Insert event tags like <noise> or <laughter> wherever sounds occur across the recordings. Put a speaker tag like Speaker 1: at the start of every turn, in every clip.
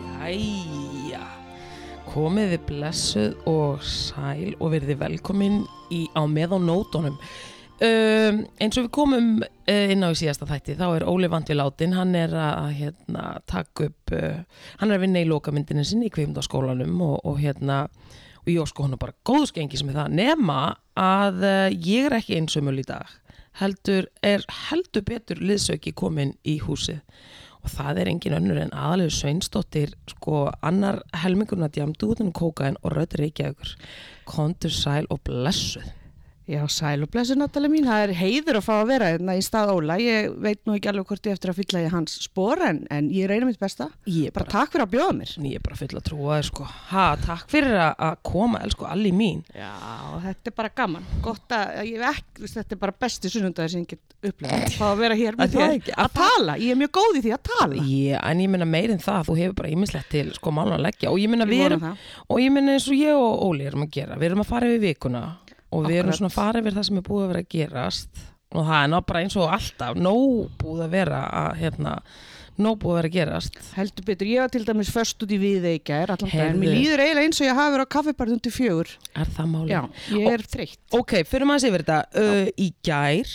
Speaker 1: Jæja, komið við blessuð og sæl og verðið velkomin í, á með á nótunum. Um, eins og við komum uh, inn á í síðasta þætti þá er Óli vant við látin, hann er að hérna, taka upp, uh, hann er að vinna í lokamyndinu sinni í kveimdaskólanum og, og hérna, og ég sko hann er bara góðskengi sem er það, nema að uh, ég er ekki einsumul í dag, heldur er heldur betur liðsauki komin í húsið og það er engin önnur en aðalegu sveinsdóttir sko annar helmingurna djamdúðun kókain og rödd reykjaður kontur sæl og blessuð
Speaker 2: Já, sæl og blessu Natalie mín, það er heiður að fá að vera hérna í stað Óla, ég veit nú ekki alveg hvort ég eftir að fylla í hans spor en, en ég reyna mitt besta,
Speaker 1: ég er
Speaker 2: bara
Speaker 1: bara,
Speaker 2: takk fyrir að bjóða mér.
Speaker 1: ég er bara full að trúa þér sko ha, takk fyrir að- að koma elsku allir mín
Speaker 2: Já, þetta er bara gaman, gott að, að ég hef ekki, þú veist, þetta er bara besti sunnundagur sem ég get upplegað, fá að vera hér
Speaker 1: Er
Speaker 2: með
Speaker 1: það
Speaker 2: þér
Speaker 1: ekki?
Speaker 2: að tala, ég er mjög góð í því að tala.
Speaker 1: ég, en ég meina meir en það, þú hefur bara ímislegt til sko málun að leggja og ég meina
Speaker 2: Ég
Speaker 1: við
Speaker 2: vona
Speaker 1: erum
Speaker 2: það.
Speaker 1: og ég meina eins og ég og Óli erum að gera, við erum að fara yfir vikuna og við erum
Speaker 2: Akkurat.
Speaker 1: svona að fara yfir það sem er búið að vera að gerast og það er ná bara eins og alltaf nóg búið að vera að hérna, nóg búið að vera að gerast
Speaker 2: Heldur betur, ég var til dæmis först út í viðeikær allan daginn,
Speaker 1: Heyrðu.
Speaker 2: mér líður eiginlega eins og ég hafi verið á kaffibarðum til fjögur.
Speaker 1: Er það málið?
Speaker 2: Já, ég er þreytt.
Speaker 1: Ok, fyrir maður sér verið þetta, uh, í gær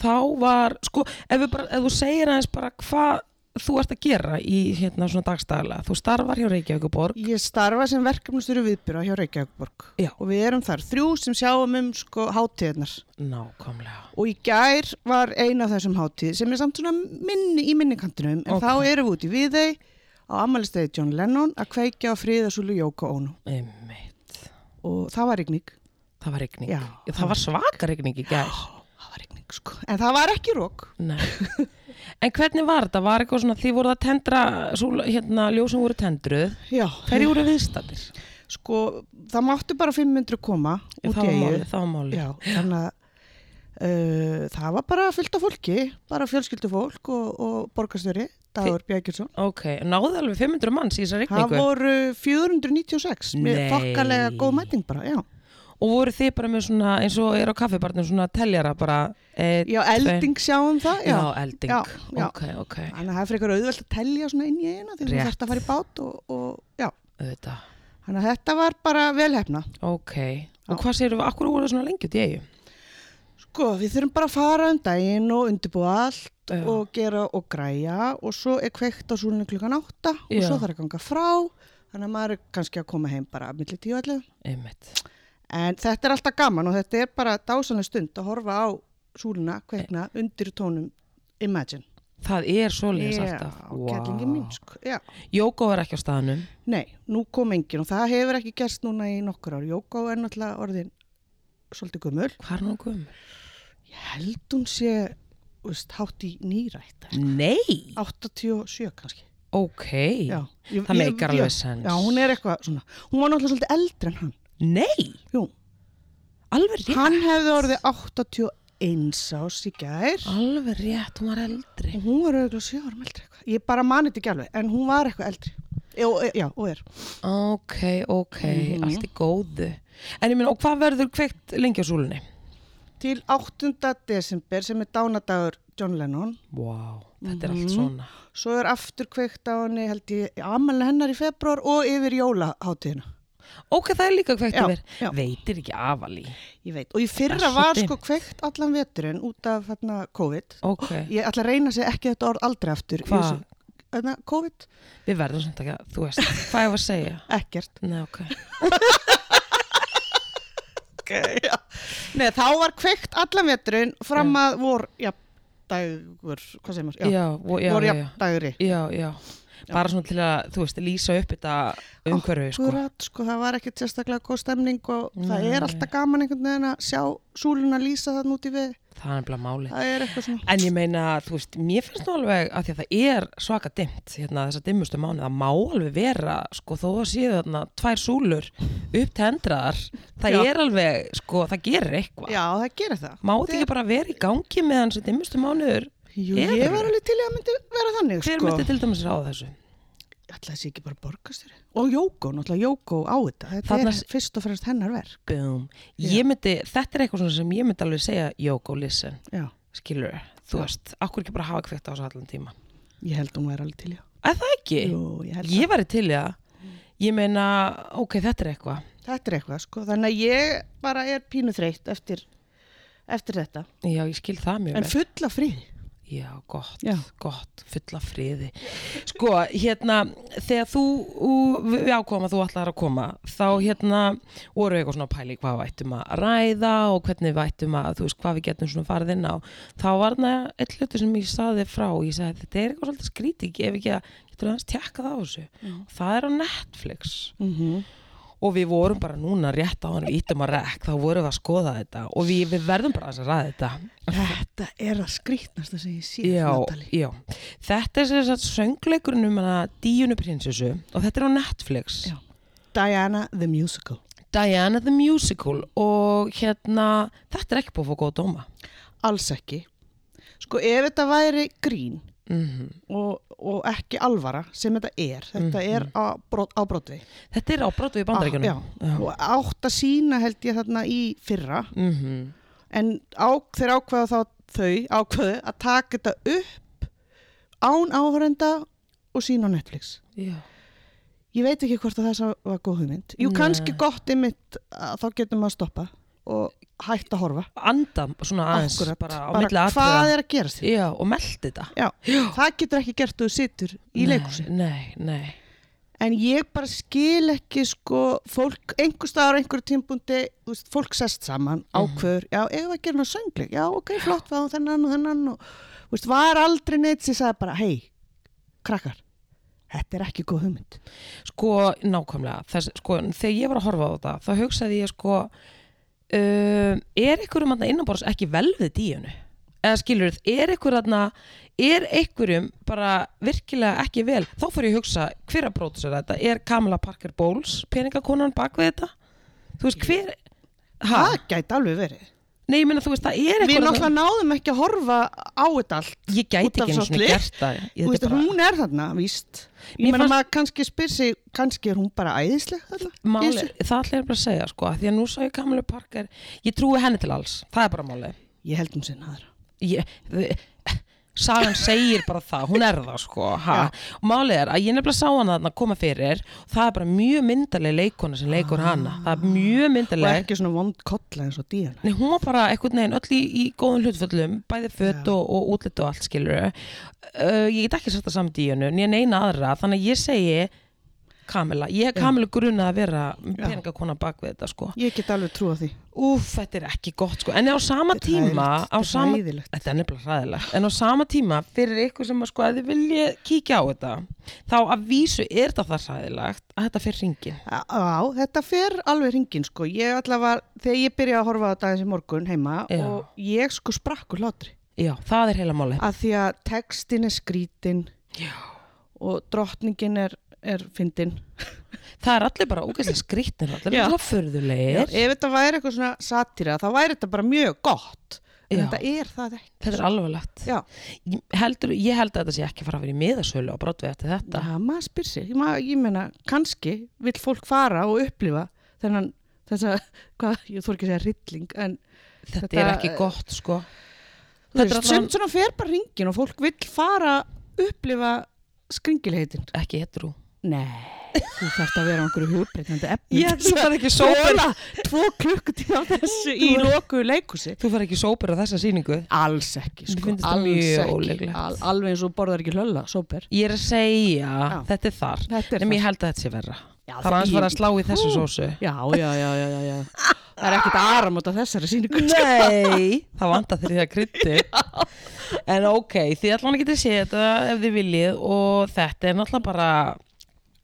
Speaker 1: þá var, sko, ef, við bara, ef þú segir aðeins bara hvað þú ert að gera í hérna svona dagstæðlega, þú starfar hjá Reykjavíkuborg,
Speaker 2: Ég starfa sem verkefnustur viðbyrða hjá Reykjavíkborg
Speaker 1: Já.
Speaker 2: og við erum þar þrjú sem sjáum um sko hátíðnar
Speaker 1: nákvæmlega.
Speaker 2: og í gær var eina af þessum hátíð sem er samt svona minni í minnikantinum en
Speaker 1: Ok.
Speaker 2: þá erum við út í viðei á amalistegi John Lennon að kveikja á friðasúlu Jóko Ónu
Speaker 1: Einmitt.
Speaker 2: og það var rigning
Speaker 1: Það var rigning.
Speaker 2: Já.
Speaker 1: Það var svaka rigning í gær.
Speaker 2: það var rigning sko en það var ekki rók
Speaker 1: Nei. En hvernig var þetta? Var eitthvað svona, þið voruð að tendra, svo, hérna, ljósum voru tendruð.
Speaker 2: Já,
Speaker 1: Hverju voru viðstættir?
Speaker 2: sko það máttu bara 500 koma
Speaker 1: Það
Speaker 2: út í
Speaker 1: var
Speaker 2: eigið
Speaker 1: málið, það var málið.
Speaker 2: Já, þannig að uh, það var bara fyllt af fólki, bara fjölskyldu fólk og, og borgarstöri, Dagur Bjækjulsson.
Speaker 1: Ok, náðu alveg 500 manns í þessa rigningu.
Speaker 2: Það voru 496, með
Speaker 1: Nei.
Speaker 2: þokkalega góð mæting bara, já.
Speaker 1: Og voru þið bara með svona, eins og er á kaffibarnum, svona teljara bara eitt,
Speaker 2: Já, elding sjáum það,
Speaker 1: Já,
Speaker 2: já.
Speaker 1: já elding,
Speaker 2: Já, já.
Speaker 1: ok, ok,
Speaker 2: Þannig að það er frekar auðvelt að telja svona inn í eina þegar
Speaker 1: Rétt.
Speaker 2: þú þarft að fara í bát og, og já.
Speaker 1: auðvitað,
Speaker 2: Þannig að þetta var bara velhefna.
Speaker 1: ok. Og hvað sérum við, akkur voru svona lengi út í eigu?
Speaker 2: Sko, við þurfum bara að fara um daginn og undirbúa allt
Speaker 1: Já.
Speaker 2: og gera og græja og svo er kveikt á súlunni klukkan átta og
Speaker 1: Já.
Speaker 2: svo þarf að ganga frá þannig að maður er kannski að koma heim bara að milli tíu allir.
Speaker 1: Einmitt,
Speaker 2: En þetta er alltaf gaman og þetta er bara dásanlega stund að horfa á súluna kveikna undir tónum Imagine.
Speaker 1: það er svoleiðis
Speaker 2: Já,
Speaker 1: alltaf.
Speaker 2: kellingi mín, sko. Já.
Speaker 1: Jóko er ekki á staðnum,
Speaker 2: Nei, nú kom enginn og það hefur ekki gerst núna í nokkur ár. Jóko er náttúrulega orðin svolítið gömul.
Speaker 1: hvað er nú gömur?
Speaker 2: Ég held hún sé, þú veist, hátt í nýrætt.
Speaker 1: Nei,
Speaker 2: 87 kannski
Speaker 1: ok,
Speaker 2: já, ég,
Speaker 1: það
Speaker 2: ég-
Speaker 1: meikar alveg
Speaker 2: já,
Speaker 1: sens.
Speaker 2: já, hún er eitthvað svona hún var náttúrulega svolítið eldri en hann
Speaker 1: Nei,
Speaker 2: Jú,
Speaker 1: alveg rétt,
Speaker 2: hann hefði orðið 81 ás í gær
Speaker 1: alveg rétt, hún var eldri.
Speaker 2: og hún var auðvitað 7 árum eldri eitthvað ég bara mani þetta ekki alveg en hún var eitthvað eldri já, og- já og er
Speaker 1: Ok, ok,
Speaker 2: Mhm.
Speaker 1: allt í góðu. En ég meina, og hvað verður kveikt lengi á súlunni?
Speaker 2: til 8. desember sem er dánadagur John Lennon
Speaker 1: Vá, þetta er allt svona.
Speaker 2: svo er aftur kveikt á henni held ég amalina hennar í februar og yfir jólaháttíðina
Speaker 1: Ok, það er líka kveikt
Speaker 2: Já,
Speaker 1: yfir.
Speaker 2: já.
Speaker 1: Veitir ekki afalí.
Speaker 2: ég veit og í
Speaker 1: Það
Speaker 2: fyrra
Speaker 1: er svo
Speaker 2: var
Speaker 1: dimmt.
Speaker 2: sko kveikt allan veturinn út af þarna COVID
Speaker 1: Ok,
Speaker 2: Ég ætla að reyna að segja ekki þetta orð aldrei aftur. í
Speaker 1: Hva?
Speaker 2: þessu- Þarna, COVID?
Speaker 1: við verðum samt ekki að, þú veist, hvað ég var að segja?
Speaker 2: Ekkert.
Speaker 1: Nei, ok.
Speaker 2: Okay, Nei, þá var kveikt allan veturinn fram að vor jafndagur, hvað segir maður?
Speaker 1: Já, og- já,
Speaker 2: vor
Speaker 1: já, já,
Speaker 2: jafndagri.
Speaker 1: já, já. Bara svona til að, þú veist, lýsa upp þetta umhverfið, sko.
Speaker 2: Akkurat, sko, það var ekkert sérstaklega góð stemning og það
Speaker 1: Nei.
Speaker 2: er alltaf gaman einhvern veginn að sjá súluna lýsa þann út í við.
Speaker 1: Það er nefnilega málið.
Speaker 2: Það er eitthvað svona.
Speaker 1: En ég meina, þú veist, mér finnst nú alveg að því að það er svaka dimmt, hérna, þessa dimmustu mánu, það má alveg vera, sko, þó að séu þarna tvær súlur upptendraðar, það
Speaker 2: Já.
Speaker 1: er alveg, sko, það gerir eitthvað.
Speaker 2: Já, það gerir það.
Speaker 1: Má þetta ekki bara vera í gangi meðan þessi dimmustu mánuður
Speaker 2: Jú,
Speaker 1: Er-
Speaker 2: ég var alveg til í að myndi vera þannig,
Speaker 1: Hver
Speaker 2: sko.
Speaker 1: myndi til dæmis ráða þessu?
Speaker 2: Alltaf þessi ekki bara borgarstjóri. Og Jóko, náttúrulega Jóko á þetta. Þetta
Speaker 1: Þarna
Speaker 2: er
Speaker 1: s-
Speaker 2: fyrst og fremst hennar verk.
Speaker 1: Boom.
Speaker 2: Já.
Speaker 1: Ég myndi, þetta er eitthvað svona sem ég myndi alveg segja Jóko, listen,
Speaker 2: Já,
Speaker 1: skilur þú
Speaker 2: Já.
Speaker 1: veist, akkur ekki bara hafa kveikt á þessu allan tíma
Speaker 2: ég held hún væri alveg til í að.
Speaker 1: Er það ekki?
Speaker 2: Jú, ég held
Speaker 1: Ég væri til í það Ég meina, ok, þetta er eitthvað
Speaker 2: það. Þetta er eitthvað, sko. Þannig að ég bara er pínu þreytt eftir, eftir þetta.
Speaker 1: Já, ég skil það mjög
Speaker 2: En
Speaker 1: vel.
Speaker 2: fulla fríði.
Speaker 1: Já, gott,
Speaker 2: Já.
Speaker 1: gott, fulla friði Sko, hérna þegar þú, ú- við ákváðum að þú ætlar að koma, þá hérna voru eitthvað svona pæli hvað við ættum að ræða og hvernig við ættum að, þú veist, hvað við getum svona farið inn á þá var þarna eitt hluti sem ég saði þér frá og ég sagði, þetta er eitthvað svolítið skrítið ef ekki að, getur aðeins tjekkað á þessu það er á Netflix
Speaker 2: Mm
Speaker 1: og við vorum bara núna rétt á hann við ítum að rekk, þá vorum við að skoða þetta og við, við verðum bara aðeins að ræða þetta
Speaker 2: Þetta er að skrýtnasta sem ég sé,
Speaker 1: já,
Speaker 2: Natali.
Speaker 1: já, þetta er sem sagt söngleikurinn um hana Díunu prinsessu og þetta er á Netflix
Speaker 2: Já. Diana the Musical.
Speaker 1: Diana the Musical og hérna, þetta er ekki búið að fá góða dóma
Speaker 2: Alls ekki. Sko, ef þetta væri grín
Speaker 1: mm
Speaker 2: Mhm. og, og ekki alvara sem þetta er, þetta er á, brot, á brotvi.
Speaker 1: þetta er á brotu í bandaríkjunum
Speaker 2: Ah, já. Og átt að sína held ég þarna í fyrra,
Speaker 1: mm
Speaker 2: en á, þeir ákveða þá þau ákveðu að taka þetta upp án áhverenda og sína á Netflix.
Speaker 1: já.
Speaker 2: Ég veit ekki hvort að það sá- var góð hugmynd. Jú,
Speaker 1: Nei.
Speaker 2: kannski gott ymmit að þá getum maður að stoppa og hætta að horfa.
Speaker 1: anda svona aðeins
Speaker 2: Akkurat,
Speaker 1: bara á milli
Speaker 2: hvað
Speaker 1: atriða.
Speaker 2: er að gerast þér?
Speaker 1: já, og meldi þetta
Speaker 2: Já, það getur ekki gert þú situr í leikursi.
Speaker 1: nei, nei,
Speaker 2: En ég bara skil ekki sko fólk, einhver staðar á einhverju tímpundi, þú veist, fólk sest
Speaker 1: Mhm.
Speaker 2: saman, ákveður, já, ef að gera náðu söngleik, já, ok, flott, þá þennan og þennan og, þú veist, var aldrei neitt sem sagði bara, hei, krakkar, þetta er ekki góð hugmynd.
Speaker 1: Sko, nákvæmlega, þess, sko, þegar ég var að horfa á þetta, þá hugsaði ég sko, uh, er einhverjum þarna innanborðs ekki vel við díunu? Eða skilur, er einhverjum þarna, er einhverjum bara virkilega ekki vel? Þá fyrir ég að hugsa, hver að bróta sér þetta? Er Kamala Parker Bowles peningakonan bak við þetta? Þú veist, hver... Ha?
Speaker 2: Það gæti alveg verið.
Speaker 1: Nei, ég meina, þú veist, það er
Speaker 2: Við
Speaker 1: einhverjum...
Speaker 2: náttúrulega náðum ekki að horfa á þetta allt.
Speaker 1: Ég
Speaker 2: út
Speaker 1: gæti ekki
Speaker 2: af
Speaker 1: einu
Speaker 2: svolítið.
Speaker 1: svona gert það. Ég,
Speaker 2: Þú
Speaker 1: þetta
Speaker 2: veist,
Speaker 1: er bara,
Speaker 2: hún er þarna, víst. Ég
Speaker 1: Mér
Speaker 2: meina
Speaker 1: fannst-
Speaker 2: maður kannski spyr sig, kannski er hún bara æðisleg þarna. í
Speaker 1: máli,
Speaker 2: þessu?
Speaker 1: það ætla ég bara að segja, sko, af því að nú sá ég Kamala Parker, ég trúi henni til alls, það er bara málið.
Speaker 2: Ég held um sinna aðra.
Speaker 1: ég, þi- sagan segir bara það, hún er það sko ha. og málið er að ég nefnilega sá hana þarna koma fyrir og það er bara mjög myndarleg leikona sem leikur hana það er mjög
Speaker 2: Ah. Og
Speaker 1: myndarleg
Speaker 2: ekki svona vond kolla eins og díana.
Speaker 1: Nei, hún var bara einhvern veginn öll í, í góðum hlutföllum bæði fött
Speaker 2: Já.
Speaker 1: og, og útlit og allt skilur uh, ég get ekki sagt það samt í hennu en ég neina aðra, þannig að ég segi Kamila, ég hef Kamilu grunna að vera peningakona bak við þetta sko
Speaker 2: Ég get alveg trúa því.
Speaker 1: Úf, þetta er ekki gott sko En á sama
Speaker 2: Þetta er
Speaker 1: tíma
Speaker 2: hræðilegt,
Speaker 1: á
Speaker 2: þetta er
Speaker 1: sama,
Speaker 2: hræðilegt.
Speaker 1: Þetta er nefnilega hræðilegt En á sama tíma fyrir ykkur sem að sko að þið vilja kíkja á þetta þá að vísu er þetta það hræðilegt að þetta fyrir ringin
Speaker 2: Á, á, þetta fer alveg hringin sko. Ég allavega, þegar ég byrjaði að horfa á þetta eins í morgun heima
Speaker 1: Já.
Speaker 2: og ég sko sprakk úr hlátri.
Speaker 1: Já, það er heila máli
Speaker 2: Að því að textin er skrítin
Speaker 1: Já.
Speaker 2: og drottningin er, er fyndin.
Speaker 1: Það er allir bara ógæslega skrýtnir allir
Speaker 2: Já.
Speaker 1: er bara förðulegir
Speaker 2: Ef þetta væri eitthvað svona satýra, þá væri þetta bara mjög gott. En
Speaker 1: Já.
Speaker 2: þetta er það ekki.
Speaker 1: Þetta er alvarlegt
Speaker 2: Já.
Speaker 1: ég, heldur, ég held að þetta sé ekki fara að vera í miðasölu á brotvi eftir þetta
Speaker 2: Já, maður spyr sig. Ma, ég meina, kannski vill fólk fara og upplifa þennan, þess að, <laughs> hvað, ég þór ekki að segja rilling, en
Speaker 1: Þetta,
Speaker 2: Þetta-
Speaker 1: er ekki gott sko
Speaker 2: þú
Speaker 1: Þetta er
Speaker 2: veist,
Speaker 1: allan
Speaker 2: sumt svona fer bara ringin og fólk vill fara upplifa skringilheitin.
Speaker 1: ekki hetrú
Speaker 2: Nei, þú þarft að vera á einhverju hugbreytandi efni.
Speaker 1: fara <laughs> ekki
Speaker 2: Svona, tvo klukkutíma á þessu í loku leikúsi.
Speaker 1: Þú fara ekki sópir á þessa sýningu
Speaker 2: Alls ekki,
Speaker 1: Mér
Speaker 2: sko,
Speaker 1: finnst þetta
Speaker 2: alls
Speaker 1: mjög
Speaker 2: ekki.
Speaker 1: ólíklegt.
Speaker 2: Al, alveg eins og borðar ekki hlölla, sóper.
Speaker 1: Ég er að segja,
Speaker 2: Já.
Speaker 1: þetta er þar
Speaker 2: Þetta er
Speaker 1: Nefnum ég
Speaker 2: það.
Speaker 1: held að þetta sé verra
Speaker 2: Já,
Speaker 1: Það var aðeins fara að slá í þessu
Speaker 2: Hú.
Speaker 1: sósu
Speaker 2: Já, já, já, já, já, já. Það er ekkit aðra móta þessari síningu.
Speaker 1: Nei <laughs> Það vanda þeir því að krytti En ok, þið allan getið séð þetta ef þið viljið og þetta er náttúrulega bara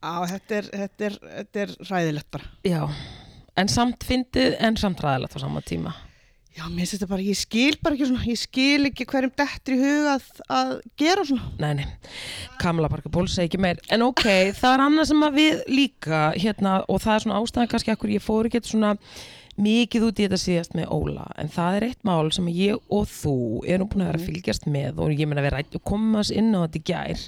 Speaker 2: Á, þetta er, þetta er, þetta er ræðilegt bara.
Speaker 1: Já, en samt fyndið en samt ræðilegt á sama tíma
Speaker 2: Já, mér finnst þetta bara, ég skil bara ekki svona, ég skil ekki hverjum dettur í huga að, að gera svona.
Speaker 1: Nei, nei, Kamla Parker Bowles segi ekki meir En ok, það er annað sem að við líka hérna, og það er svona ástæðan kannski akkur ég fór ekki svona mikið út í þetta síðast með Óla en það er eitt mál sem ég og þú erum búin að vera að
Speaker 2: Mhm.
Speaker 1: fylgjast með og ég meina við rætt og komum aðeins inn á þetta í gær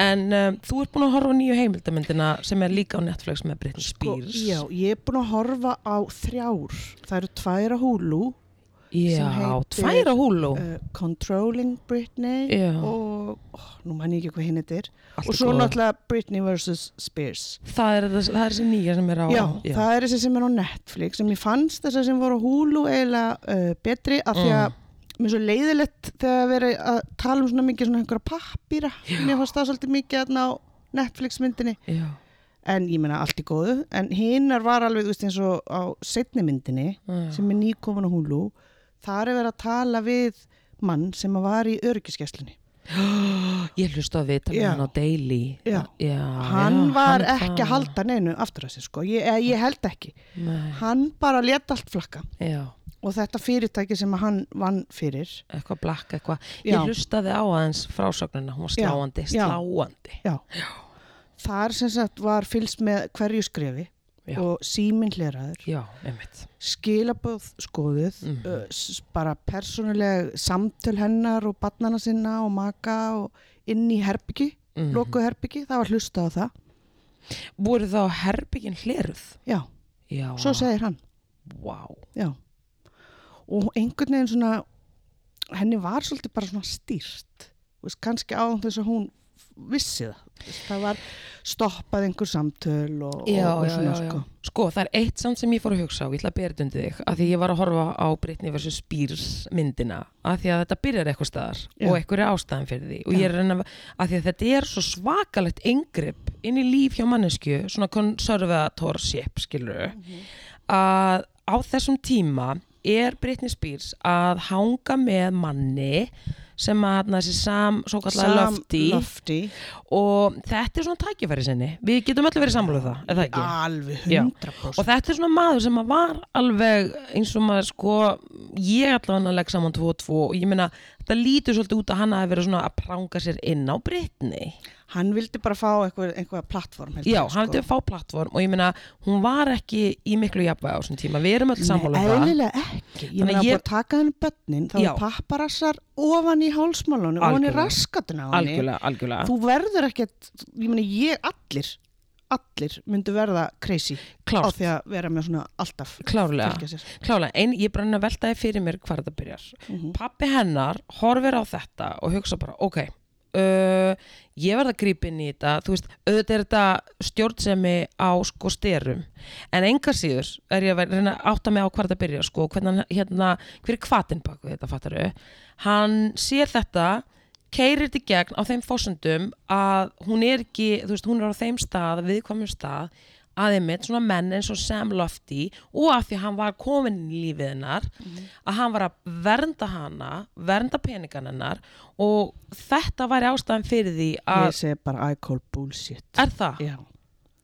Speaker 1: en um, þú ert búin að horfa á nýju heimildamöndina sem er líka á Netflix með Britney Spears
Speaker 2: Sko, já, ég er búin að horfa á þrjár það eru tværa húlu
Speaker 1: já
Speaker 2: sem heitir-
Speaker 1: tværa húlu
Speaker 2: uh, Controlling Britney
Speaker 1: Já.
Speaker 2: og oh, nú mann ég ekki hvað hinn þetta er
Speaker 1: Allt
Speaker 2: og
Speaker 1: er
Speaker 2: svo
Speaker 1: góða.
Speaker 2: náttúrulega Britney vs. Spears
Speaker 1: það er þess- það er þessi nýja sem er á
Speaker 2: Já, það er þessi sem er á Netflix sem ég fannst þessar sem voru á Hulu eiginlega uh, betri af því
Speaker 1: Mm.
Speaker 2: að mér er svo leiðilegt þegar að vera að tala um svona mikið svona einhverja pappýra mér fannst það svolítið mikið þarna á Netflix myndinni
Speaker 1: já.
Speaker 2: en ég meina allt í góðu en hinnar var alveg, þú veist, eins og á setni myndinni
Speaker 1: Já.
Speaker 2: sem er nýkomin á Hulu þar er verið að tala við mann sem að var í öryggiskeslinni
Speaker 1: Ég hlusta að vita með
Speaker 2: Já.
Speaker 1: hann á Daily
Speaker 2: Já.
Speaker 1: já
Speaker 2: hann
Speaker 1: já,
Speaker 2: var
Speaker 1: hann
Speaker 2: ekki að halda neinu aftur að sér sko, ég, eh, ég held ekki
Speaker 1: Nei,
Speaker 2: hann bara leta allt flakka
Speaker 1: Já,
Speaker 2: og þetta fyrirtæki sem að hann vann fyrir
Speaker 1: eitthvað blakk eitthvað Ég
Speaker 2: Já.
Speaker 1: hlustaði á aðeins frásögnuna hún var
Speaker 2: Já,
Speaker 1: sláandi,
Speaker 2: já.
Speaker 1: sláandi
Speaker 2: já. þar sem sagt var fylst með hverju skrefi
Speaker 1: Já.
Speaker 2: og síminn hleraður
Speaker 1: Já, einmitt
Speaker 2: skilabóð skoðuð mm bara persónuleg samtöl hennar og barnana sinna og maka og inn í herbyggi
Speaker 1: Mhm.
Speaker 2: mm loku herbyggi, það var hlusta á það
Speaker 1: Voru þá herbyggin hleruð?
Speaker 2: já,
Speaker 1: Já,
Speaker 2: svo segir hann
Speaker 1: Vá,
Speaker 2: já. og einhvern veginn svona henni var svolítið bara svona stýrt Þú veist, kannski án þess að hún vissi það Þú veist, það var stoppað einhver samtöl og,
Speaker 1: já,
Speaker 2: og, og
Speaker 1: já,
Speaker 2: svona
Speaker 1: já, já.
Speaker 2: sko
Speaker 1: Sko, það er eitt samt sem ég fór að hugsa á, ég ætla að bera þetta undir þig, að því ég var að horfa á Britney vs. Spears myndina, að því að þetta byrjar eitthvað staðar
Speaker 2: Já.
Speaker 1: og eitthvað er ástæðan fyrir því og ég er að reyna að, að því að þetta er svo svakalegt yngripp inn í líf hjá mannesku, svona konservatorship, skilur,
Speaker 2: Mhm.
Speaker 1: að á þessum tíma er Britney Spears að hanga með manni sem að hérna, þessi sam, svo kallar
Speaker 2: Sam
Speaker 1: löfti
Speaker 2: Lofti
Speaker 1: og þetta er svona tækifæri sinni við getum öll verið samlega það, er það ekki?
Speaker 2: alveg
Speaker 1: Já.
Speaker 2: 100%
Speaker 1: Og þetta er svona maður sem að var alveg eins og maður sko, ég allavega að legg saman 2 og 2 og ég meina, þetta lítur svolítið út að hann hafi verið svona að pranga sér inn á Britni.
Speaker 2: hann vildi bara fá einhver, einhver plattform held
Speaker 1: Já,
Speaker 2: ég, sko.
Speaker 1: hann hefði að fá plattform og ég meina, hún var ekki í miklu jafnvæg á þessum tíma, við erum öll sammála um það.
Speaker 2: eðlilega ekki ég
Speaker 1: Þannig
Speaker 2: meina að
Speaker 1: ég-
Speaker 2: búið að taka henni bönnin þá
Speaker 1: Já.
Speaker 2: er papparassar ofan í hálsmálunum ofan í
Speaker 1: Algjörlega.
Speaker 2: raskatuna á henni
Speaker 1: Algjörlega, algjörlega.
Speaker 2: þú verður ekkert ég meina ég allir allir myndu verða crazy á
Speaker 1: Klárt.
Speaker 2: því að vera með svona alltaf
Speaker 1: Klárlega.
Speaker 2: fylgja sér.
Speaker 1: Klálega, en ég bara að veltaði fyrir mér hvar þetta byrjar. Pappi hennar horfir á þetta og hugsa bara, ok, uh, ég verð að grípa inn í þetta, þú veist, auðvitað er þetta stjórnsemi á sko styrum, en enga síður er ég að vera- reyna að átta mig á hvar þetta byrjar, sko, og hvernig hann, hérna, hver er kvatin bak við þetta, fattaru? Hann sér þetta, keirir þetta í gegn á þeim fósundum að hún er ekki, þú veist, hún er á þeim stað, viðkvæmum stað, að einmitt svona menn eins og Sam Lofty og af því að hann var komin í lífið hennar
Speaker 2: Mhm.
Speaker 1: að hann var að vernda hana vernda peningan hennar og þetta væri ástæðan fyrir því að
Speaker 2: ég segi bara I call bullshit
Speaker 1: er það?
Speaker 2: Já.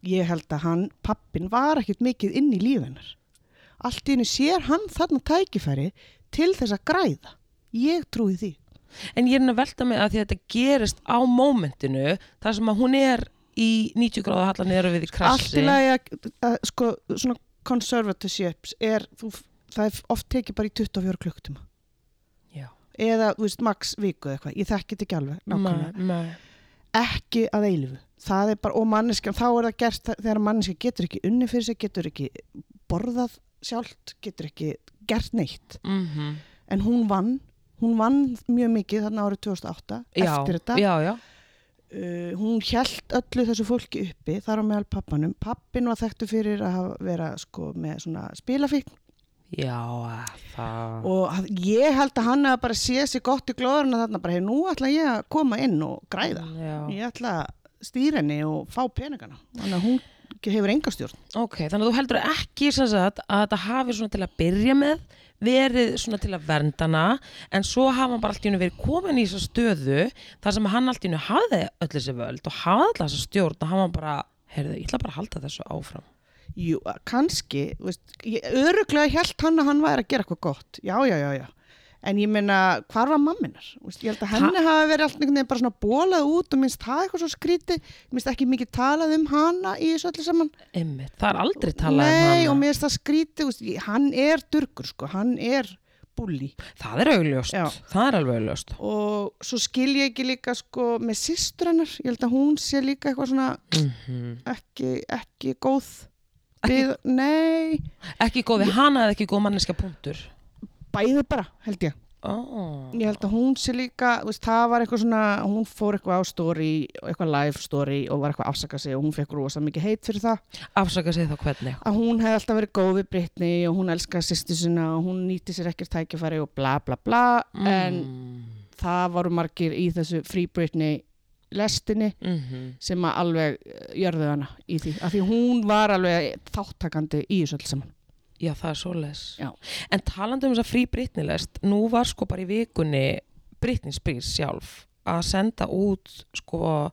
Speaker 2: ég held að hann pappin var ekkert mikið inn í lífinar allt í henni sér hann þarna tækifæri til þess að græða ég trúi því
Speaker 1: En ég er að velta mig að því að þetta gerist á mómentinu þar sem að hún er í 90 gráða hallan niður við í
Speaker 2: allt í
Speaker 1: krassi
Speaker 2: lagi að, að sko, svona conservatorships er, þú, það er oft tekið bara í 24 klukkutíma
Speaker 1: Já.
Speaker 2: eða, þú veist, max viku eða eitthvað ég þekki þetta ekki alveg, nákvæmlega
Speaker 1: Nei, nei.
Speaker 2: ekki að eilifu það er bara, og manneskja, þá er það gert þe- þegar manneskja getur ekki unni fyrir sig getur ekki borðað sjálft getur ekki gert neitt
Speaker 1: Mhm.
Speaker 2: en hún vann, hún vann mjög mikið þarna árið 2008
Speaker 1: Já,
Speaker 2: eftir þetta
Speaker 1: já, já,
Speaker 2: uh, hún hjælt öllu þessu fólki uppi þar á meðal pappanum, pappin var þekktu fyrir að hafa- vera sko með svona spilafíkn
Speaker 1: já, að það
Speaker 2: og að- ég held að hann hafa bara séð sér gott í glóðurinn að þarna bara, hei, nú ætla ég að koma inn og græða
Speaker 1: Já.
Speaker 2: ég ætla að stýra henni og fá peningana þannig að hún hefur enga stjórn
Speaker 1: Ok, þannig að þú heldur ekki sem sagt, að þetta hafi svona til að byrja með verið svona til að verndana en svo hafa hann bara allt í hennu verið komin í þessa stöðu þar sem hann allt í hennu hafði öll þessi völd og hafði alltaf þessa stjórn og hann var bara, heyrðu, ég ætla bara að halda þessu áfram
Speaker 2: Jú, að kannski, þú veist, ég öruglega held hann að hann væri að gera eitthvað gott já, já, já, já en ég meina, hvar var mamminar? Ég held að henni hafi verið allt einhvern veginn bara svona bólað út og minnst það eitthvað svo skríti minnst ekki mikið talað um hana í þessu öllu saman
Speaker 1: Einmitt, það er aldrei talað
Speaker 2: Nei,
Speaker 1: um
Speaker 2: og
Speaker 1: hana.
Speaker 2: mér finnst það skríti, úst, hann er durkur sko, hann er búli
Speaker 1: Það er augljóst,
Speaker 2: Já.
Speaker 1: það er alveg augljóst.
Speaker 2: og svo skil ég ekki líka sko með systur hennar, ég held að hún sé líka eitthvað svona
Speaker 1: Mhm.
Speaker 2: ekki, ekki góð Við, nei,
Speaker 1: Ekki góð við hana eða ekki góð manneska punktur.
Speaker 2: bæði bara held ég
Speaker 1: Oh.
Speaker 2: ég held að hún sé líka, þú veist, það var eitthvað svona hún fór eitthvað á story eitthvað live story og var eitthvað að afsaka sig og hún fekk rosa mikið heit fyrir það
Speaker 1: Afsaka sig þá hvernig.
Speaker 2: að hún hefði alltaf verið góð við Brittany og hún elskaði sýstu sinna og hún nýti sér ekkert tækifæri og bla bla bla
Speaker 1: Mm.
Speaker 2: en það voru margir í þessu Free Britney lestinni
Speaker 1: Mm
Speaker 2: sem að alveg eh, jörðu hana í því, af því hún var alveg þáttakandi í þessu öll saman
Speaker 1: Já, það er svoleiðis.
Speaker 2: Já.
Speaker 1: En talandi um þess að frí Britney-lest, nú var sko bara í vikunni Britney Spears sjálf að senda út sko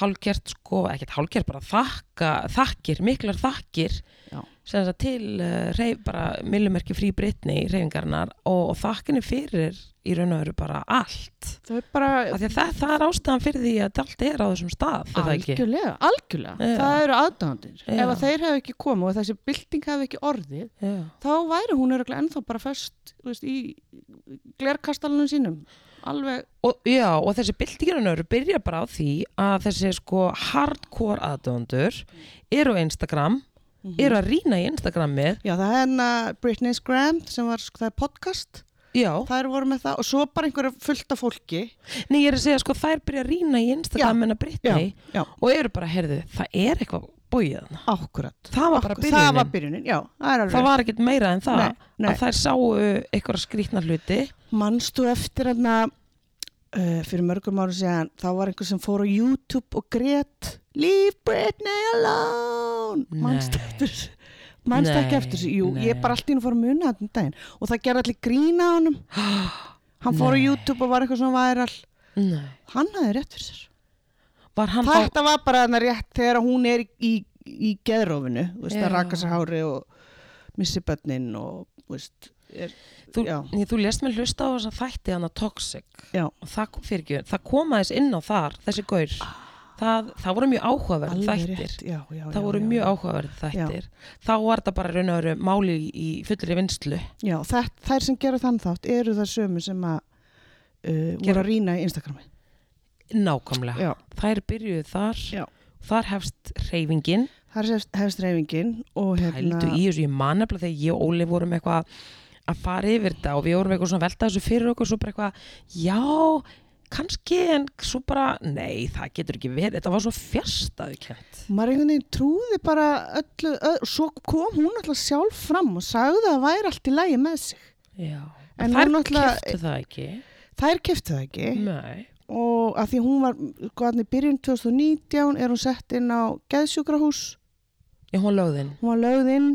Speaker 1: hálgert sko, ekkert hálgert bara þakka, þakkir, miklar þakkir
Speaker 2: Já.
Speaker 1: sem þess að til uh, reyf, bara millumerki frí Britney reyfingarnar og, og þakkinni fyrir í raun og veru bara allt.
Speaker 2: þau bara
Speaker 1: Af því að það, það er ástæðan fyrir því að allt er á þessum stað, er það ekki?
Speaker 2: algjörlega, algjörlega
Speaker 1: Já.
Speaker 2: það eru aðdáðandir,
Speaker 1: Já.
Speaker 2: ef að þeir hefðu ekki komið og þessi bylting hefðu ekki orðið
Speaker 1: Já.
Speaker 2: þá væri hún öruglega ennþá bara fest þú veist, í glerkastalunum sínum alveg,
Speaker 1: Og, já, og þessi byltingirunöru byrja bara á því að þessi sko hardcore aðdöndur eru á Instagram,
Speaker 2: Mhm.
Speaker 1: eru að rýna í Instagramið,
Speaker 2: já það er hennar Britney's Gram sem var, sko, það er podcast
Speaker 1: já,
Speaker 2: þær voru með það og svo bara einhverja fullta fólki
Speaker 1: nei ég er að segja sko þær byrja að rýna í Instagramina Brittany
Speaker 2: já,
Speaker 1: og eru bara, heyrðu, það er eitthvað bóið þarna.
Speaker 2: akkurat
Speaker 1: Það var bara byrjunin.
Speaker 2: það var byrjunin, já, það er alveg
Speaker 1: Það var ekkert meira en það
Speaker 2: Nei, nei.
Speaker 1: að þær sáu eitthvað skrýtna hluti.
Speaker 2: Manstu eftir hérna uh, fyrir mörgum árum síðan þá var einhver sem fór á YouTube og grét Leave Britney alone
Speaker 1: Nei.
Speaker 2: Manstu eftir þessu? Manstu
Speaker 1: Nei,
Speaker 2: ekki eftir þessu? Jú,
Speaker 1: nei.
Speaker 2: ég bara allt í hennu fór að muna þetta um daginn og það gerði allir grína á
Speaker 1: <gasps>
Speaker 2: honum Hann fór á YouTube og var eitthvað svona væral
Speaker 1: Nei.
Speaker 2: Hann hafði rétt fyrir sér
Speaker 1: Var hann þá,
Speaker 2: Þetta var bara þarna rétt þegar hún er í, í, í geðrófinu þú veist,
Speaker 1: Já.
Speaker 2: að raka sér hári og missi bönnin og þú veist, er,
Speaker 1: þú,
Speaker 2: já,
Speaker 1: nei, þú lest mér hlusta á þess að þætti hana Toxic.
Speaker 2: já
Speaker 1: og það kom fyrir ekki, það kom aðeins inn á þar þessi gaur, það, það voru mjög áhugaverð
Speaker 2: Ah. alveg
Speaker 1: þættir,
Speaker 2: rétt, já, já,
Speaker 1: það
Speaker 2: já,
Speaker 1: voru
Speaker 2: já,
Speaker 1: mjög
Speaker 2: já.
Speaker 1: áhugaverð þættir þá var það bara raun og veru máli í fullri vinslu
Speaker 2: Já, það, þær sem gera þann þátt eru það sömu sem að uh, voru
Speaker 1: Gerðu-
Speaker 2: að rýna í Instagrami.
Speaker 1: nákvæmlega,
Speaker 2: Já.
Speaker 1: þær byrjuðu þar
Speaker 2: Já.
Speaker 1: þar hefst reyfingin
Speaker 2: Það er hefst reyfingin og hérna...
Speaker 1: hældu í þessu, ég man eftir þegar ég og Óli vorum eitthvað að fara yfir þetta og við vorum eitthvað svona að velta þessu fyrir okkur svo bara eitthvað, já kannski en svo bara, nei það getur ekki verið, þetta var svo fjarstæðukent
Speaker 2: Maður einhvern veginn trúði bara öllu, öll, svo kom hún alltaf sjálf fram og sagði að það væri allt í lægi með sig.
Speaker 1: já,
Speaker 2: En
Speaker 1: en þær
Speaker 2: hún náttúrulega- Eh.
Speaker 1: keftu það ekki
Speaker 2: Þær keftu það ekki
Speaker 1: nei
Speaker 2: og að því hún var, sko hann í byrjun 2019 er hún sett inn á geðsjúkrahús,
Speaker 1: Já, hún lögðinn.
Speaker 2: hún var lögðinn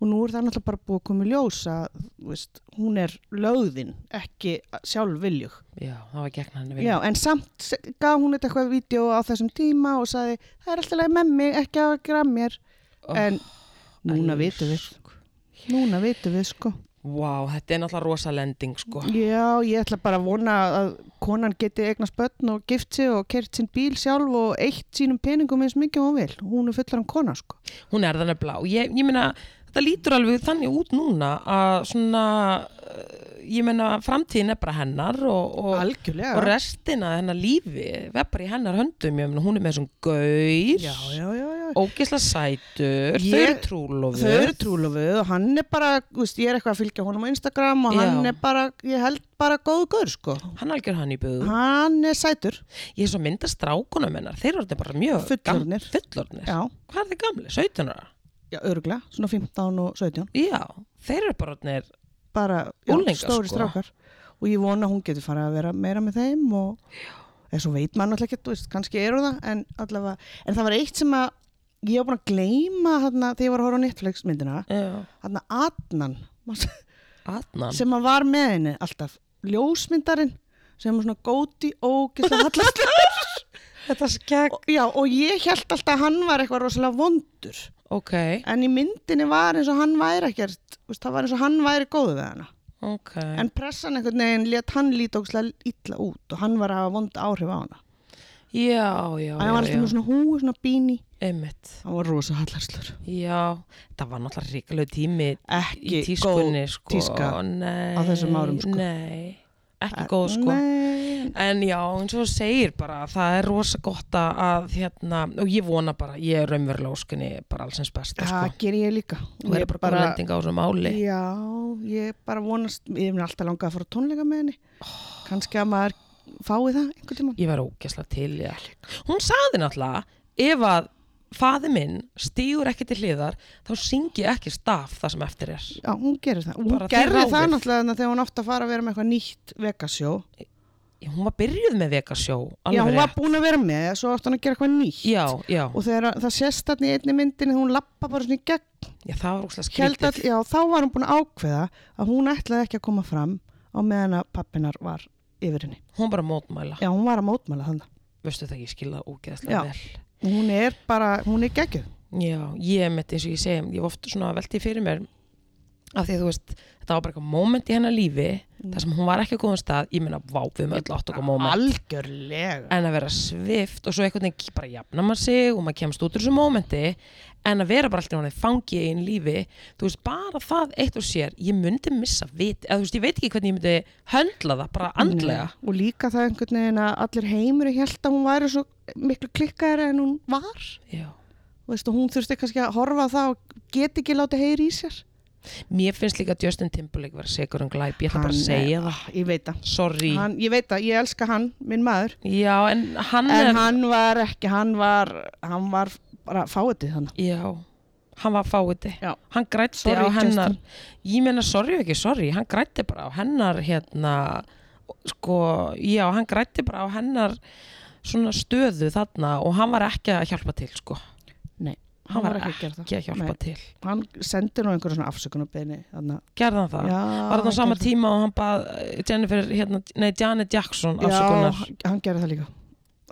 Speaker 2: og nú er það náttúrulega bara búið að koma í ljós að, þú veist, hún er lögðinn, ekki sjálf viljug.
Speaker 1: Já, það var gegn henni vilja.
Speaker 2: Já, en samt se- gaf hún þetta eitthvað vídeo á þessum tíma og saði það er alltaf leið með mig, ekki að gera mér
Speaker 1: Oh,
Speaker 2: en núna vitum við núna vitum við sko
Speaker 1: Vá, þetta er náttúrulega rosa lending, sko.
Speaker 2: Já, ég ætla bara að vona að konan geti eignast börn og gift sig og kert sinn bíl sjálf og eitt sínum peningum eins mikið og hún vil, hún er fullar um kona sko
Speaker 1: Hún er þannig blá. Ég, ég meina, þetta lítur alveg þannig út núna að svona, eh, ég meina, framtíðin er bara hennar og, og,
Speaker 2: Algjörlega
Speaker 1: og restina af hennar lífi verð bara í hennar höndum. Ég meina, hún er með þessum gaur,
Speaker 2: Já, já, já, já
Speaker 1: ógisla sætur,
Speaker 2: Ég-
Speaker 1: þau eru trúlofið.
Speaker 2: Þau eru trúlofuð og hann er bara, þú veist, ég er eitthvað að fylgja honum á Instagram og
Speaker 1: Já.
Speaker 2: hann er bara, ég held bara góðu gaur sko.
Speaker 1: Hann algjör hann í byggðu.
Speaker 2: Hann er sætur,
Speaker 1: Ég er svo mynda strákunum hennar, þeir eru þetta bara mjög gam-
Speaker 2: Fullorðnir.
Speaker 1: Fullorðnir.
Speaker 2: já.
Speaker 1: Hvað er þið gamli? 17 ára?
Speaker 2: já, örgla, svona 15 og 17
Speaker 1: Já, þeir eru bara orðnir
Speaker 2: bara já,
Speaker 1: Unglingar,
Speaker 2: stóri
Speaker 1: sko.
Speaker 2: strákar og ég vona að hún getur farið að vera meira með þeim og eða svo veit maður náttúrulega ekki, þú veist, kannski eru það en allavega, en það var eitt sem að ég var búin að gleyma þarna þegar ég var að horfa á Netflix myndina,
Speaker 1: Já,
Speaker 2: þarna Adnan manstu,
Speaker 1: Adnan
Speaker 2: sem að var með henni alltaf, ljósmyndarinn sem var svona góti ógislega
Speaker 1: <laughs>
Speaker 2: hallast
Speaker 1: Þetta skegg
Speaker 2: já, og ég held alltaf að hann var eitthvað rosalega vondur
Speaker 1: Ok,
Speaker 2: en í myndinni var eins og hann væri ekkert þú veist, það var eins og hann væri góðu við hana
Speaker 1: ok.
Speaker 2: en pressan einhvern veginn let hann líta ógslag illa út og hann var að hafa vond áhrif á hana
Speaker 1: já, já,
Speaker 2: hann var
Speaker 1: já,
Speaker 2: alltaf
Speaker 1: já.
Speaker 2: með svona húi, svona bíni
Speaker 1: Einmitt.
Speaker 2: hann var rosa hallarslur
Speaker 1: Já, það var náttúrulega ríkulegu tími í
Speaker 2: ekki góð
Speaker 1: tískunni, sko.
Speaker 2: tíska
Speaker 1: nei,
Speaker 2: á þessum árum, sko.
Speaker 1: Nei, ekki góð, sko.
Speaker 2: Nei.
Speaker 1: En já, eins og þú segir bara, það er rosa gott að, að, hérna, og ég vona bara, ég er raunverulega óskunni bara allsins besta,
Speaker 2: það
Speaker 1: sko.
Speaker 2: ger ég líka
Speaker 1: Þú er bara góð lending á þessu máli.
Speaker 2: já, ég bara vonast ég mun alltaf langað að fara á tónleika með henni
Speaker 1: Oh.
Speaker 2: kannski að maður fái það einhvern tímann
Speaker 1: Ég var ógæsla til, já. Hún sagði náttúrulega, ef að faði minn stígur ekki til hliðar, þá syngi ég ekki staf það sem eftir er.
Speaker 2: Já, hún gerir það. Og Hún
Speaker 1: Bara þið
Speaker 2: gerir það
Speaker 1: ráðið.
Speaker 2: náttúrulega þarna þegar hún átti að fara að vera með eitthvað nýtt vegasjó.
Speaker 1: Já, hún var byrjuð með vekasjó, alveg
Speaker 2: Já, hún var
Speaker 1: rétt.
Speaker 2: búin að vera með, svo átti hann að gera eitthvað nýtt.
Speaker 1: Já, já,
Speaker 2: Og þegar að- það sést þarna í einni myndinni, hún lappa bara svona í gegn.
Speaker 1: já, það var ógæsla
Speaker 2: Held
Speaker 1: skrítið.
Speaker 2: að, já, þá var hún búin að ákveða að hún ætlaði ekki að koma fram á meðan að pappinar var yfir henni.
Speaker 1: Hún bara mótmæla.
Speaker 2: Já, hún var að mótmæla þannig.
Speaker 1: veistu það ekki skilða
Speaker 2: Já.
Speaker 1: ógeðslega vel
Speaker 2: Hún er bara, hún er geggjöð.
Speaker 1: já, ég mitt eins og ég segi ég hef oft svona veltið fyrir mér af því að þú veist, þetta var bara eitthvað moment í hennar lífi
Speaker 2: Mm.
Speaker 1: þar sem hún var ekki á góðum stað ég meina, vá, við höfum öll átt okkur moment
Speaker 2: Algjörlega.
Speaker 1: en að vera svift og svo einhvern veginn bara jafna maður sig og maður kemst út úr þessu momenti en að vera bara alltaf hann fangi í einn lífi þú veist, bara það eitt og sér ég myndi missa vit, eða þú veist, ég veit ekki hvernig ég myndi höndla það, bara andlega
Speaker 2: Nei. Mm. Og líka það einhvern veginn að allir heimur held að hún væri svo miklu klikkaðar en hún var.
Speaker 1: já
Speaker 2: Þú veist, og hún þurfti kannski að horfa á það og geti ekki látið heyri í sér
Speaker 1: Mér finnst líka Justin Timberlake vera segur um glæp, ég ætla bara að
Speaker 2: Hann er-
Speaker 1: segja það.
Speaker 2: ah, ég veit það
Speaker 1: Sorry.
Speaker 2: hann, ég veit það, ég elska hann, minn maður
Speaker 1: Já, en hann er
Speaker 2: en hann var ekki, hann var hann var bara fáiðið þannig
Speaker 1: Já, hann var fáiði
Speaker 2: Já.
Speaker 1: Hann grætti
Speaker 2: Sorry,
Speaker 1: á hennar
Speaker 2: Justin.
Speaker 1: Ég meina, sorry ekki, sorry Hann grætti bara á hennar hérna Sko, já, hann grætti bara á hennar Svona stöðu þarna Og hann var ekki að hjálpa til, sko Hann,
Speaker 2: nei, hann, var ekki að gera það
Speaker 1: ekki að hjálpa
Speaker 2: Nei.
Speaker 1: til
Speaker 2: hann sendi nú einhverjum svona afsökunarbeini þannig að-
Speaker 1: Gerði hann það?
Speaker 2: Já,
Speaker 1: var
Speaker 2: hann
Speaker 1: það sama
Speaker 2: gerði
Speaker 1: tíma og hann bað eh, Jennifer, hérna, nei, Janet Jackson
Speaker 2: já,
Speaker 1: afsökunar
Speaker 2: hann- hann gerði það líka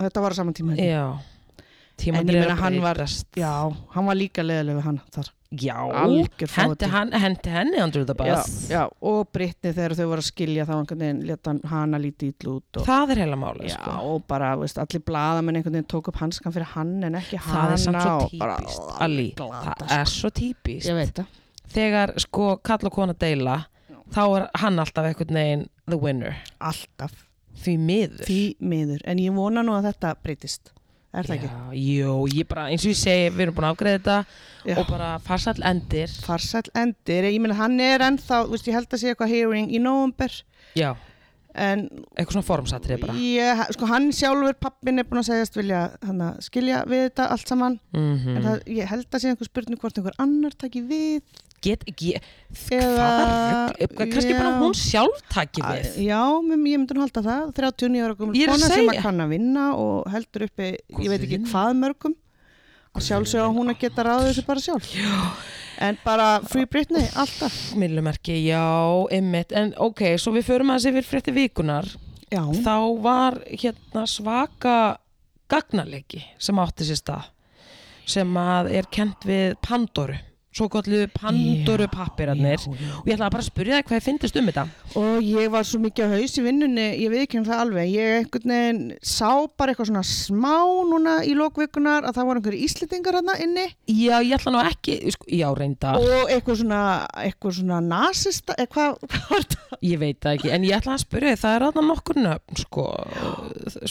Speaker 2: þetta var á sama tíma held ég.
Speaker 1: Já, tíma
Speaker 2: En ég meina, hann var- já, hann var líka leðileg við hann þar
Speaker 1: Já,
Speaker 2: algjör
Speaker 1: hendi,
Speaker 2: fáiði.
Speaker 1: hann, hendi henni under the
Speaker 2: já,
Speaker 1: bus
Speaker 2: já, og Brittany þegar þau voru að skilja þá einhvern veginn leta hann að líti ítlu út og
Speaker 1: Það er heila máli,
Speaker 2: Já,
Speaker 1: sko
Speaker 2: og bara, veist, allir blaðamenn einhvern veginn tók upp hanskan fyrir hann en ekki hann
Speaker 1: það er samt svo típist Ali, það er svo típist
Speaker 2: sko. Ég veit það
Speaker 1: þegar sko kall og kona deila þá er hann alltaf einhvern veginn the winner,
Speaker 2: Alltaf
Speaker 1: því miður
Speaker 2: Því miður, en ég vona nú að þetta breytist Er það ekki?
Speaker 1: Já, jú, ég bara, eins og ég segi, við erum búin að afgreða þetta
Speaker 2: Já.
Speaker 1: og bara farsall endir
Speaker 2: Farsæll endir, ég meina hann er ennþá veist, ég held að sé eitthvað hearing í november
Speaker 1: já,
Speaker 2: en
Speaker 1: eitthvað svona formsatrið bara
Speaker 2: ég, sko, hann sjálfur pappin er búin að segjast vilja hana, skilja við þetta allt saman
Speaker 1: mm
Speaker 2: en það, ég held að sé einhver spurning hvort einhver annar taki við
Speaker 1: get ekki
Speaker 2: Eða-
Speaker 1: hvað, rugl- kannski bara
Speaker 2: já.
Speaker 1: hún sjálf taki við
Speaker 2: Já, mér- ég myndi nú halda það 39 ára
Speaker 1: Ég
Speaker 2: komur
Speaker 1: er að
Speaker 2: kona sem
Speaker 1: segja.
Speaker 2: að kann að vinna og heldur uppi,
Speaker 1: Guð
Speaker 2: ég veit ekki
Speaker 1: minn.
Speaker 2: hvað mörgum að sjálfsögja hún að geta ráðið þessu bara sjálf Já. en bara Free Britney, alltaf
Speaker 1: millumerki, já, einmitt en ok, svo við förum aðeins yfir frétti vikunar
Speaker 2: Já,
Speaker 1: þá var hérna svaka gagnalegi sem átti sér stað sem að er kent við Pandoru svo kallu Pandoru pappirarnir og ég ætla bara að spyrja það hvað ég fyndist um þetta
Speaker 2: og ég var svo mikið á haus í vinnunni ég veit ekki um það alveg, ég einhvern veginn sá bara eitthvað svona smá núna í lókvikunar að það voru einhverju íslitingar hann inni
Speaker 1: já, ég ætla nú ekki, sko, já, reyndar
Speaker 2: og eitthvað svona, eitthvað svona nasista, eða hvað hvað var þetta?
Speaker 1: ég veit það ekki, en ég ætla að spyrja þig, það er aðna nokkur nöfn, sko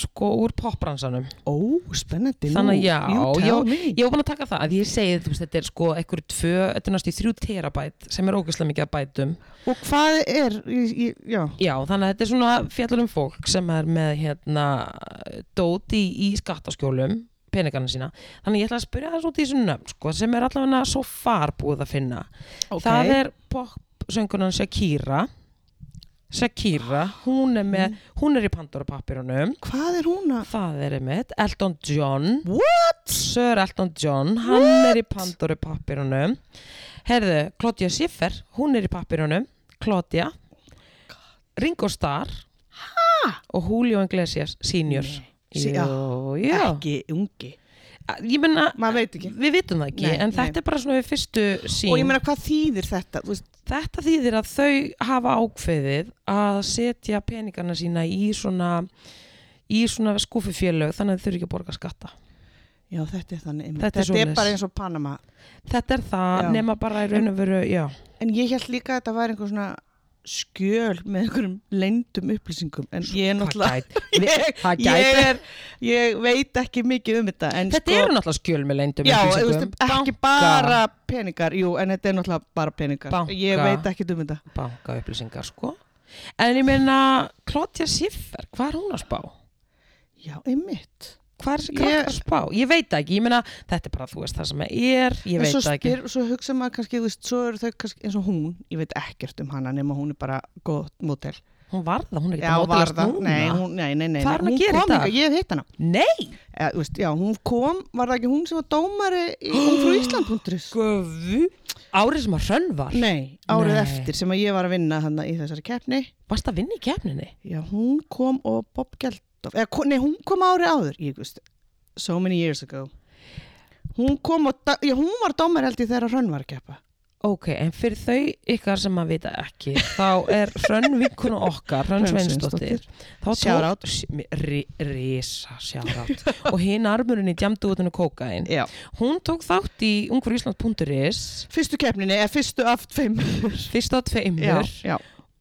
Speaker 1: sko, úr popbransanum
Speaker 2: Ó, spennandi,
Speaker 1: þannig að já,
Speaker 2: you tell
Speaker 1: ég,
Speaker 2: me.
Speaker 1: ég var búin að taka það að ég segi, þú veist, þetta er sko einhverju tvö, þetta er næstu þrjú terabæt sem er ógeðslega mikið að bætum
Speaker 2: Og hvað er, ég, ég, já,
Speaker 1: Já, þannig að þetta er svona fjallur um fólk sem er með hérna dóti í, í skattaskjólum peningarna sína. Þannig að ég ætla að spyrja þess út í þessum nöfn, sko, sem er allavega svo far búið að finna.
Speaker 2: Ok.
Speaker 1: Það er popsöngunan Shakira Shakira, hún er með hún er í Pandora pappirunum
Speaker 2: hvað er hún að,
Speaker 1: það er einmitt, Elton John
Speaker 2: what?
Speaker 1: Sir Elton John, hann er í Pandora pappirunum Herðu, Claudia Schiffer, hún er í pappirunum Claudia Ringo Starr ha? og Julio Iglesias senior
Speaker 2: Sí, ah, já.
Speaker 1: Jú, já, Ah,
Speaker 2: Ekki ungi.
Speaker 1: ég menna,
Speaker 2: maður veit ekki
Speaker 1: við vitum það ekki
Speaker 2: Nei,
Speaker 1: en
Speaker 2: nei.
Speaker 1: þetta er bara svona við fyrstu sín
Speaker 2: og ég meina hvað þýðir þetta þú veist,
Speaker 1: þetta þýðir að þau hafa ákveðið að setja peningana sína í svona í svona skúfufélög þannig að þau þurfi ekki að borga skatta
Speaker 2: já þetta er þannig einmitt.
Speaker 1: Þetta er svoleiðis.
Speaker 2: bara eins og Panama
Speaker 1: þetta er það,
Speaker 2: Já.
Speaker 1: nema bara í raun og veru já,
Speaker 2: en ég held líka að þetta væri einhver svona skjöl með einhverjum leyndum upplýsingum en ég
Speaker 1: það
Speaker 2: er náttúrulega
Speaker 1: gæti
Speaker 2: <laughs> ég,
Speaker 1: það
Speaker 2: ég,
Speaker 1: gæti-
Speaker 2: er, ég veit ekki mikið um þetta en
Speaker 1: þetta
Speaker 2: sko,
Speaker 1: eru náttúrulega skjöl með leindum
Speaker 2: já, þú veist, ekki bara peningar jú, en þetta er náttúrulega bara peningar
Speaker 1: Banka.
Speaker 2: ég veit ekki um þetta
Speaker 1: banka upplýsingar sko en ég meina, Klotja Siffer hvað er hún að spá?
Speaker 2: já, einmitt
Speaker 1: hvað er þessi
Speaker 2: Ég-
Speaker 1: krakkar að spá? Ég veit það ekki, ég meina þetta er bara þú veist það sem er, ég
Speaker 2: En
Speaker 1: veit
Speaker 2: svo,
Speaker 1: það ekki
Speaker 2: svo hugsa maður kannski, þú veist, svo eru þau kannski eins og hún, ég veit ekkert um hana nema hún er bara góð mótel
Speaker 1: hún var það, hún er ekki
Speaker 2: Já,
Speaker 1: að
Speaker 2: var
Speaker 1: mótilast
Speaker 2: það,
Speaker 1: núna
Speaker 2: nei, hún, nei, nei, nei,
Speaker 1: Hvað
Speaker 2: nei.
Speaker 1: er hún að gera í
Speaker 2: kom
Speaker 1: dag?
Speaker 2: hingað, ég hef hitt hana
Speaker 1: nei,
Speaker 2: Eða, þú veist, Já, hún kom, var það ekki hún sem var dómari í
Speaker 1: <gasps>
Speaker 2: Ungfrú Ísland.is?
Speaker 1: göfu árið sem að hrönn var,
Speaker 2: Nei, árið
Speaker 1: Nei.
Speaker 2: eftir sem að ég var að vinna hann í þessari keppni
Speaker 1: varst að vinna í kefninni
Speaker 2: Já, hún kom og Bob Geldof eða, ko- Nei, hún kom árið áður ég veist, So many years ago Hún kom og, da- já, hún var dómari held ég þegar Hrönn var að keppa
Speaker 1: ok, en fyrir þau ykkar sem að vita ekki þá er hrönn vinkuna okkar hrönn
Speaker 2: Hrönn
Speaker 1: Sveinsdóttir þá
Speaker 2: Shout out.
Speaker 1: tók sí- mi- ri- risa sjárat og hinn armurinn í djamduotinu kókain
Speaker 2: Já
Speaker 1: hún tók þátt í ungfrúísland.is
Speaker 2: Fyrstu keppninni, eða fyrstu af tveim
Speaker 1: fyrst á
Speaker 2: Já,
Speaker 1: tveimur
Speaker 2: já,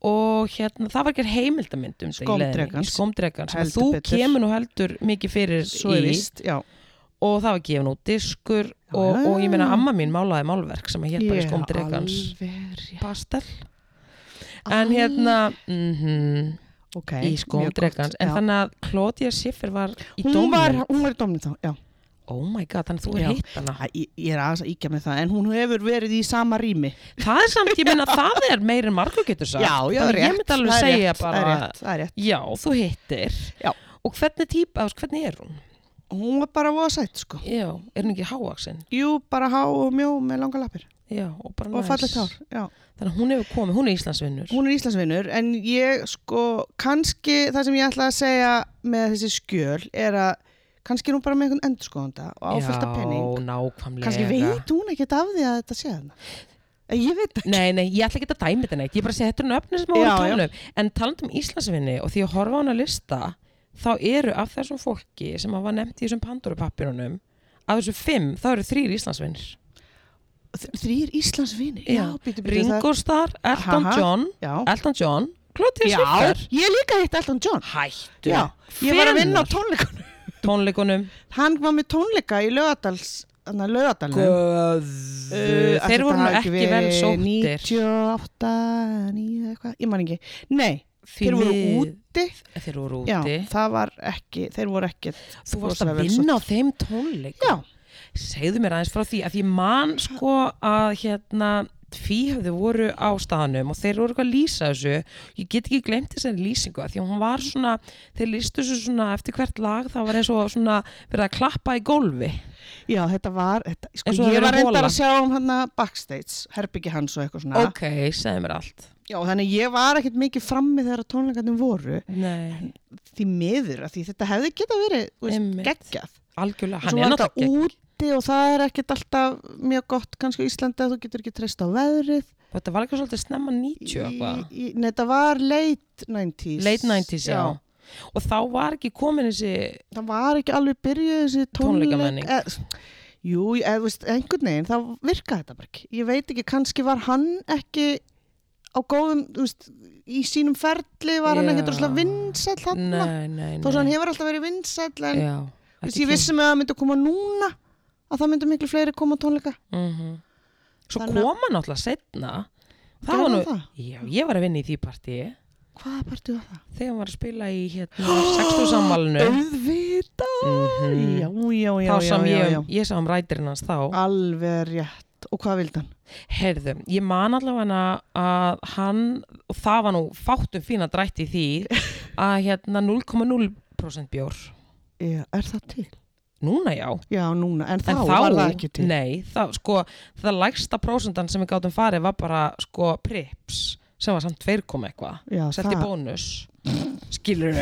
Speaker 1: og hérna, það var ekki heimildamynd um þetta í leiðinni.
Speaker 2: Skómdrekans.
Speaker 1: Skómdrekans sem að
Speaker 2: Heldur
Speaker 1: þú
Speaker 2: betur.
Speaker 1: kemur nú heldur mikið fyrir
Speaker 2: svo
Speaker 1: í
Speaker 2: er vist Já,
Speaker 1: og það var gefin út diskur og,
Speaker 2: já,
Speaker 1: og
Speaker 2: já.
Speaker 1: ég meina amma mín málaði málverk sem að hér bara Skómdrekans
Speaker 2: alveg rétt.
Speaker 1: pastel en hérna mm
Speaker 2: Ok,
Speaker 1: í Skómdrekans en
Speaker 2: mjög gott, já.
Speaker 1: þannig að Claudia Schiffer var í
Speaker 2: hún var,
Speaker 1: dómnum
Speaker 2: hún var í dómnum þá, já.
Speaker 1: oh my god, þannig að þú
Speaker 2: Já.
Speaker 1: er hitt hana
Speaker 2: Æ, ég, ég er aðeins að íkja með það, en hún hefur verið í sama rými.
Speaker 1: það er samt, ég meina það er meir en margur getur sagt
Speaker 2: það
Speaker 1: Þannig
Speaker 2: er
Speaker 1: að
Speaker 2: rétt.
Speaker 1: ég myndi alveg
Speaker 2: það er
Speaker 1: segja
Speaker 2: rétt,
Speaker 1: bara
Speaker 2: Það er rétt, það er rétt.
Speaker 1: já, þú hittir
Speaker 2: Já.
Speaker 1: og hvernig típa, þú veist, hvernig er hún?
Speaker 2: Hún var bara voða sætt, sko.
Speaker 1: Já, er hún ekki hávaksinn?
Speaker 2: Jú, bara há og mjó með langa lappir
Speaker 1: Já, og bara
Speaker 2: og
Speaker 1: næs.
Speaker 2: fallegt hár, já.
Speaker 1: Þannig að hún hefur komið, hún er Íslandsvinnur.
Speaker 2: Hún er Íslandsvinnur, en ég, sko, kannski það sem ég ætla að segja með þessi skjöl er að kannski er hún bara með einhvern endurskoðanda og áfylta penning.
Speaker 1: Já, nákvæmlega.
Speaker 2: Kannski veit hún ekkert af því að þetta sé þarna. En Ég veit ekki.
Speaker 1: Nei, nei, ég ætla ekki að dæmi þetta neitt, ég bara segi þetta er nöfnir sem hún er
Speaker 2: Já, já.
Speaker 1: tónum. En taland um Íslandsvinni og því að horfa á hana lista, þá eru af þessum fólki sem að var nefnt í þessum pandorupappirunum, af þessum fimm, þá eru þrýr Íslandsvinnir.
Speaker 2: Þrýr Íslandsvinnir? Já, býtu, býtu. það-
Speaker 1: Ringo Starr, Elton
Speaker 2: Aha.
Speaker 1: John,
Speaker 2: Já.
Speaker 1: Elton John, Claudia
Speaker 2: Já,
Speaker 1: Schiffer.
Speaker 2: ég líka hitt Elton John
Speaker 1: Hættu.
Speaker 2: Já, ég var að vinna á
Speaker 1: Hvenær?
Speaker 2: tónleikunum
Speaker 1: tónleikunum.
Speaker 2: Hann var með tónleika í lögadals Þannig að lögadalum
Speaker 1: Guð. Uh, Þeir voru nú ekki vel sóttir.
Speaker 2: 98, 9 eitthvað, ég man ekki Nei,
Speaker 1: Því
Speaker 2: þeir voru
Speaker 1: mið-
Speaker 2: úti
Speaker 1: Þeir voru
Speaker 2: Já,
Speaker 1: úti.
Speaker 2: það var ekki, þeir voru ekki
Speaker 1: Þú varst
Speaker 2: rosalega
Speaker 1: að
Speaker 2: vel
Speaker 1: vinna á
Speaker 2: sóttir.
Speaker 1: þeim tónleikum.
Speaker 2: Já,
Speaker 1: Segðu mér aðeins frá því að ég man sko að hérna tvíhöfðu voru á staðanum og þeir voru eitthvað að lýsa þessu. Ég get ekki glemt þessari lýsingu að því að hún var svona, þeir lýstu þessu svona eftir hvert lag það var eins og svona verið að klappa í gólfi.
Speaker 2: já, þetta var þetta, sko,
Speaker 1: Eins og það
Speaker 2: Ég
Speaker 1: verið
Speaker 2: var
Speaker 1: að
Speaker 2: reyndar
Speaker 1: hola.
Speaker 2: að sjá um hann backstage Herbyggi hans og eitthvað svona
Speaker 1: Ok, segðu mér allt.
Speaker 2: Já, þannig að ég var ekkert mikið frammi þegar tónleikarnir voru
Speaker 1: Nei,
Speaker 2: Því miður, af því þetta hefði geta verið þú veist,
Speaker 1: Einmitt.
Speaker 2: geggjað
Speaker 1: algjörlega,
Speaker 2: Svo
Speaker 1: hann er
Speaker 2: var þetta
Speaker 1: náttúrulega gegn.
Speaker 2: úti og það er ekkert alltaf mjög gott kannski á Íslandi að þú getur ekki treyst á veðrið.
Speaker 1: Þetta var eitthvað svolítið snemma 90
Speaker 2: Í-
Speaker 1: eitthvað.
Speaker 2: í- Nei, þetta var late 90s.
Speaker 1: Late 90s, já. Og þá var ekki komin þessi,
Speaker 2: Það var ekki alveg byrjuð þessi tónleik.
Speaker 1: Tónleikamenning.
Speaker 2: Eh, jú, eða þú veist, einhvern veginn, þá virkaði þetta bara ekki. Ég veit ekki, kannski var hann ekki á góðum, þú veist, í sínum ferli var hann
Speaker 1: Já.
Speaker 2: ekkert rosalega vinsæll hann.
Speaker 1: nei, nei, nei.
Speaker 2: Þó sem hann hefur alltaf verið vinsæll, en
Speaker 1: Já.
Speaker 2: þú veist,
Speaker 1: ekki
Speaker 2: ég vissi með að það myndi að koma núna, að það myndi miklu fleiri koma á tónleika.
Speaker 1: -hmm. Svo
Speaker 2: Þannig að-
Speaker 1: kom hann alltaf setna
Speaker 2: Gerði
Speaker 1: Það var nú,
Speaker 2: hann það?
Speaker 1: já, ég var að vinna í því partíi
Speaker 2: Hvaða partíu var það?
Speaker 1: þegar hann var að spila í hérna
Speaker 2: <gasps>
Speaker 1: 60 sammálinu
Speaker 2: auðvita já, já, já,
Speaker 1: Mm. þá
Speaker 2: já,
Speaker 1: sem
Speaker 2: já,
Speaker 1: ég,
Speaker 2: já. Ah.
Speaker 1: ég sá um rætirinn hans þá
Speaker 2: alveg rétt og hvað vildi hann?
Speaker 1: heyrðu, ég man allavega að hann, og það var nú fátum fína drætt í því
Speaker 2: <laughs>
Speaker 1: að hérna 0,0% bjór
Speaker 2: Já, er það til?
Speaker 1: núna já,
Speaker 2: já, núna, en þá,
Speaker 1: en
Speaker 2: var það ekki til
Speaker 1: nei, þá, sko það lægsta prósendan sem við gátum farið var bara sko prips sem var samt 2 koma eitthvað
Speaker 2: Já,
Speaker 1: setti
Speaker 2: það-
Speaker 1: bónus skilur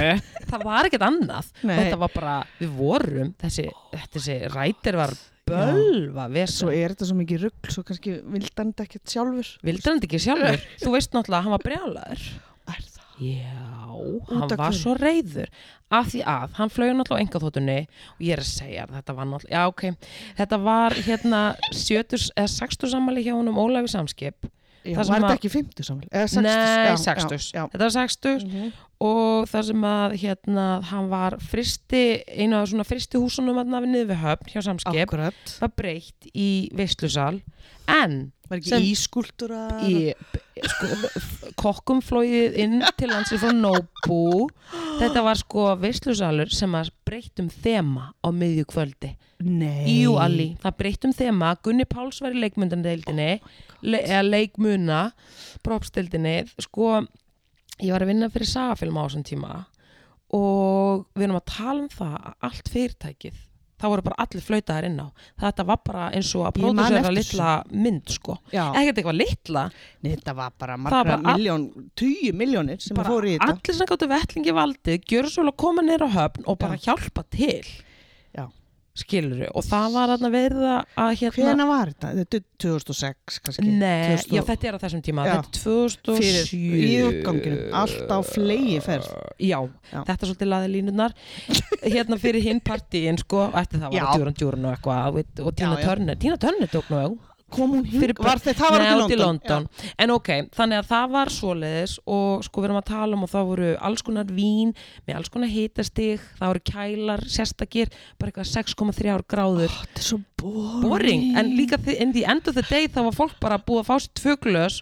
Speaker 1: það var ekkert annað
Speaker 2: Nei.
Speaker 1: þetta var bara, við vorum þessi, þetta þessi rætir var bölva
Speaker 2: Svo
Speaker 1: vesen
Speaker 2: er þetta svo mikið rugg, svo kannski vildandi ekkert sjálfur.
Speaker 1: vildur hann þetta ekki sjálfur, þú veist náttúrulega að hann var brjálaður
Speaker 2: Er það?
Speaker 1: Já,
Speaker 2: af
Speaker 1: hann var
Speaker 2: hverju?
Speaker 1: svo reyður af því að hann flög náttúrulega á engaþótunni og ég er að segja þér, þetta var náttúrulega já, ok, þetta var hérna 70, eða 60 sammæli hjá honum Ólafi Samskip
Speaker 2: Já,
Speaker 1: Það
Speaker 2: var
Speaker 1: sem
Speaker 2: þetta
Speaker 1: að-
Speaker 2: ekki 50 samlega? Eða 60?
Speaker 1: Nei,
Speaker 2: já,
Speaker 1: 60,
Speaker 2: Já, já.
Speaker 1: þetta var 60
Speaker 2: Mhm.
Speaker 1: og það sem að hérna, hann var fristi, einu af svona fristi húsunum að við niður við höfn hjá Samskip
Speaker 2: Akkurat.
Speaker 1: var breytt í veistlusal en
Speaker 2: Var ekki
Speaker 1: Sem-
Speaker 2: ískúltúra?
Speaker 1: í sko, kokkum flóið inn til landsins frá
Speaker 2: <gasps>
Speaker 1: Nóbú þetta var sko veislusalur sem að breyttum þema á miðju kvöldi
Speaker 2: Nei.
Speaker 1: Jú Alli, það breyttum þema Gunni Páls var í leikmundandeildinni
Speaker 2: Oh
Speaker 1: le eða leikmuna propstildinni, sko ég var að vinna fyrir sagafilm á þessum tíma og við erum að tala um það að allt fyrirtækið það voru bara allir flautaðar inn á þetta var bara eins og að
Speaker 2: Ég man
Speaker 1: pródusera
Speaker 2: eftir
Speaker 1: litla mynd sko,
Speaker 2: Já.
Speaker 1: ekkert eitthvað litla
Speaker 2: Nei, þetta var bara
Speaker 1: var
Speaker 2: margra
Speaker 1: bara all-
Speaker 2: miljón, tíu miljónir sem
Speaker 1: bara
Speaker 2: fóru í þetta.
Speaker 1: allir sem gáttu vettlingi valdið gjöru svo vel að koma neyra höfn og bara hjálpa til
Speaker 2: Já.
Speaker 1: skilur og það var þarna verið að- að hérna
Speaker 2: Hvena var þetta? Þetta er 2006 kannski.
Speaker 1: Nei,
Speaker 2: 2000
Speaker 1: já þetta er á þessum tíma
Speaker 2: Já.
Speaker 1: Þetta er 2007
Speaker 2: Fyrir- í uppganginum. Allt á fleygi ferð.
Speaker 1: Já,
Speaker 2: Já.
Speaker 1: þetta er svolítið laði línunar Hérna fyrir hinn partíin sko Eftir það var
Speaker 2: Já.
Speaker 1: að djúran djúran og eitthvað þú veit, Og Tina
Speaker 2: Já, já.
Speaker 1: Turner, Tina Turner tók nú
Speaker 2: Kom hún hing?
Speaker 1: fyrir
Speaker 2: Var þetta, það var
Speaker 1: Nei,
Speaker 2: út
Speaker 1: út í London. En ok, þannig að það var svoleiðis og sko við erum að tala um og það voru alls konar vín með alls konar hitastig, það voru kælar, sérstakir, bara eitthvað 6,3 gráður.
Speaker 2: Já. Þetta er svo boring.
Speaker 1: Boring, en líka þi- in the end of the day þá var fólk bara búið að fá sér tvö glös,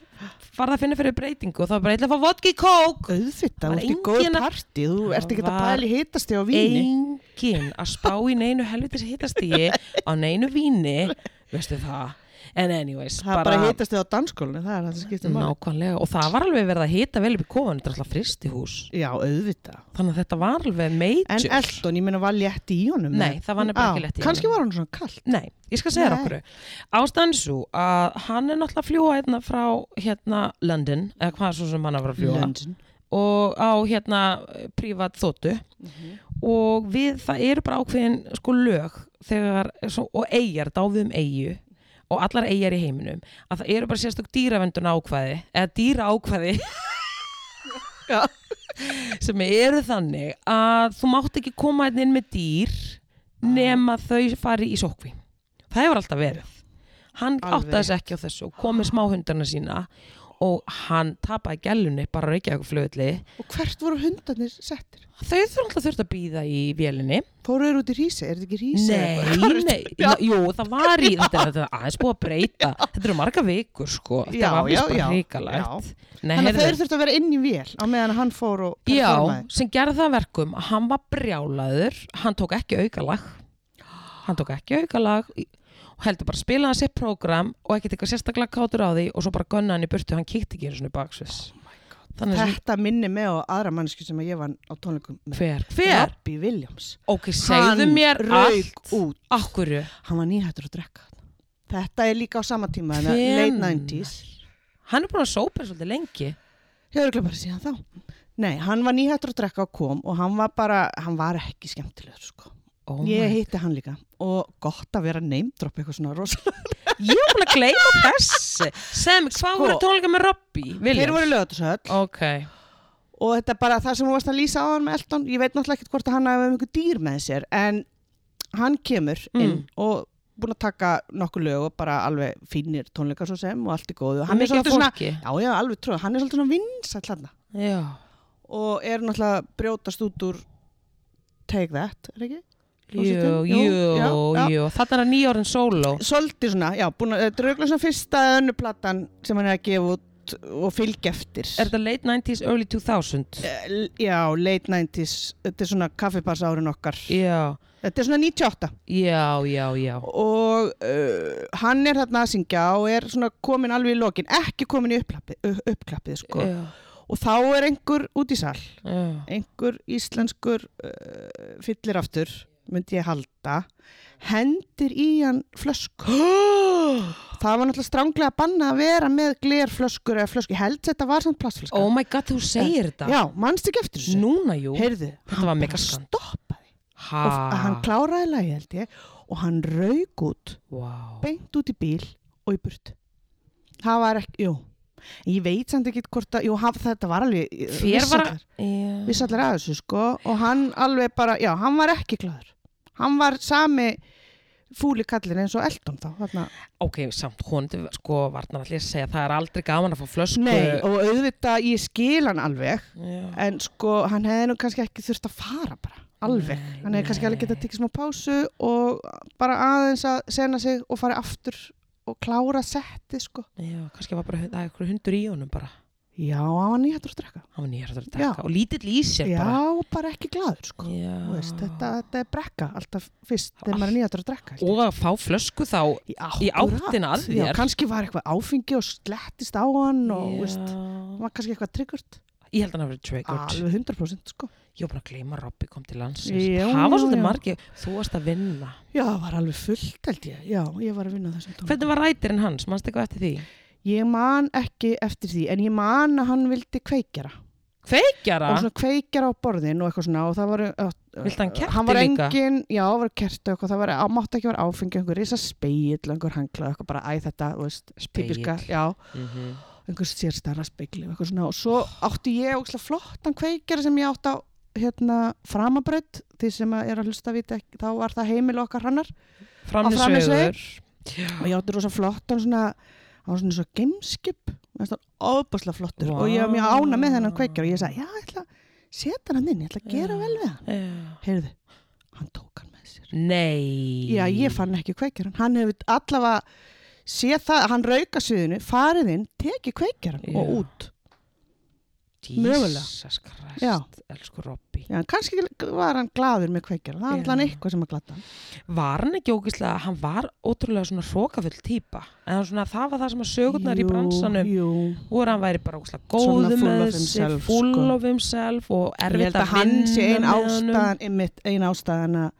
Speaker 1: farið að finna fyrir breytingu og það var bara eitthvað að fá vodka í kók.
Speaker 2: Auðvitað,
Speaker 1: Það
Speaker 2: þú
Speaker 1: var
Speaker 2: ert í góðu
Speaker 1: engin að-
Speaker 2: partí, þú ert ekki að
Speaker 1: var
Speaker 2: pæli hitast þig á víni.
Speaker 1: Engin að spá í neinu helvitis hitastíi á neinu víni, veistu það. En anyways,
Speaker 2: Það bara, bara hitast þig á danskólinu, það er það sem skiptir máli.
Speaker 1: Nákvæmlega, og það var alveg verið að hita vel upp í kofan, þetta er alltaf fristihús
Speaker 2: Já, auðvitað.
Speaker 1: þannig að þetta var alveg
Speaker 2: En
Speaker 1: major
Speaker 2: Elton, ég meina, var létt í honum?
Speaker 1: Nei,
Speaker 2: eða?
Speaker 1: það var nefnilega ekki
Speaker 2: Á,
Speaker 1: létt í
Speaker 2: Kannski
Speaker 1: honum.
Speaker 2: var hann svona kallt.
Speaker 1: Nei, ég skal segja
Speaker 2: Nei.
Speaker 1: okkur ástæðan er svo að hann er náttúrulega að fljúa hérna frá hérna London eða hvað svo sem hann er að fara að fljúa
Speaker 2: Lundin.
Speaker 1: og á hérna privat þóttu og við það eru bara ákveðin sko lög þegar, svo, og eigjar, dáðum eigju og allar eigjar í heiminum að það eru bara sérstök dýravendun ákvæði eða dýra <laughs> ákvæði
Speaker 2: Já.
Speaker 1: sem eru þannig að þú mátt ekki koma hérna inn með dýr nema þau fari í sókvi það hefur alltaf verið hann
Speaker 2: Alveg
Speaker 1: áttaði sig ekki á þessu og komið smáhundarna sína og hann tapaði gælunni bara að reykja eitthvað flöðli
Speaker 2: Og hvert voru hundarnir settir?
Speaker 1: Þau þurfa alltaf þurft að býða í vélinni
Speaker 2: Fóru þeir út í rísi? Er þetta ekki rísi?
Speaker 1: Nei,
Speaker 2: <laughs>
Speaker 1: nei,
Speaker 2: Já.
Speaker 1: já. jú, það var í þetta, er- þetta er aðeins búið að
Speaker 2: <laughs>
Speaker 1: breyta Þetta eru marga vikur, sko Þetta
Speaker 2: Já,
Speaker 1: var
Speaker 2: já,
Speaker 1: vist bara
Speaker 2: já,
Speaker 1: hrikalegt Nei,
Speaker 2: Þannig að
Speaker 1: heyrðu,
Speaker 2: þeir þurftu að vera inn í vél á meðan hann fór og
Speaker 1: Já,
Speaker 2: performaði.
Speaker 1: sem gerði það að verkum að hann var brjálaður, hann tók ekki aukalag hann tók ekki aukalag í- og heldur bara að spila hann sitt prógram og ekkert eitthvað sérstaklega kátur á því og svo bara gunna hann í burtu, hann kíkti ekki einu svona baksvis Þannig sem
Speaker 2: Oh Þetta minni mig á aðra mannsku sem að ég var á tónleikum með.
Speaker 1: hver, hver,
Speaker 2: Robbie Williams.
Speaker 1: ok, segðu mér
Speaker 2: rauk
Speaker 1: allt
Speaker 2: út.
Speaker 1: Akkurju,
Speaker 2: Hann var nýhættur að drekka. Þetta er líka á sama tíma, þannig að late
Speaker 1: Hvenær?
Speaker 2: 90s.
Speaker 1: hann er búin að sópa svolítið lengi
Speaker 2: Ég er bara síðan þá. Nei, hann var nýhættur að drekka og kom og hann var bara, hann var ekki skemmtilegur sko.
Speaker 1: oh
Speaker 2: ég hitti hann líka og gott að vera neymdropp eitthvað svona rosalega.
Speaker 1: Ég var búin að gleyma þessu Sem, hvað
Speaker 2: Sko.
Speaker 1: voru tónleika með Robbie?
Speaker 2: Þeir voru
Speaker 1: Williams?
Speaker 2: lögatusöll
Speaker 1: Ok,
Speaker 2: og þetta er bara það sem hún varst að lýsa á hann með Elton. Ég veit náttúrulega ekkert hvort að hann hafi einhver dýr með sér en hann kemur inn
Speaker 1: Mm.
Speaker 2: og búin að taka nokkur lög og bara alveg fínir tónleikar svo sem og allt er góðu. Hann
Speaker 1: Mikið
Speaker 2: er
Speaker 1: af
Speaker 2: svolítið svona,
Speaker 1: fólki.
Speaker 2: já já alveg trúið, hann er svolítið svona vinsæll hann
Speaker 1: já
Speaker 2: og er náttúrulega að brjótast út úr Take That, er ekki?
Speaker 1: Jú,
Speaker 2: Hljómsveitin?
Speaker 1: jú,
Speaker 2: já, já.
Speaker 1: jú Þetta er að nýja orðin sóló
Speaker 2: svolítið svona, já, búin að þetta er auðvitað svona fyrsta önnu platan sem hann er að gefa út og fylgja eftir
Speaker 1: Er þetta late 90s, early 2000?
Speaker 2: L- Já, late 90s, þetta er svona kaffibars árin okkar
Speaker 1: Já,
Speaker 2: Þetta er svona 98
Speaker 1: já, já, já
Speaker 2: og uh, hann er þarna að syngja og er svona komin alveg í lokin ekki komin í upplappið, uppklappið sko.
Speaker 1: Já,
Speaker 2: og þá er einhver út í sal
Speaker 1: já
Speaker 2: einhver íslenskur uh,
Speaker 1: <gasps>
Speaker 2: fyllir aftur myndi ég halda hendir í hann flösku það var náttúrulega stránglega að banna að vera með glerflöskur eða flöskur, ég held þetta var samt plastflöskur
Speaker 1: Oh my god, þú segir þetta
Speaker 2: Eh, já, mannst ekki eftir þessu
Speaker 1: Núna, jú
Speaker 2: heyrðu,
Speaker 1: Þetta var mega Ah. skan.
Speaker 2: stoppaði
Speaker 1: ha.
Speaker 2: og f- hann kláraði lagi held ég og hann rauk út,
Speaker 1: wow.
Speaker 2: beint út í bíl og í burt það var ekki, jú ég veit samt ekki hvort að, jú, haf, þetta var alveg
Speaker 1: Þér var
Speaker 2: vissallar,
Speaker 1: að
Speaker 2: vissallar að þessu sko og hann alveg bara, já, hann var ekki glæður hann var sami fúli kallin eins og Eldon þá þarna
Speaker 1: Ok, samt hún, sko, varnar allir að segja Það er aldrei gaman að fá flösku
Speaker 2: Nei, Sko, og auðvitað ég skil hann alveg
Speaker 1: Já.
Speaker 2: en sko hann hefði nú kannski ekki þurft að fara bara alveg,
Speaker 1: Nei,
Speaker 2: hann hefði kannski alveg getað tekið smá pásu og bara aðeins að sena sig og fara aftur og klára setti sko
Speaker 1: Já, kannski var bara það er eitthvað hundur í honum bara
Speaker 2: Já, hann var nýjættur að drekka
Speaker 1: Hann var nýjarður að
Speaker 2: Já.
Speaker 1: drekka og lítill í sér
Speaker 2: Já,
Speaker 1: bara
Speaker 2: bara ekki glaður sko
Speaker 1: Já.
Speaker 2: Þú veist, þetta, þetta er brekka alltaf fyrst
Speaker 1: Allt.
Speaker 2: þegar maður er nýjættur að drekka held ég.
Speaker 1: Og að fá flösku þá
Speaker 2: í,
Speaker 1: í
Speaker 2: akkúrat.
Speaker 1: áttina að
Speaker 2: Já,
Speaker 1: þér.
Speaker 2: kannski var eitthvað áfengi og slettist á hann og
Speaker 1: Já.
Speaker 2: þú veist, hann var kannski eitthvað triggert
Speaker 1: Ég held að hann að vera triggered
Speaker 2: alveg 100% sko
Speaker 1: Ég var búin að gleyma að Robby kom til landsins
Speaker 2: Já,
Speaker 1: Það var
Speaker 2: já,
Speaker 1: svolítið
Speaker 2: já.
Speaker 1: margir, þú varst að vinna
Speaker 2: Já, það var alveg fullt held ég. Já, ég var að vinna á þessum tónum.
Speaker 1: Hvernig var rætirinn hans, mannst eitthvað eftir því?
Speaker 2: Ég man ekki eftir því, en ég man að hann vildi kveikjara.
Speaker 1: Kveikjara?
Speaker 2: Og svona kveikjara á borðin og eitthvað svona og það var... Uh,
Speaker 1: Vildi hann kerti
Speaker 2: hann var
Speaker 1: líka?
Speaker 2: engin, já, það var kerti og eitthvað, það var, á, mátti ekki vera áfengi, einhver risa speill, einhver hangla, eitthvað bara, æ, þetta, þú veist, typiska,
Speaker 1: Spegill.
Speaker 2: já,
Speaker 1: Mm
Speaker 2: einhver sérstæra speigli og eitthvað svona og svo átti ég ógslag flottan kveikjara sem ég átti á, hérna, framabraut, því sem að er að hlusta vita ekki, þá var það heimil okkar hannar
Speaker 1: Framnesvegur
Speaker 2: og ég átti rosa flottan svona hann var svona eins og gameskip hann ofbúslega flottur
Speaker 1: Vá.
Speaker 2: og ég var mjög ána með þennan kveikjar og ég sagði, já, ég ætla að setja hann inn, ég ætla að gera
Speaker 1: Já.
Speaker 2: vel við hann heyrðu, hann tók hann með sér
Speaker 1: Nei
Speaker 2: já, ég fann ekki kveikjaran, hann hefur allavega séð það, hann rauka sviðinu farið inn, tekið kveikjaran og
Speaker 1: Já.
Speaker 2: út mögulega.
Speaker 1: Jesus
Speaker 2: Já.
Speaker 1: Christ, elsku Robby
Speaker 2: já, kannski var hann gladur með kveikjaran það
Speaker 1: Já.
Speaker 2: var allan eitthvað sem að glata hann
Speaker 1: Var hann ekki ógislega, hann var ótrúlega svona hrókafull típa En svona, það var það sem að sögurnar í
Speaker 2: Jú,
Speaker 1: bransanum
Speaker 2: jú.
Speaker 1: voru hann væri bara ógislega
Speaker 2: Svona
Speaker 1: góðu
Speaker 2: full
Speaker 1: með
Speaker 2: of
Speaker 1: sig
Speaker 2: himself,
Speaker 1: Full
Speaker 2: sko.
Speaker 1: of himself og
Speaker 2: ég
Speaker 1: erfitt
Speaker 2: held
Speaker 1: að
Speaker 2: að hann
Speaker 1: vinna
Speaker 2: sé ein
Speaker 1: með honum.
Speaker 2: ástæðan einmitt, ein ástæðan að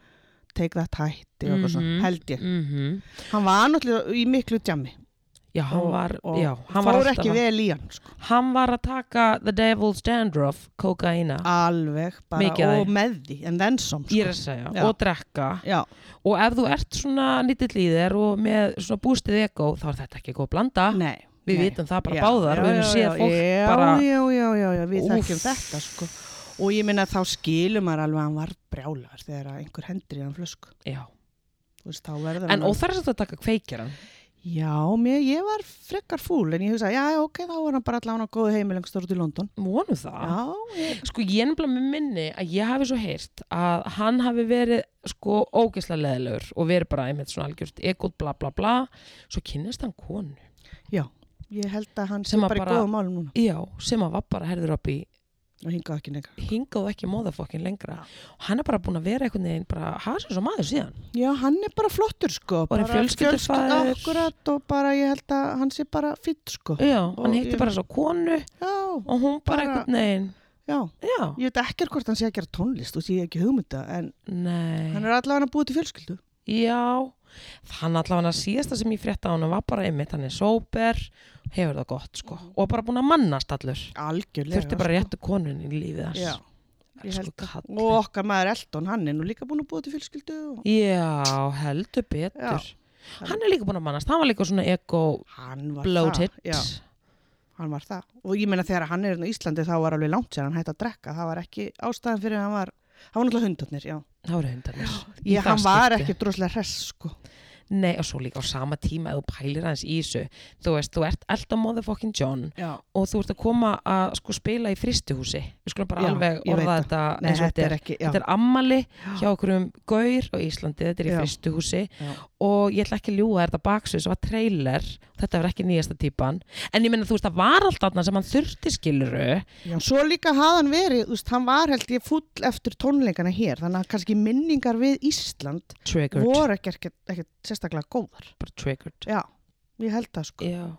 Speaker 2: take that hætti og eitthvað
Speaker 1: Mhm.
Speaker 2: svona, held ég
Speaker 1: Mhm.
Speaker 2: hann var náttúrulega í miklu djami
Speaker 1: Já, hann
Speaker 2: Og-
Speaker 1: var,
Speaker 2: og
Speaker 1: já, hann var
Speaker 2: fór
Speaker 1: alltaf
Speaker 2: ekki
Speaker 1: að-
Speaker 2: vel í hann sko.
Speaker 1: Hann var að taka The Devil's Dandruff, kokaina
Speaker 2: alveg bara
Speaker 1: Mikið af
Speaker 2: og
Speaker 1: því.
Speaker 2: með því en then some
Speaker 1: Ég er
Speaker 2: Ah, sko.
Speaker 1: að segja,
Speaker 2: Já.
Speaker 1: og drekka
Speaker 2: já,
Speaker 1: og ef þú ert svona lítill í þér og með svona bústið ego þá er þetta ekki góð blanda
Speaker 2: nei,
Speaker 1: við
Speaker 2: nei.
Speaker 1: vitum það bara
Speaker 2: Já,
Speaker 1: báðar
Speaker 2: já,
Speaker 1: við höfum
Speaker 2: já,
Speaker 1: séð
Speaker 2: já,
Speaker 1: fólk
Speaker 2: já,
Speaker 1: bara
Speaker 2: já, já, já, já, við
Speaker 1: Úff.
Speaker 2: þekkjum þetta sko. og ég minna þá skilum maður alveg að hann var brjálar þegar að einhver hendur í hann flösku
Speaker 1: já.
Speaker 2: Þú veist, þá verður hann
Speaker 1: en
Speaker 2: alveg-
Speaker 1: óþarfst að taka kveikjaran
Speaker 2: já, mér, ég var frekar fúl en ég hugsa, já, já, ok, þá var hann bara allan á góðu heimil einhver stórt í London
Speaker 1: vonum það
Speaker 2: já, ég,
Speaker 1: sko ég er nefnilega með minni að ég hafi svo heyrt að hann hafi verið sko ógeðslega leðilegur og verið bara einmitt svona algjört ego bla bla bla svo kynnist hann konu
Speaker 2: ég held að hann
Speaker 1: Sem
Speaker 2: sé
Speaker 1: að
Speaker 2: bara, í
Speaker 1: bara-
Speaker 2: góðum málum núna
Speaker 1: já, sem að var bara herður upp í
Speaker 2: og hingað ekki neka
Speaker 1: hingaðu ekki móðafokkin lengra
Speaker 2: Já.
Speaker 1: og hann er bara búin að vera einhvern veginn bara hasa svo maður síðan
Speaker 2: Já, hann er bara flottur sko
Speaker 1: er
Speaker 2: bara
Speaker 1: fjölskyldufaðir.
Speaker 2: fjölskyld- Akkurat og bara ég held að hann sé bara fýtt sko
Speaker 1: já, hann hitti
Speaker 2: ég-
Speaker 1: bara svo konu
Speaker 2: Já,
Speaker 1: og hún bara,
Speaker 2: Bara-
Speaker 1: einhvern veginn
Speaker 2: já
Speaker 1: já,
Speaker 2: Ég veit ekki hvort hann sé að gera tónlist og sé ekki hugmynda en
Speaker 1: nei
Speaker 2: hann er allavega að búið til fjölskyldu
Speaker 1: Já, þannig allavega að síðasta sem ég frétta á hann var bara einmitt, hann er sóper, hefur það gott sko
Speaker 2: Mhm.
Speaker 1: og bara búin að mannast allur.
Speaker 2: Algjörlega
Speaker 1: Þurfti bara réttu konun í lífið hans.
Speaker 2: sko. Já,
Speaker 1: Elsku
Speaker 2: ég held
Speaker 1: kall.
Speaker 2: Og okkar maður Eldon, hann er nú líka búin að búið til fjölskyldu og
Speaker 1: Já, heldur betur. Hann er líka búin að mannast, hann var líka svona ego
Speaker 2: hann var
Speaker 1: bloated.
Speaker 2: það Já, hann var það Og ég meina þegar hann er hérna á Íslandi þá var alveg langt sér hann hætti að drekka það var ekki ástæðan fyrir að hann var hann var náttúrulega hundarnir, já
Speaker 1: Það voru hundarnir. í
Speaker 2: ég,
Speaker 1: það
Speaker 2: Hann var
Speaker 1: skipti.
Speaker 2: ekki droslega hress sko
Speaker 1: Nei, og svo líka á sama tíma ef þú pælir aðeins í þessu. Þú veist, þú ert elda motherfucking John
Speaker 2: Já
Speaker 1: og þú ert að koma að sko spila í fristihúsi. Við skulum bara
Speaker 2: Já,
Speaker 1: alveg
Speaker 2: ég
Speaker 1: orða
Speaker 2: veit það.
Speaker 1: þetta
Speaker 2: Nei,
Speaker 1: eins og
Speaker 2: þetta er ekki, já.
Speaker 1: Þetta er ammali hjá okkurum gaur á Íslandi, þetta er í
Speaker 2: Já.
Speaker 1: fristuhúsi
Speaker 2: Já.
Speaker 1: og ég ætla ekki að ljúga þetta baksu sem var trailer, þetta var ekki nýjasta típan en ég meina þú veist það var allt þarna sem hann þurfti skiluru
Speaker 2: Já, svo líka hafði hann verið, þú veist, hann var held ég full eftir tónleikana hér, þannig að kannski minningar við Ísland
Speaker 1: triggered,
Speaker 2: voru ekki, ekki, ekki sérstaklega góðar.
Speaker 1: bara triggered
Speaker 2: Já, ég held það sko.
Speaker 1: Já.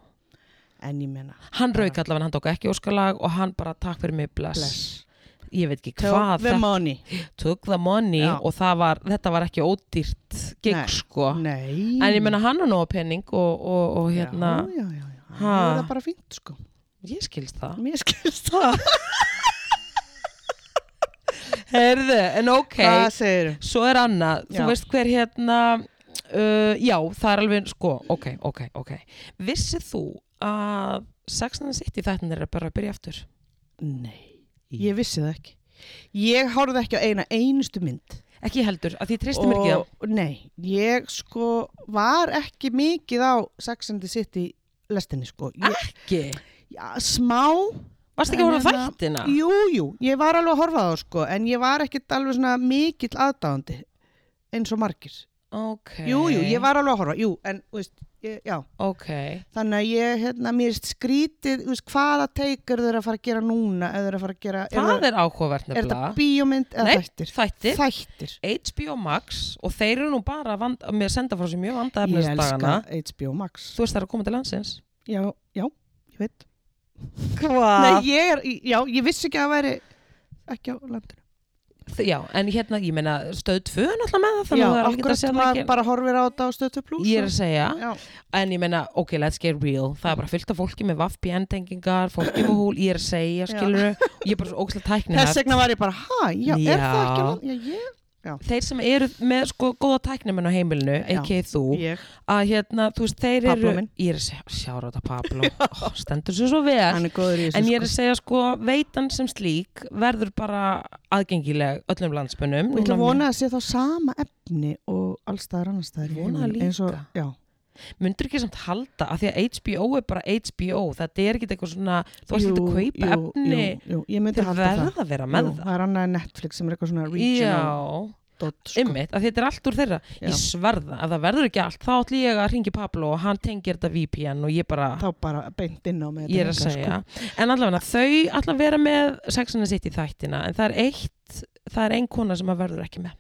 Speaker 2: En ég meina,
Speaker 1: hann rauk allavega, hann tók ekki óskalag og hann bara takk fyrir mig, bless,
Speaker 2: bless.
Speaker 1: ég veit ekki
Speaker 2: Take
Speaker 1: hvað
Speaker 2: the
Speaker 1: þetta-
Speaker 2: money
Speaker 1: took the money
Speaker 2: Já.
Speaker 1: og það var, þetta var ekki ódýrt gig
Speaker 2: Nei. Mm.
Speaker 1: sko
Speaker 2: Nei
Speaker 1: en ég menna hann á nóga penning og, og, og hérna,
Speaker 2: Já, já, já, já.
Speaker 1: Ha.
Speaker 2: Það er það bara fínt sko
Speaker 1: ég skilst það
Speaker 2: Mér skilst það
Speaker 1: herðu, en ok
Speaker 2: Hvað segir þú?
Speaker 1: svo er annað,
Speaker 2: Já.
Speaker 1: þú veist hver hérna uh, já, það er alveg sko, ok, ok, ok vissið þú að Sex and the City þættin er bara að byrja aftur
Speaker 2: Nei, ég vissi það ekki Ég horfði ekki á eina einustu mynd
Speaker 1: ekki ég heldur, að því tristum mér ekki það
Speaker 2: Og- Nei, ég sko var ekki mikið á Sex and the City lestinni sko ég,
Speaker 1: ekki,
Speaker 2: já, Smá
Speaker 1: varst Ah! ekki að horfa á
Speaker 2: En hérna-
Speaker 1: þættina
Speaker 2: Jú, jú, ég var alveg að horfa á það sko en ég var ekkit alveg svona mikill aðdáðandi eins og margir
Speaker 1: ok,
Speaker 2: Jú, jú, ég var alveg að horfa, jú, en þú veist, ég, já,
Speaker 1: ok,
Speaker 2: þannig að ég, hérna, mér erst skrítið, þú veist, hvaða teik eru þeir að fara að gera núna, eða þeir að fara að gera, eru-
Speaker 1: það er áhugavert
Speaker 2: er þetta
Speaker 1: nefnilega
Speaker 2: bíómynd eða
Speaker 1: Nei,
Speaker 2: þættir?
Speaker 1: þættir
Speaker 2: Þættir.
Speaker 1: HBO Max og þeir eru nú bara vand, með að senda frá sér mjög vandaðar
Speaker 2: Ég
Speaker 1: með þessa
Speaker 2: elska
Speaker 1: dagana
Speaker 2: HBO Max.
Speaker 1: Þú veist það er að koma til landsins
Speaker 2: Já, já, ég veit.
Speaker 1: Hvað?
Speaker 2: Nei, ég er, já, ég vissi ekki að það væri ekki á landinu.
Speaker 1: Já, en hérna, ég meina stöð 2 er náttúrulega með það
Speaker 2: já,
Speaker 1: þannig að það er alveg að
Speaker 2: akkurat
Speaker 1: segja það
Speaker 2: maður
Speaker 1: ekki
Speaker 2: bara horfir á þetta á stötu pluss.
Speaker 1: Ég er að segja,
Speaker 2: Já,
Speaker 1: en ég meina, ok, let's get real það er bara fullt af fólki með VPN-tengingar fólki með húl, ég er að segja, skilur ég er bara svo ógæslega tækni
Speaker 2: þess vegna var ég bara, hæ,
Speaker 1: Já.
Speaker 2: já, er það ekki á landinu? Já, ég,
Speaker 1: Þeir sem eru með sko góða tæknimenn á heimilinu,
Speaker 2: Já.
Speaker 1: ekki þú
Speaker 2: ég,
Speaker 1: að hérna, þú veist, þeir
Speaker 2: Pablo
Speaker 1: eru
Speaker 2: minn.
Speaker 1: Ég er að segja, sjára þetta
Speaker 2: <laughs>
Speaker 1: Pablo Ó, stendur sér svo vel
Speaker 2: hann er góður í þessu.
Speaker 1: En ég
Speaker 2: sko.
Speaker 1: er að segja sko, veitan sem slík verður bara aðgengileg öllum landsmönnum.
Speaker 2: Ég ætla
Speaker 1: Núna
Speaker 2: að vona að sé þá sama efni og allstaðar annarstaðar í
Speaker 1: Vona
Speaker 2: heiminum, eins og-
Speaker 1: líka.
Speaker 2: Já,
Speaker 1: Mundur ekki samt halda, af því að HBO er bara HBO, þetta er ekki eitthvað svona, þú varst ekki
Speaker 2: Jú,
Speaker 1: að kaupa
Speaker 2: jú,
Speaker 1: efni,
Speaker 2: jú, jú, Ég myndi
Speaker 1: þeir
Speaker 2: halda það
Speaker 1: verða að vera með
Speaker 2: Jú, Það er annað en Netflix sem er eitthvað svona
Speaker 1: það.
Speaker 2: regional
Speaker 1: Já,
Speaker 2: dot, sko.
Speaker 1: ymmit, af því þetta er allt úr þeirra.
Speaker 2: Já.
Speaker 1: Ég sverða, ef það verður ekki allt, þá ætlum ég að ringi Pablo og hann tengir þetta VPN og ég bara,
Speaker 2: Þá bara beint inn á með
Speaker 1: ég er að
Speaker 2: þetta líka, sko.
Speaker 1: segja. En allavega, þau ætla að vera með sexina sitt í þættina, en það er eitt, það er ein kona sem að verður ekki með.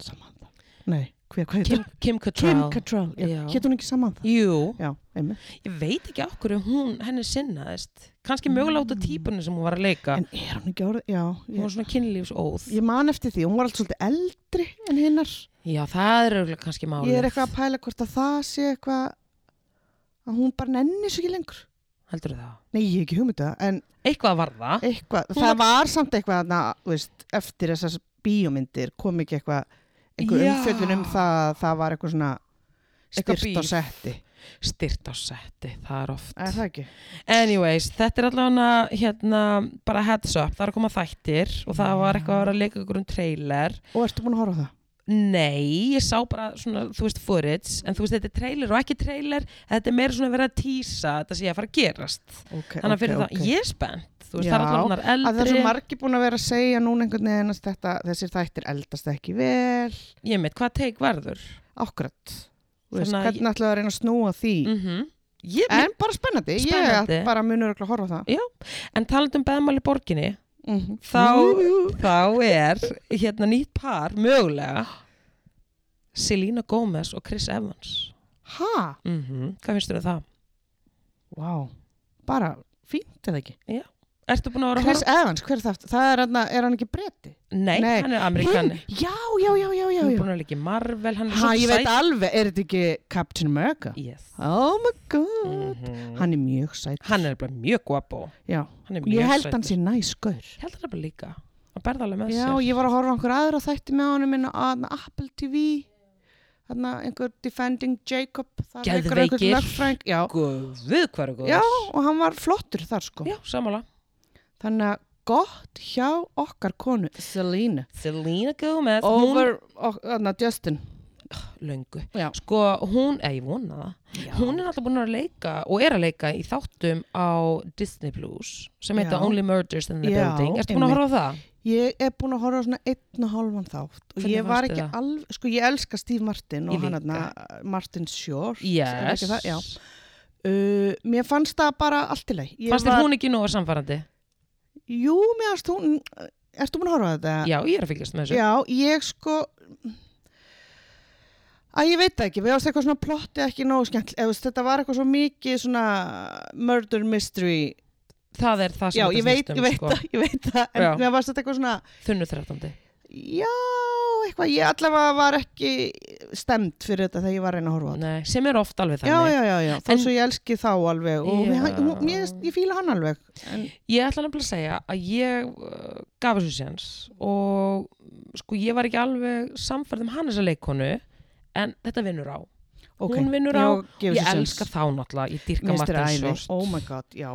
Speaker 2: sko. Samantha. Nei, hver, hvað heitir
Speaker 1: Kim, Kim Cattrall.
Speaker 2: Kim Cattrall
Speaker 1: Já.
Speaker 2: Hétt hún ekki Samantha?
Speaker 1: Jú.
Speaker 2: Já, einmitt
Speaker 1: Ég veit ekki af hverju hún henni sinnaðist. Kanski mögulega út af típunni sem hún var að leika.
Speaker 2: Mm. En er hún ekki orðið? Já,
Speaker 1: hún
Speaker 2: ég,
Speaker 1: var svona kynlífsóð.
Speaker 2: ég man eftir því Hún var alltaf svolítið eldri en hinnar
Speaker 1: Já, það er auðvitað kannski málið.
Speaker 2: Ég er eitthvað að pæla hvort að það sé eitthvað að hún bara nenni svo ekki lengur
Speaker 1: Heldur það?
Speaker 2: Nei, ég hef ekki hugmynda, en
Speaker 1: Eitthvað var það.
Speaker 2: eitthvað,
Speaker 1: Hún
Speaker 2: það var samt eitthvað na, veist, eftir þessar bíómyndir kom ekki eitthvað einhver
Speaker 1: Já.
Speaker 2: umfjöldun um það að það var eitthvað svona
Speaker 1: Eitthvað
Speaker 2: styrt á
Speaker 1: bíf.
Speaker 2: setti
Speaker 1: Styrt á setti, það er oft.
Speaker 2: er það ekki?
Speaker 1: Anyways, þetta er allavega hérna bara heads up. Það er að koma þættir og það var eitthvað að vera að leika ykkur um trailer.
Speaker 2: og ertu búin að horfa á það?
Speaker 1: Nei, ég sá bara svona, þú veist, footage, en þú veist, þetta er trailer og ekki trailer, þetta er meira svona verið að tísa, þetta sé að fara að gerast.
Speaker 2: Okay,
Speaker 1: Þannig að fyrir
Speaker 2: okay,
Speaker 1: það,
Speaker 2: okay.
Speaker 1: ég er spennt, þú veist,
Speaker 2: Já,
Speaker 1: það er allavega eldri.
Speaker 2: að það er svo margi búin að vera að segja núna einhvern veginn að þetta, þessir þættir eldast ekki vel
Speaker 1: ég meit, hvað teik verður
Speaker 2: akkurat veist,
Speaker 1: Þannig að
Speaker 2: hvernig ætlaðu að reyna að snúa því
Speaker 1: mm ég, en,
Speaker 2: en bara spennandi,
Speaker 1: Spennandi.
Speaker 2: ég bara munur örugglega að horfa á það
Speaker 1: en talandi um beðmál í borginni
Speaker 2: mm
Speaker 1: þá, þá er hérna nýtt par mögulega Selena Gomez og Chris Evans
Speaker 2: ha,
Speaker 1: mm
Speaker 2: Mhm.
Speaker 1: hvað finnst þér um það?
Speaker 2: wow bara fínt eða ekki
Speaker 1: Ertu búin að vera að
Speaker 2: Chris Evans, hver er það? Það er hann, er hann ekki bretti?
Speaker 1: Nei,
Speaker 2: Nei,
Speaker 1: hann er amerikani
Speaker 2: Hinn? Já, já, já, já, já,
Speaker 1: Hann er
Speaker 2: já.
Speaker 1: búin að líka í Marvel Hann er
Speaker 2: Ha, ég
Speaker 1: svo
Speaker 2: veit
Speaker 1: sæt
Speaker 2: alveg, er þetta ekki Captain America?
Speaker 1: yes.
Speaker 2: Oh my god.
Speaker 1: Mhm.
Speaker 2: Hann er mjög sætt.
Speaker 1: Hann er bara mjög guapo
Speaker 2: Já.
Speaker 1: Hann er mjög
Speaker 2: Ég held
Speaker 1: sætur.
Speaker 2: hann sé næskaur.
Speaker 1: Ég held hann bara líka Hann berða alveg með
Speaker 2: Já,
Speaker 1: sér
Speaker 2: ég var að horfa á einhver aðra þætti með honum inn á þarna Apple TV. Þannig einhver Defending Jacob. þar leikur
Speaker 1: Geðveikir.
Speaker 2: einhver lögfræðing- Já.
Speaker 1: Guð, hvað er góð
Speaker 2: já, og hann var flottur þar sko.
Speaker 1: Já, samála
Speaker 2: Þannig að gott hjá okkar konu, Selena.
Speaker 1: Selena Gomez hún-
Speaker 2: Over, og, þarna, Justin.
Speaker 1: löngu.
Speaker 2: Já.
Speaker 1: Sko, hún, eða ég vona það,
Speaker 2: Já.
Speaker 1: hún er alltaf búin að leika og er að leika í þáttum á Disney Plus sem heita
Speaker 2: Já.
Speaker 1: Only Murders in the
Speaker 2: Já,
Speaker 1: Building. Ertu búin að horfa á það?
Speaker 2: Ég er búin að horfa á svona einn og hálfan þátt og
Speaker 1: Hvernig
Speaker 2: ég var
Speaker 1: fannstu
Speaker 2: ekki
Speaker 1: það?
Speaker 2: alveg, sko ég elska Steve Martin
Speaker 1: Ég
Speaker 2: og hann
Speaker 1: líka.
Speaker 2: hérna Martin Short er
Speaker 1: Yes.
Speaker 2: ekki það? Já. Uh, mér fannst það bara allt í leið Ég
Speaker 1: Fannst þér hún ekki nú að samfærandi?
Speaker 2: Jú, mér fannst hún, ertu búin að horfa á þetta?
Speaker 1: Já, ég er að fylgjast með þessu.
Speaker 2: Já, ég sko að ég veit það ekki, við varst eitthvað svona plotti ekki nógu skemmt, eða þú veist, þetta var eitthvað svo mikið svona murder mystery
Speaker 1: það er það sem
Speaker 2: já,
Speaker 1: þetta
Speaker 2: ég veit,
Speaker 1: snýst um,
Speaker 2: ég veit
Speaker 1: sko.
Speaker 2: það, ég veit það en
Speaker 1: Já.
Speaker 2: mér varst þetta eitthvað svona
Speaker 1: þunnu 13.
Speaker 2: já, eitthvað, ég allavega var ekki stemd fyrir þetta þegar ég var að reyna að horfa á þetta
Speaker 1: Nei, sem er oft alveg
Speaker 2: já,
Speaker 1: þannig
Speaker 2: já, já, já, þó
Speaker 1: En-
Speaker 2: svo ég elski þá alveg og
Speaker 1: Já.
Speaker 2: mér, hún- mér, ég fíla hann alveg en,
Speaker 1: Ég ætla nefnilega að segja að ég uh, gaf þessu séns og mm, sko ég var ekki alveg samfærð um hann þessa leikonu en þetta vinnur á.
Speaker 2: ok,
Speaker 1: Hún vinnur á,
Speaker 2: já, gefur
Speaker 1: ég
Speaker 2: sér séns.
Speaker 1: elska þá náttúrulega, ég dyrka
Speaker 2: Mér finnst
Speaker 1: Martin
Speaker 2: þetta æði.
Speaker 1: Sjóst.
Speaker 2: oh my god, já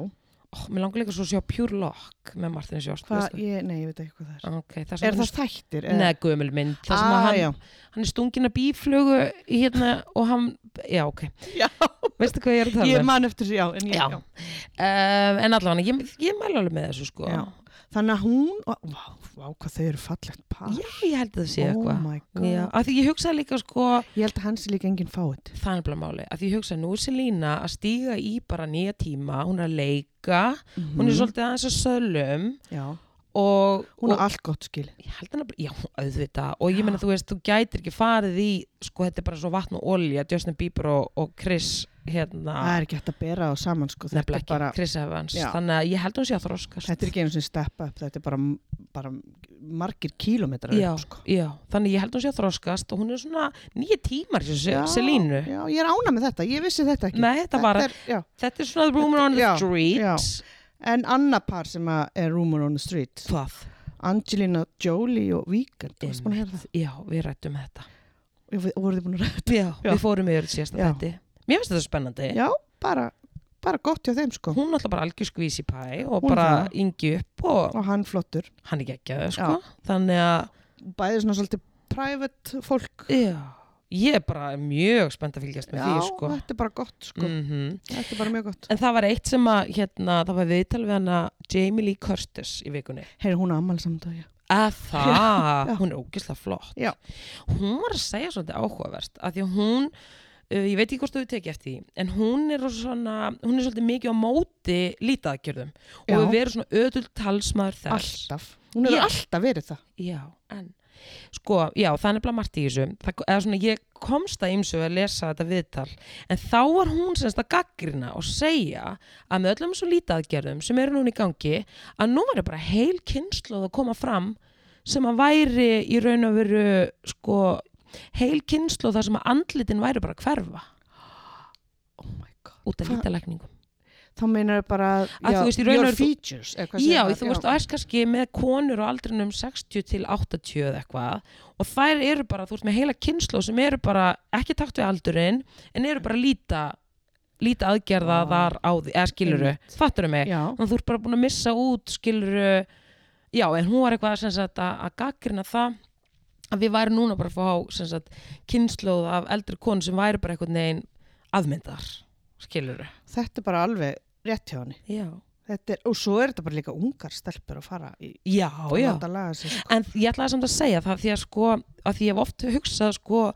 Speaker 1: Ó, mér langar líka svo að sjá Pure Lock með Martin Sjóst.
Speaker 2: Hvað, ég, nei, ég veit ekki hvað það er
Speaker 1: Ok, það
Speaker 2: er
Speaker 1: sem
Speaker 2: það þættir? eða-
Speaker 1: Nei, gömul mynd, það sem
Speaker 2: Ah,
Speaker 1: að
Speaker 2: já.
Speaker 1: hann, hann er stungin að bíflugu í hérna og hann, já ok,
Speaker 2: Já,
Speaker 1: veistu hvað ég er að tala
Speaker 2: ég
Speaker 1: um?
Speaker 2: man eftir þessu, já, en ég,
Speaker 1: Já,
Speaker 2: já.
Speaker 1: um, en allavega, ég, ég mæla alveg með þessu sko.
Speaker 2: Já. Þannig að hún, vá, vá, hvað þau eru fallegt par.
Speaker 1: Já, ég held að það sé
Speaker 2: oh
Speaker 1: eitthvað.
Speaker 2: my god.
Speaker 1: Já, af því ég hugsaði líka sko
Speaker 2: Ég held að hans er líka enginn fáið.
Speaker 1: það er bara máli, af því ég hugsaði nú er Selína að stíga í bara nýja tíma hún er að leika, hún er svolítið aðeins að sölum
Speaker 2: Já,
Speaker 1: og,
Speaker 2: Mhm.
Speaker 1: og
Speaker 2: hún er allt gott skil.
Speaker 1: ég held hann að, já, auðvitað og ég meina þú veist, þú gætir ekki farið í sko, þetta er bara svo vatn og olja, Justin Bieber og, og Chris,
Speaker 2: Það
Speaker 1: hérna
Speaker 2: er ekki hægt að bera á saman, sko. Þetta
Speaker 1: nefnilega
Speaker 2: er
Speaker 1: ekki,
Speaker 2: bara,
Speaker 1: Chris Evans
Speaker 2: Já.
Speaker 1: þannig að ég held hún sé að þroskast
Speaker 2: þetta er ekki einu sem steppa upp, þetta er bara, bara margir kílómetrar
Speaker 1: já,
Speaker 2: upp, sko.
Speaker 1: já, þannig ég held hún sé að þroskast og hún er svona nýja tímar sem
Speaker 2: Já,
Speaker 1: Selínu
Speaker 2: Já, ég er ána með þetta, ég vissi þetta ekki.
Speaker 1: Nei, þetta var,
Speaker 2: er, já.
Speaker 1: þetta er svona the rumor on the
Speaker 2: Já,
Speaker 1: street
Speaker 2: já. En annað par sem að er Rumor on the Street,
Speaker 1: Það
Speaker 2: Angelina Jolie og Víkand, þú veist búin að heyra það.
Speaker 1: Já, við rættum þetta.
Speaker 2: Ég veit- Voruð þið búin að ræða?
Speaker 1: Já,
Speaker 2: Já.
Speaker 1: við fórum yfir sérst að
Speaker 2: Já.
Speaker 1: þetta. Mér finnst þetta spennandi.
Speaker 2: Já, bara, bara gott hjá þeim, sko.
Speaker 1: Hún náttúrulega bara algjör skvísi pæ og
Speaker 2: Hún
Speaker 1: bara
Speaker 2: það.
Speaker 1: yngi upp og
Speaker 2: Og hann flottur.
Speaker 1: hann er geggjaður, sko. Þannig að,
Speaker 2: Bæði svona svolítið private fólk.
Speaker 1: já, ég er bara mjög spennt að fylgjast með því, sko.
Speaker 2: þetta er bara gott sko.
Speaker 1: Mm
Speaker 2: Þetta er bara mjög gott.
Speaker 1: En það var eitt sem að, hérna, það var viðtal við hana Jamie Lee Curtis í vikunni.
Speaker 2: Heyri, hún er ammali saman dag, já.
Speaker 1: að það,
Speaker 2: Ah. <laughs> já.
Speaker 1: hún er ógislega flott
Speaker 2: Já.
Speaker 1: hún var að segja svolítið áhugaverst að því að hún, uh, ég veit ekki hvort þú hefur tekið eftir því, en hún er, rosa svona, hún er svolítið mikið á móti lítaðagjörðum og
Speaker 2: Já.
Speaker 1: hefur verið svona ödul talsmaður þess
Speaker 2: Alltaf. Hún er
Speaker 1: Já.
Speaker 2: alltaf verið það.
Speaker 1: já, en sko, já, það er nefnilega margt í þessu það, eða svona, ég komst að ymsu að lesa þetta viðtal, en þá var hún semst að gaggrina og segja að með öllum svo lítaðgerðum sem eru núna í gangi að nú var bara heil kynslu að koma fram sem að væri í raun og veru sko, heil kynslu þar sem að andlitin væri bara að hverfa
Speaker 2: <gasps> Oh my god.
Speaker 1: út af
Speaker 2: Hva-
Speaker 1: lítalækningum
Speaker 2: Þá meinar þau bara,
Speaker 1: Að þú veist, í raun og
Speaker 2: your
Speaker 1: veru þú-
Speaker 2: features. eða hvað segir
Speaker 1: Já,
Speaker 2: maður?
Speaker 1: þú veist, og erst kannski með konur á aldrinum 60 til 80 eða eitthvað og þær eru bara, þú veist, með heila kynslu sem eru bara, ekki takt við aldurinn en eru bara líta líta aðgerða
Speaker 2: Vá.
Speaker 1: þar á því, eða skiluru fatturu mig,
Speaker 2: Ah. Já,
Speaker 1: þannig að þú ert bara búin að missa út skiluru, já, en hún var eitthvað sem sagt að, að gaggrina það að við væri núna bara að fá sem sagt, kynsluð af eldri konu sem væri bara eitthvað negin aðmyndar skiluru,
Speaker 2: þetta er bara alveg rétt hjá henni.
Speaker 1: já
Speaker 2: Þetta Er, og svo er þetta bara líka ungar stelpur að fara í
Speaker 1: Já,
Speaker 2: að
Speaker 1: já,
Speaker 2: láta laga sig. Sko.
Speaker 1: En ég ætlaði samt að segja það því að sko, að því ég hef oft hugsað sko,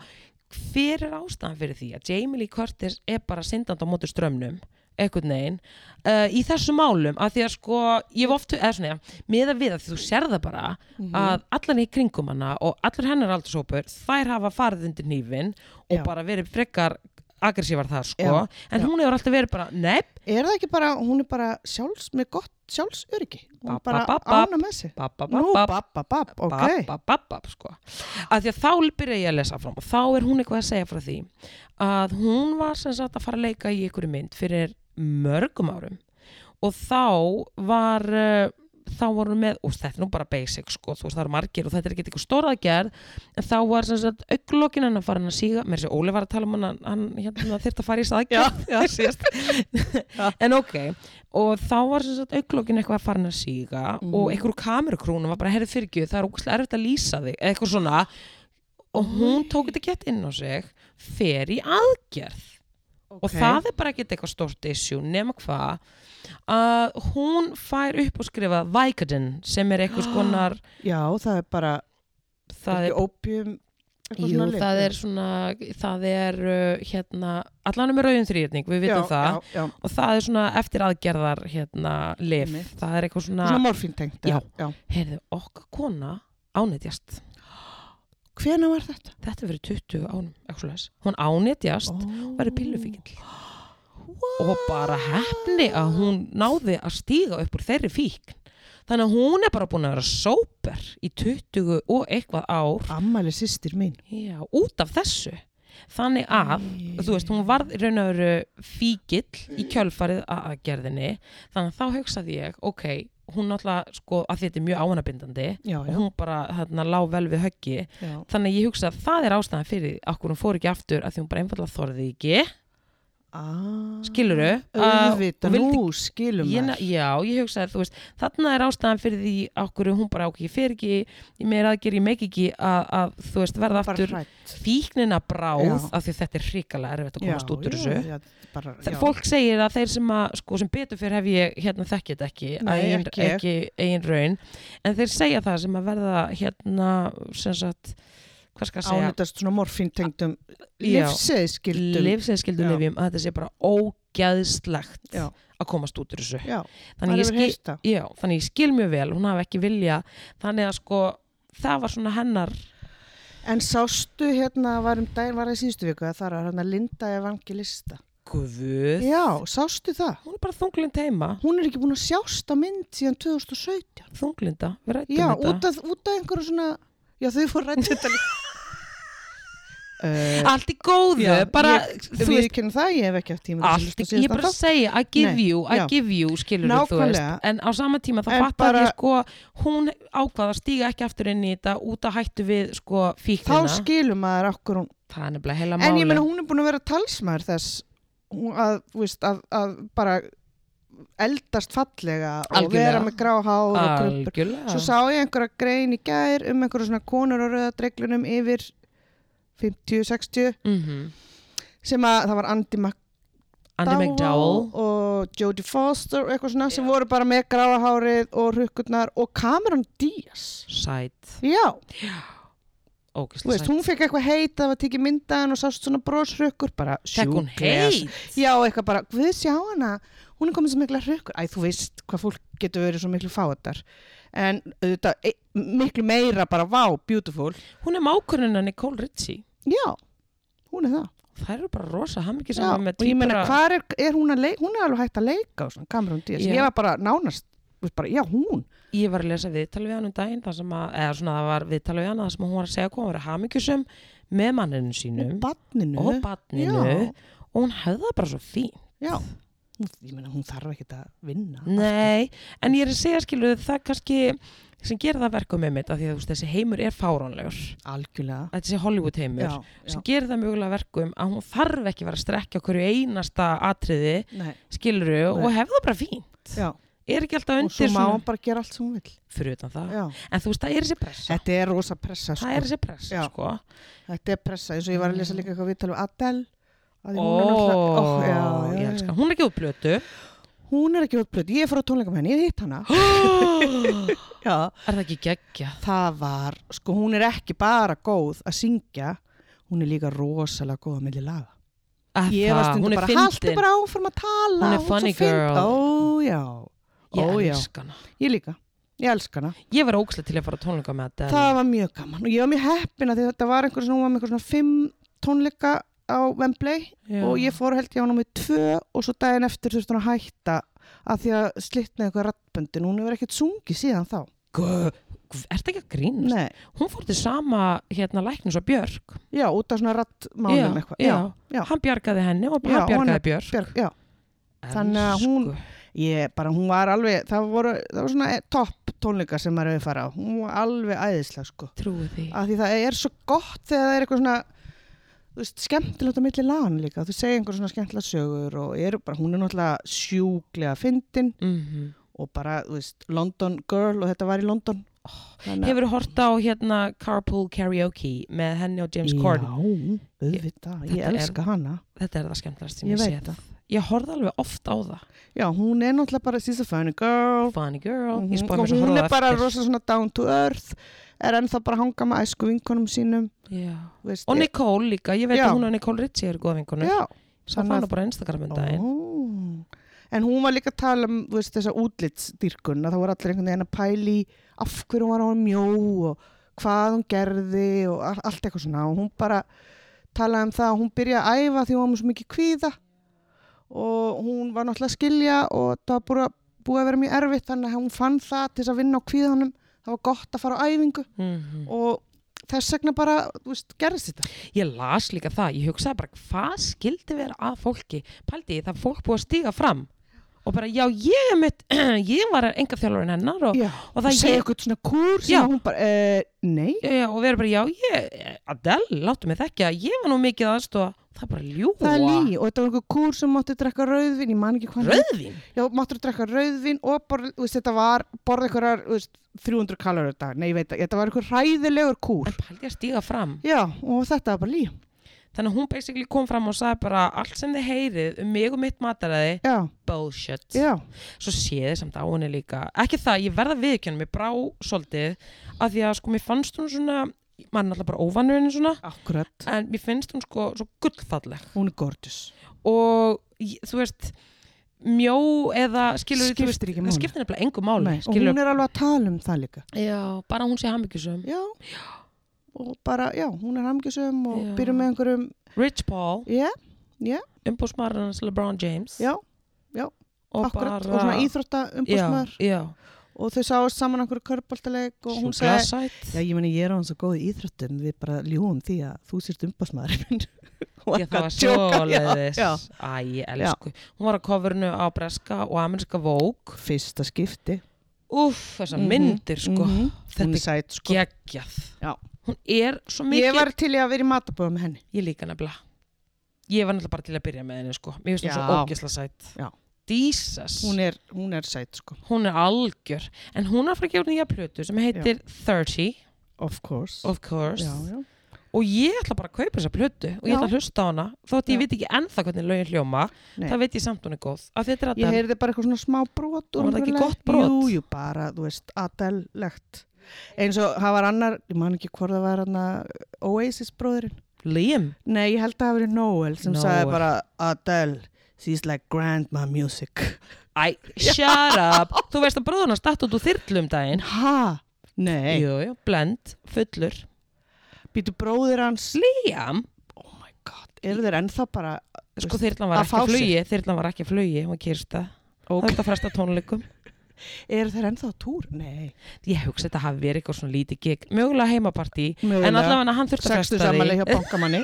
Speaker 1: hver er ástæðan fyrir því að Jamie Lee Curtis er bara syndandi á móti strömmnum, einhvern veginn uh, í þessu málum, að því að sko ég hef oft, eða svona, með að við að þú sér það bara
Speaker 2: Mhm.
Speaker 1: að allan í kringum hana og allar hennar aldursópur þær hafa farið undir nýfin og
Speaker 2: Já.
Speaker 1: bara verið frekar aggressívar það sko,
Speaker 2: Já,
Speaker 1: en
Speaker 2: já.
Speaker 1: hún hefur alltaf verið bara, nepp
Speaker 2: Er það ekki bara, hún er bara sjálfs, með gott sjálfsöryggi. Hún
Speaker 1: Ba,
Speaker 2: er
Speaker 1: ba,
Speaker 2: bara
Speaker 1: ba, ba.
Speaker 2: ána með sig.
Speaker 1: bap, bap,
Speaker 2: Nú,
Speaker 1: bap, bap,
Speaker 2: bap, bap, bap, ok.
Speaker 1: bap, bap, bap, sko. að því að þá byrja ég að lesa fram og þá er hún eitthvað að segja frá því að hún var sem sagt að fara að leika í einhverju mynd fyrir mörgum árum og þá var uh, þá voru með, og þetta er nú bara basic sko, þú veist það eru margir og þetta er ekki eitthvað stórað gerð, en þá var sem sagt auglokkin hennar farin að síga, mér sé Óli var að tala um hann, hann hérna þyrfti að fara í
Speaker 2: Já,
Speaker 1: staðgerð
Speaker 2: já.
Speaker 1: <laughs> síðast en ok, og þá var sem sagt auglokkin eitthvað farin að síga
Speaker 2: Mhm.
Speaker 1: og einhver úr kamerukrúnum var bara herrið fyrirgjöð, það er ógæslega erfitt að lýsa þig eða eitthvað svona, og hún tók þetta gett inn á sig, fer í aðgerð og
Speaker 2: Ok.
Speaker 1: það er bara ekkert eitthvað stórt issue nema hvað að hún fær upp og skrifa Vicodin sem er
Speaker 2: <gasps>
Speaker 1: eitthvað skonar
Speaker 2: Já, það er bara,
Speaker 1: það er,
Speaker 2: ekki ópjum
Speaker 1: jú, það er svona það er uh, hérna allanum er rauðin þrýrning, við vitum það
Speaker 2: já, já.
Speaker 1: og það er svona eftir aðgerðar hérna lif,
Speaker 2: Einmitt.
Speaker 1: það er eitthvað svona,
Speaker 2: svona morfíntengt
Speaker 1: Já.
Speaker 2: já.
Speaker 1: heyrðu, okkar kona ánetjast,
Speaker 2: hvena var þetta?
Speaker 1: þetta verið 20 ánum, ekki svo leis, hún ánetjast
Speaker 2: Oh.
Speaker 1: verið pillufíkil og bara hefni að hún náði að stíga upp úr þeirri fíkn þannig að hún er bara búin að vera sóper í 20 og eitthvað ár
Speaker 2: Ammæli sýstir mín.
Speaker 1: já, út af þessu þannig að, þú veist, hún varð í raun og veru fíkill í kjölfarið að aðgerðinni þannig að þá hugsaði ég, ok, hún náttúrulega sko, að þetta er mjög áhannabindandi
Speaker 2: Já,
Speaker 1: og
Speaker 2: já.
Speaker 1: hún bara hérna, lá vel við höggi
Speaker 2: já.
Speaker 1: þannig að ég hugsa að það er ástæðan fyrir okkur hún fór ekki aftur að því hún bara einfallega þorði ekki
Speaker 2: Ah,
Speaker 1: skiluru
Speaker 2: Auðvitað,
Speaker 1: og vildi-
Speaker 2: nú skilum
Speaker 1: ég, na-
Speaker 2: maður.
Speaker 1: já, ég hugsa að þú veist þarna er ástæðan fyrir því okkur hún bara okkur, ég fer ekki, ég meira aðgerð ég meik ekki að, að þú veist verða
Speaker 2: Bara
Speaker 1: aftur
Speaker 2: hrætt.
Speaker 1: fíknina bráð
Speaker 2: Já.
Speaker 1: af því að þetta er hrikalega erfitt að komast út úr þessu
Speaker 2: Já, bara,
Speaker 1: Það,
Speaker 2: já.
Speaker 1: fólk segir að þeir sem að sko, sem betur fyrir hef ég hérna þekkið þetta ekki
Speaker 2: Nei,
Speaker 1: að eigin,
Speaker 2: ekki ég.
Speaker 1: ekki eigin raun en þeir segja það sem að verða hérna sem sagt hvað skal ég segja
Speaker 2: ánættast svona morfíntengdum
Speaker 1: Já.
Speaker 2: lífseðskildum
Speaker 1: lifsinskildum
Speaker 2: Já.
Speaker 1: lifjum að þetta sé bara ógæðslegt
Speaker 2: Já.
Speaker 1: að komast út úr þessu
Speaker 2: Já,
Speaker 1: þannig ég,
Speaker 2: hefur
Speaker 1: skil,
Speaker 2: heyrt það.
Speaker 1: já, þannig ég skil mjög vel hún hafi ekki vilja þannig að sko það var svona hennar
Speaker 2: En sástu hérna var um daginn var það í síðustu viku að það er hérna Linda Evangelista.
Speaker 1: guð
Speaker 2: Já, sástu það?
Speaker 1: hún er bara þunglind heima
Speaker 2: Hún er ekki búin að sjást á mynd síðan 2017.
Speaker 1: þunglinda, við rættum
Speaker 2: Já,
Speaker 1: þetta
Speaker 2: út af, út af einhverju svona, já þau fór rætt þetta líka.
Speaker 1: <laughs>
Speaker 2: <laughs> Uh,
Speaker 1: allt í góðu,
Speaker 2: Já,
Speaker 1: bara
Speaker 2: ég,
Speaker 1: þú
Speaker 2: við
Speaker 1: veist,
Speaker 2: veist, það, ég hef ekki haft tíma til að
Speaker 1: allt,
Speaker 2: hlusta
Speaker 1: í- ég
Speaker 2: á
Speaker 1: er
Speaker 2: síðasta
Speaker 1: bara að
Speaker 2: þátt.
Speaker 1: segja I give
Speaker 2: Nei,
Speaker 1: you, I
Speaker 2: já.
Speaker 1: give you skilur þú veist,
Speaker 2: Nákvæmlega.
Speaker 1: en á sama tíma þá
Speaker 2: En
Speaker 1: fattar
Speaker 2: bara-
Speaker 1: ég sko, hún ákvað að stíga ekki aftur inn í þetta út að hættu við sko
Speaker 2: Þá
Speaker 1: fíknina,
Speaker 2: skilum maður okkur hún.
Speaker 1: það er nefnilega heila
Speaker 2: En ég
Speaker 1: máli
Speaker 2: meina hún er búin að vera talsmaður þess hún að, þú veist, að, að bara eldast fallega og
Speaker 1: Algjörlega.
Speaker 2: vera með gráháð og grumpur.
Speaker 1: algjörlega
Speaker 2: Svo sá ég einhverja grein í gær um einhverja svona konur á rauðadreglunum yfir 50-60
Speaker 1: Mhm.
Speaker 2: sem að það var Andy
Speaker 1: Andy McDowell
Speaker 2: McDowell og Jodie Foster og eitthvað svona sem voru bara með gráhárið og hrukkurnar og Cameron Diaz.
Speaker 1: sæt,
Speaker 2: Já, þú
Speaker 1: ógæslega
Speaker 2: veist,
Speaker 1: sæt
Speaker 2: hún fekk eitthvað heit að það var tekið myndaðan og sást svona broshrukkur bara
Speaker 1: Fekk hún
Speaker 2: sjúklega
Speaker 1: heit
Speaker 2: Já, eitthvað bara, við sjá hana, hún er komið svo mikla hrökkur. Æ, þú veist hvað fólk getur verið svo miklu fáatar. En auðvitað, e, miklu meira bara, vá, beautiful.
Speaker 1: hún er mákurinn að Nicole Ritchie
Speaker 2: Já, hún er það.
Speaker 1: það eru bara rosa hammingi
Speaker 2: Já,
Speaker 1: saman með
Speaker 2: og ég meina,
Speaker 1: tvíbura-
Speaker 2: hvað er, er hún að leika, hún er alveg hægt að leika og svona, Cameron Diaz.
Speaker 1: Já.
Speaker 2: Ég var bara nánast, þú veist bara, já, hún.
Speaker 1: ég var að lesa viðtal við hann um daginn þar sem að, eða svona það var viðtal við hann þar sem hún var að segja hvað hún var að hamingjusum með manninu sínum
Speaker 2: Og badninu.
Speaker 1: og barninu
Speaker 2: Já.
Speaker 1: og hún hefði það bara svo fín
Speaker 2: Já, Hún- ég meina, hún þarf ekkert að vinna.
Speaker 1: nei, en ég er að segja skilu það kannski sem gerir það verkum með mitt af því að þú veist, þessi heimur er fáránlegur
Speaker 2: Algjörlega.
Speaker 1: þessi Hollywood heimur
Speaker 2: Já, já.
Speaker 1: sem gerir það mjögulega verkum að hún þarf ekki að vera að strekja hverju einasta atriði
Speaker 2: Nei,
Speaker 1: skiluru
Speaker 2: Nei.
Speaker 1: og hefði það bara fínt
Speaker 2: já.
Speaker 1: er ekki alltaf
Speaker 2: Og svo
Speaker 1: undir
Speaker 2: má
Speaker 1: svona
Speaker 2: hún bara gera allt sem hún vil.
Speaker 1: fyrir utan það,
Speaker 2: Já.
Speaker 1: en þú veist það er þessi pressa
Speaker 2: Þetta er rosa pressa, sko.
Speaker 1: það er þessi pressa
Speaker 2: Já.
Speaker 1: sko
Speaker 2: Þetta er pressa, eins og ég var að lesa líka eitthvað viðtal um Adele að því
Speaker 1: Ó,
Speaker 2: hún er náttúrulega- Ó, já, já,
Speaker 1: ég
Speaker 2: já.
Speaker 1: elska hún er ekki út
Speaker 2: <gasps>
Speaker 1: blötu <gasps>
Speaker 2: Hún er ekki útblöð, ég fór á tónleikum henni, ég hitt hana
Speaker 1: er
Speaker 2: já.
Speaker 1: það ekki geggjað
Speaker 2: Það var, sko hún er ekki bara góð að syngja hún er líka rosalega góð að milli laga
Speaker 1: Að
Speaker 2: Ég var
Speaker 1: það,
Speaker 2: stundum
Speaker 1: hún er
Speaker 2: bara, haltu
Speaker 1: fyndin
Speaker 2: bara áfram að tala
Speaker 1: Hún er
Speaker 2: svo
Speaker 1: funny
Speaker 2: fyndin."
Speaker 1: girl.
Speaker 2: Ó, já, ó,
Speaker 1: ég
Speaker 2: já,
Speaker 1: elska hana
Speaker 2: ég líka Ég elska hana.
Speaker 1: ég var ógslið til að fara á tónleika með þetta
Speaker 2: Það var mjög gaman og ég var mjög heppin að þetta var einhver svona, hún var með einhver svona fimm tónleika á Wembley og ég fór held ég á námið tvö og svo daginn eftir þurfti hún að hætta að því að slitna eitthvað rattböndin hún hefur ekkert sungið síðan þá
Speaker 1: er þetta ekki að grínast
Speaker 2: Nei.
Speaker 1: hún fór til sama hérna læknis og Björk
Speaker 2: já, út af svona rattmálum eitthvað já, já.
Speaker 1: hann bjargaði henni og
Speaker 2: Já,
Speaker 1: hann
Speaker 2: hún
Speaker 1: bjargaði
Speaker 2: er-
Speaker 1: Björk
Speaker 2: Björg, já. Þannig að
Speaker 1: Elsku.
Speaker 2: hún- Ég, bara hún var alveg það voru, það voru svona topp tónleika sem maður hefur farið á hún var alveg æðislega sko
Speaker 1: trúi því
Speaker 2: af því það er svo gott þegar það er eitthvað svona þú veist, skemmtilegt á milli lagan líka þú segir einhver svona skemmtilega sögur og eru bara, hún er náttúrulega sjúklega fyndin
Speaker 1: Mhm.
Speaker 2: og bara, þú veist, London Girl og þetta var í London Oh, Þannig að-
Speaker 1: hefur hort á hérna Carpool Karaoke með henni og James Corden
Speaker 2: Já, auðvitað, ég
Speaker 1: Þetta er-
Speaker 2: elska hana
Speaker 1: þetta er það skemmtilegast sem
Speaker 2: Ég
Speaker 1: ég,
Speaker 2: veit
Speaker 1: ég sé ég horfði alveg oft á það
Speaker 2: Já, hún er náttúrulega bara she's a funny girl
Speaker 1: Funny girl,
Speaker 2: Mhm.
Speaker 1: ég spáði
Speaker 2: Og
Speaker 1: mér svo
Speaker 2: Hún
Speaker 1: horfði
Speaker 2: er bara
Speaker 1: eftir.
Speaker 2: rosa svona down to earth er ennþá bara að hanga með æsku vinkonum sínum
Speaker 1: Já.
Speaker 2: þú veist,
Speaker 1: og
Speaker 2: ég-
Speaker 1: Nicole líka, ég veit
Speaker 2: Já.
Speaker 1: að hún og Nicole Ritchie eru góða vinkonur
Speaker 2: Já,
Speaker 1: svo fann
Speaker 2: þannig
Speaker 1: hana bara á Instagram um daginn
Speaker 2: Ó. En hún var líka að tala um þú veist, þessa útlitsdýrkun að það voru allir einhvern veginn að pæli af hverju hún var á mjó og hvað hún gerði og al- allt eitthvað svona og hún bara talaði um það að hún byrjaði að æfa því hún var með svo mikið kvíða og hún var náttúrulega að skilja og það var búið að, búið að vera mjög erfitt þannig að hún fann það til þess að vinna á kvíðanum það var gott að fara á æfingu
Speaker 1: Mhm.
Speaker 2: og þess vegna bara, þú veist, gerðist þetta
Speaker 1: Ég las líka það, ég hugsaði bara hvað skildi vera að fólki pældi ég það fólk búið að stíga fram og bara já ég er mitt <clears throat> ég var enga þjálfurinn hennar og,
Speaker 2: Já,
Speaker 1: og
Speaker 2: og
Speaker 1: það
Speaker 2: segja
Speaker 1: ég,
Speaker 2: eitthvað svona kúr sem
Speaker 1: Já.
Speaker 2: að hún bara, eh, nei
Speaker 1: já, já, og vera bara já ég, Adele, láttu mig þekkja ég var nú mikið aðstofa, það er bara ljúa
Speaker 2: það er lí og þetta var einhver kúr sem mátti drekka rauðvin, ég man ekki hvað hann
Speaker 1: Rauðvín?
Speaker 2: Já, máttur að drekka rauðvin og borð, þú veist, þetta var borða einhverjar, þú veist, 300 kalorur dag, nei, ég veit að þetta var einhver hræðilegur kúr.
Speaker 1: en pældi ég að stíga fram
Speaker 2: Já, og þetta var bara lí.
Speaker 1: þannig að hún basically kom fram og sagði bara allt sem þið heyrið um mig og mitt mataræði
Speaker 2: Já,
Speaker 1: bullshit
Speaker 2: já,
Speaker 1: svo séði samt á henni líka ekki það, ég verða viðkjönum, ég brá svolítið að því að sko mér fannst hún svona maður er náttúrulega bara óvanur henni svona
Speaker 2: akkurat.
Speaker 1: en mér finnst hún sko svo gullfalleg
Speaker 2: Hún er gorgeous.
Speaker 1: og ég- þú veist mjó eða skilur þú
Speaker 2: Skiptir
Speaker 1: veist,
Speaker 2: ekki
Speaker 1: það
Speaker 2: máli.
Speaker 1: skiptir nefnilega engu máli
Speaker 2: Nei, og
Speaker 1: skilur,
Speaker 2: hún er alveg að tala um það líka.
Speaker 1: já, bara hún sé hamingjusum
Speaker 2: Já, og bara, já, hún er hamgjusum og
Speaker 1: Já.
Speaker 2: byrjum með einhverjum,
Speaker 1: Rich Paul,
Speaker 2: já,
Speaker 1: umbúsmarans LeBron James
Speaker 2: já,
Speaker 1: og
Speaker 2: akkurat.
Speaker 1: bara
Speaker 2: Og svona íþrótta umbúrsmar
Speaker 1: já, já,
Speaker 2: og þau sáast saman einhverju körpaltaleik og hún
Speaker 1: Svo
Speaker 2: sagði,
Speaker 1: glaðsæt.
Speaker 2: Já, ég meni, ég er á hans að góð í íþróttum, við bara ljúum því að þú sérst umbásmaður
Speaker 1: <laughs>
Speaker 2: minn. Hún
Speaker 1: Ég, það var
Speaker 2: eitthvað að djóka, já,
Speaker 1: svoleiðis
Speaker 2: já.
Speaker 1: Æ, ég elsku Hún var á coverinu á breska og ameríska Vogue
Speaker 2: Fyrsta skipti.
Speaker 1: Úff, þessar
Speaker 2: Mhm,
Speaker 1: myndir sko
Speaker 2: mhm. Hún
Speaker 1: Þetta
Speaker 2: er sæt,
Speaker 1: er
Speaker 2: sko.
Speaker 1: geggjað
Speaker 2: Já.
Speaker 1: Hún er svo mikið
Speaker 2: Ég var til í að vera í matabóðum með henni.
Speaker 1: Ég líka nefnilega Ég var náttúrulega bara til að byrja með henni sko Mér finnst hún
Speaker 2: Já.
Speaker 1: svo ógæsla sætt
Speaker 2: Já.
Speaker 1: Jesus
Speaker 2: Hún er, hún er sæt, sko.
Speaker 1: Hún er algjör En hún er að fara að gefa nýja plötu sem heitir 30
Speaker 2: Of course.
Speaker 1: Of course
Speaker 2: Já, já.
Speaker 1: Og ég ætla bara að kaupa þessa plötu og ég
Speaker 2: Já.
Speaker 1: ætla að hlusta á hana Þótt ég
Speaker 2: Já.
Speaker 1: veit ekki ennþá hvernig lögin hljóma
Speaker 2: Nei.
Speaker 1: Það veit ég samt hún er góð Af því þetta er
Speaker 2: Ég
Speaker 1: Adele.
Speaker 2: heyrði bara eitthvað svona smá brot. úr
Speaker 1: Var það ekki
Speaker 2: einhverju
Speaker 1: gott
Speaker 2: lagi.
Speaker 1: brot?
Speaker 2: Jú, jú, bara, þú veist, adellegt. Eins og það var annar, ég man ekki hvort það var hann Oasis bróðurinn.
Speaker 1: Liam
Speaker 2: Nei, ég held að það hafi verið Noel sem sagði
Speaker 1: Noel.
Speaker 2: bara Adele, she's like grandma music.
Speaker 1: Æ, shut up Þú veist að bróðuna statt út úr þyrlum um daginn
Speaker 2: Ha? Nei.
Speaker 1: Jú, jú, blend, fullur
Speaker 2: Býtu bróðir hans
Speaker 1: Liam,
Speaker 2: Oh my god. Eru þeir ennþá bara...
Speaker 1: sko þyrlan var
Speaker 2: Að
Speaker 1: ekki
Speaker 2: fá
Speaker 1: að flugi Þyrlan var ekki að flugi, hún var kyrsta Það
Speaker 2: Okay.
Speaker 1: var að fresta tónleikum
Speaker 2: Eru þeir ennþá á túr? Nei.
Speaker 1: Ég hugsa þetta hafi verið eitthvað svona lítið gig Mögulega heimapartí
Speaker 2: Mögulega.
Speaker 1: En allavega hann þurfti að
Speaker 2: Sextu
Speaker 1: fresta því
Speaker 2: samanlega hjá bankamanni.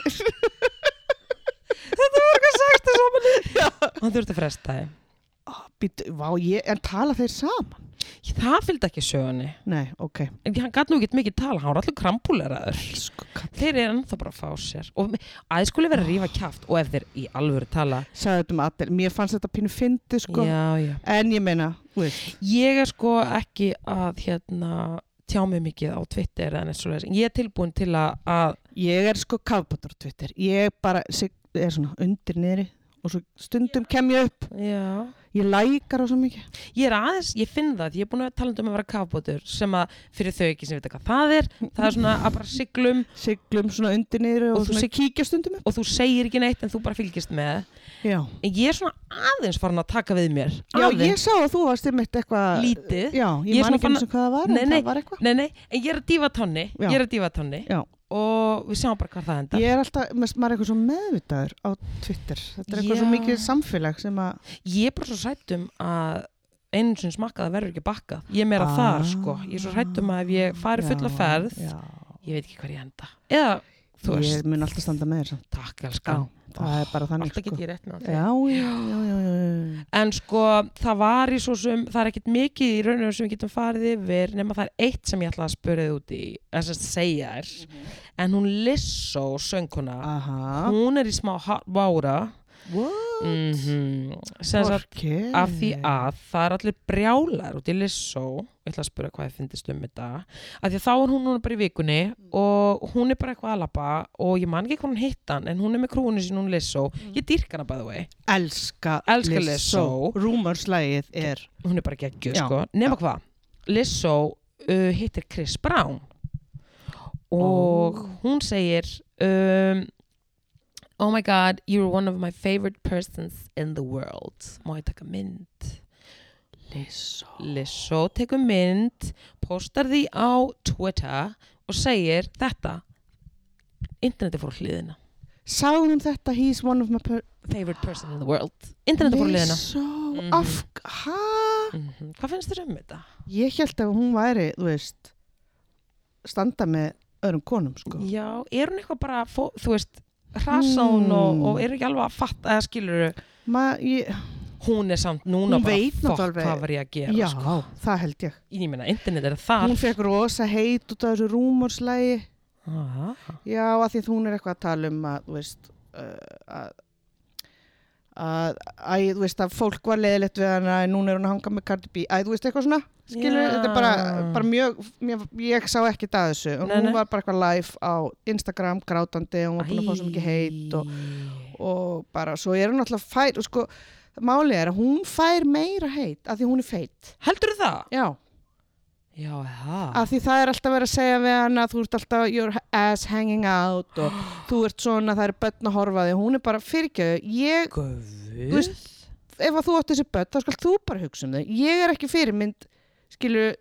Speaker 2: <laughs>
Speaker 1: Þetta var eitthvað sextu samanlega Hann þurfti að fresta því
Speaker 2: Býtu, vá, ég... En tala þeir saman?
Speaker 1: Ég- Það fylgdi ekki sögunni
Speaker 2: Nei, ok.
Speaker 1: En Hann gæti nú ekkert mikið tala, hann var allir krampúleraður
Speaker 2: Elsku kall.
Speaker 1: Þeir eru ennþá bara að fá sér Og að þið skuli vera að rífa kjaft Og ef þeir í alvöru tala
Speaker 2: Sagði þetta um Adele. Mér fannst þetta pínu fyndi, sko.
Speaker 1: Já, já
Speaker 2: En ég meina, þú veist.
Speaker 1: Ég er sko ekki að hérna, tjá mig mikið á Twitter eða neitt svoleiðis. Ég er tilbúin til að, að
Speaker 2: Ég er sko kafbátur á Twitter. Ég bara sig, er svona undir niðri og svo stundum kem ég upp.
Speaker 1: já.
Speaker 2: Ég lækar á svo mikið.
Speaker 1: ég er aðeins, ég finn það, því ég er búin að tala um að vera kafbótur sem að fyrir þau ekki sem vita hvað það er, það er svona að bara siglum
Speaker 2: Siglum svona undir niðri og,
Speaker 1: Og þú
Speaker 2: svona
Speaker 1: sig-
Speaker 2: kíkja stundum upp.
Speaker 1: og þú segir ekki neitt en þú bara fylgist með.
Speaker 2: Já.
Speaker 1: En ég er svona aðeins farin að taka við mér.
Speaker 2: Já,
Speaker 1: aðeins,
Speaker 2: ég sá að þú varst einmitt eitthvað
Speaker 1: lítið.
Speaker 2: Já, ég,
Speaker 1: Ég er
Speaker 2: man
Speaker 1: svona
Speaker 2: ekki
Speaker 1: fann
Speaker 2: eins og hvað það var,
Speaker 1: Nei,
Speaker 2: en
Speaker 1: nei.
Speaker 2: það var eitthvað.
Speaker 1: Nei, nei, en ég er að dífa tónni,
Speaker 2: Já.
Speaker 1: ég er að dífa tónni
Speaker 2: Já.
Speaker 1: og við sjáum bara hvað það endar.
Speaker 2: Ég er alltaf, mest- maður er eitthvað svo meðvitaður á Twitter. Þetta er eitthvað
Speaker 1: Já.
Speaker 2: svo mikið samfélag sem að...
Speaker 1: Ég er bara svo sættum að einu sinni smakkað það verður ekki bakkað. Ég er meira
Speaker 2: Ah.
Speaker 1: þar, sko. Ég er svo sættum að ef ég fari fulla
Speaker 2: Já,
Speaker 1: ferð,
Speaker 2: Já,
Speaker 1: ég veit ekki hver ég enda. Eða, þú veist,
Speaker 2: ég mun alltaf standa með þér samt. sko.
Speaker 1: takk, elskan.
Speaker 2: það er bara þannig, sko.
Speaker 1: Alltaf get ég rétt með
Speaker 2: Já,
Speaker 1: það.
Speaker 2: já, já, já, já, já.
Speaker 1: En sko, það var í svo sem, það er ekkit mikið í rauninu sem við getum farið yfir, nema það er eitt sem ég ætla að spura þið út í, en sem segja er,
Speaker 2: Mhm.
Speaker 1: en hún Lissó, sönguna,
Speaker 2: Aha.
Speaker 1: hún er í smá hot water,
Speaker 2: Ah. What?
Speaker 1: mm sem sagt,
Speaker 2: Hvorki.
Speaker 1: af því að það er allir brjálar út í Lissó ég ætla að spura hvað þið finnist um þetta af því að þá er hún núna bara í vikunni og hún er bara eitthvað að labba og ég man ekki hvað hún hitt hann en hún er með krúinu sín hún Lissó ég dýrk hana bæðu vei
Speaker 2: Elska,
Speaker 1: Elska Lizzo.
Speaker 2: Rúmarslægið er...
Speaker 1: hún er bara geggju
Speaker 2: Já,
Speaker 1: sko nema hvað Lissó uh, hittir Chris Brown og hún segir um, oh my god you're one of my favorite persons in the world má ég taka mynd
Speaker 2: Lissó.
Speaker 1: Lissó tekur mynd, postar því á Twitter og segir þetta interneti fór á hliðina.
Speaker 2: sagði hún þetta he's one of my per-
Speaker 1: favorite person in the world internetafóruleðina
Speaker 2: Lizzo,
Speaker 1: Mhm.
Speaker 2: af, hæ?
Speaker 1: mm hvað finnst þér um þetta?
Speaker 2: Ég held að hún væri, þú veist standa með öðrum konum sko.
Speaker 1: já, er hún eitthvað bara fó, þú veist, hrasa hún og,
Speaker 2: Mm.
Speaker 1: og er ekki alveg að fatta eða skilur
Speaker 2: Ma, ég,
Speaker 1: hún er samt núna
Speaker 2: Hún
Speaker 1: bara
Speaker 2: veit
Speaker 1: fuck,
Speaker 2: náttúrulega-
Speaker 1: hvað var ég að gera
Speaker 2: já,
Speaker 1: sko.
Speaker 2: það held ég
Speaker 1: ég meina, internet er það
Speaker 2: Hún fekk rosa heit út af þessu rúmorslægi
Speaker 1: ah,
Speaker 2: Já, að því að hún er eitthvað að tala um að, þú veist, uh, að, að, að, þú veist, að fólk var leiðilegt við hana, en núna er hún að hanga með Cardi B, að, þú veist, eitthvað svona, skilur,
Speaker 1: Já.
Speaker 2: þetta er bara, bara mjög, mjög, ég sá ekki það þessu, en
Speaker 1: Nei,
Speaker 2: hún
Speaker 1: nei.
Speaker 2: var bara eitthvað live á Instagram grátandi, og hún var búin að fá svo mikið heit og, og bara, svo er hún alltaf fær, og sko, málið er að hún fær meira heit, að því hún er feit,
Speaker 1: heldur það?
Speaker 2: já,
Speaker 1: já, það
Speaker 2: að því það er alltaf verið að segja við hana þú ert alltaf your ass hanging out
Speaker 1: <gasps>
Speaker 2: og þú ert svona, það er börn að horfa á þig hún er bara fyrirgjöðu, ég
Speaker 1: guð
Speaker 2: Þú ef að þú átt þessi börn, þá skal þú bara hugsa um þau ég er ekki fyrirmynd, skilur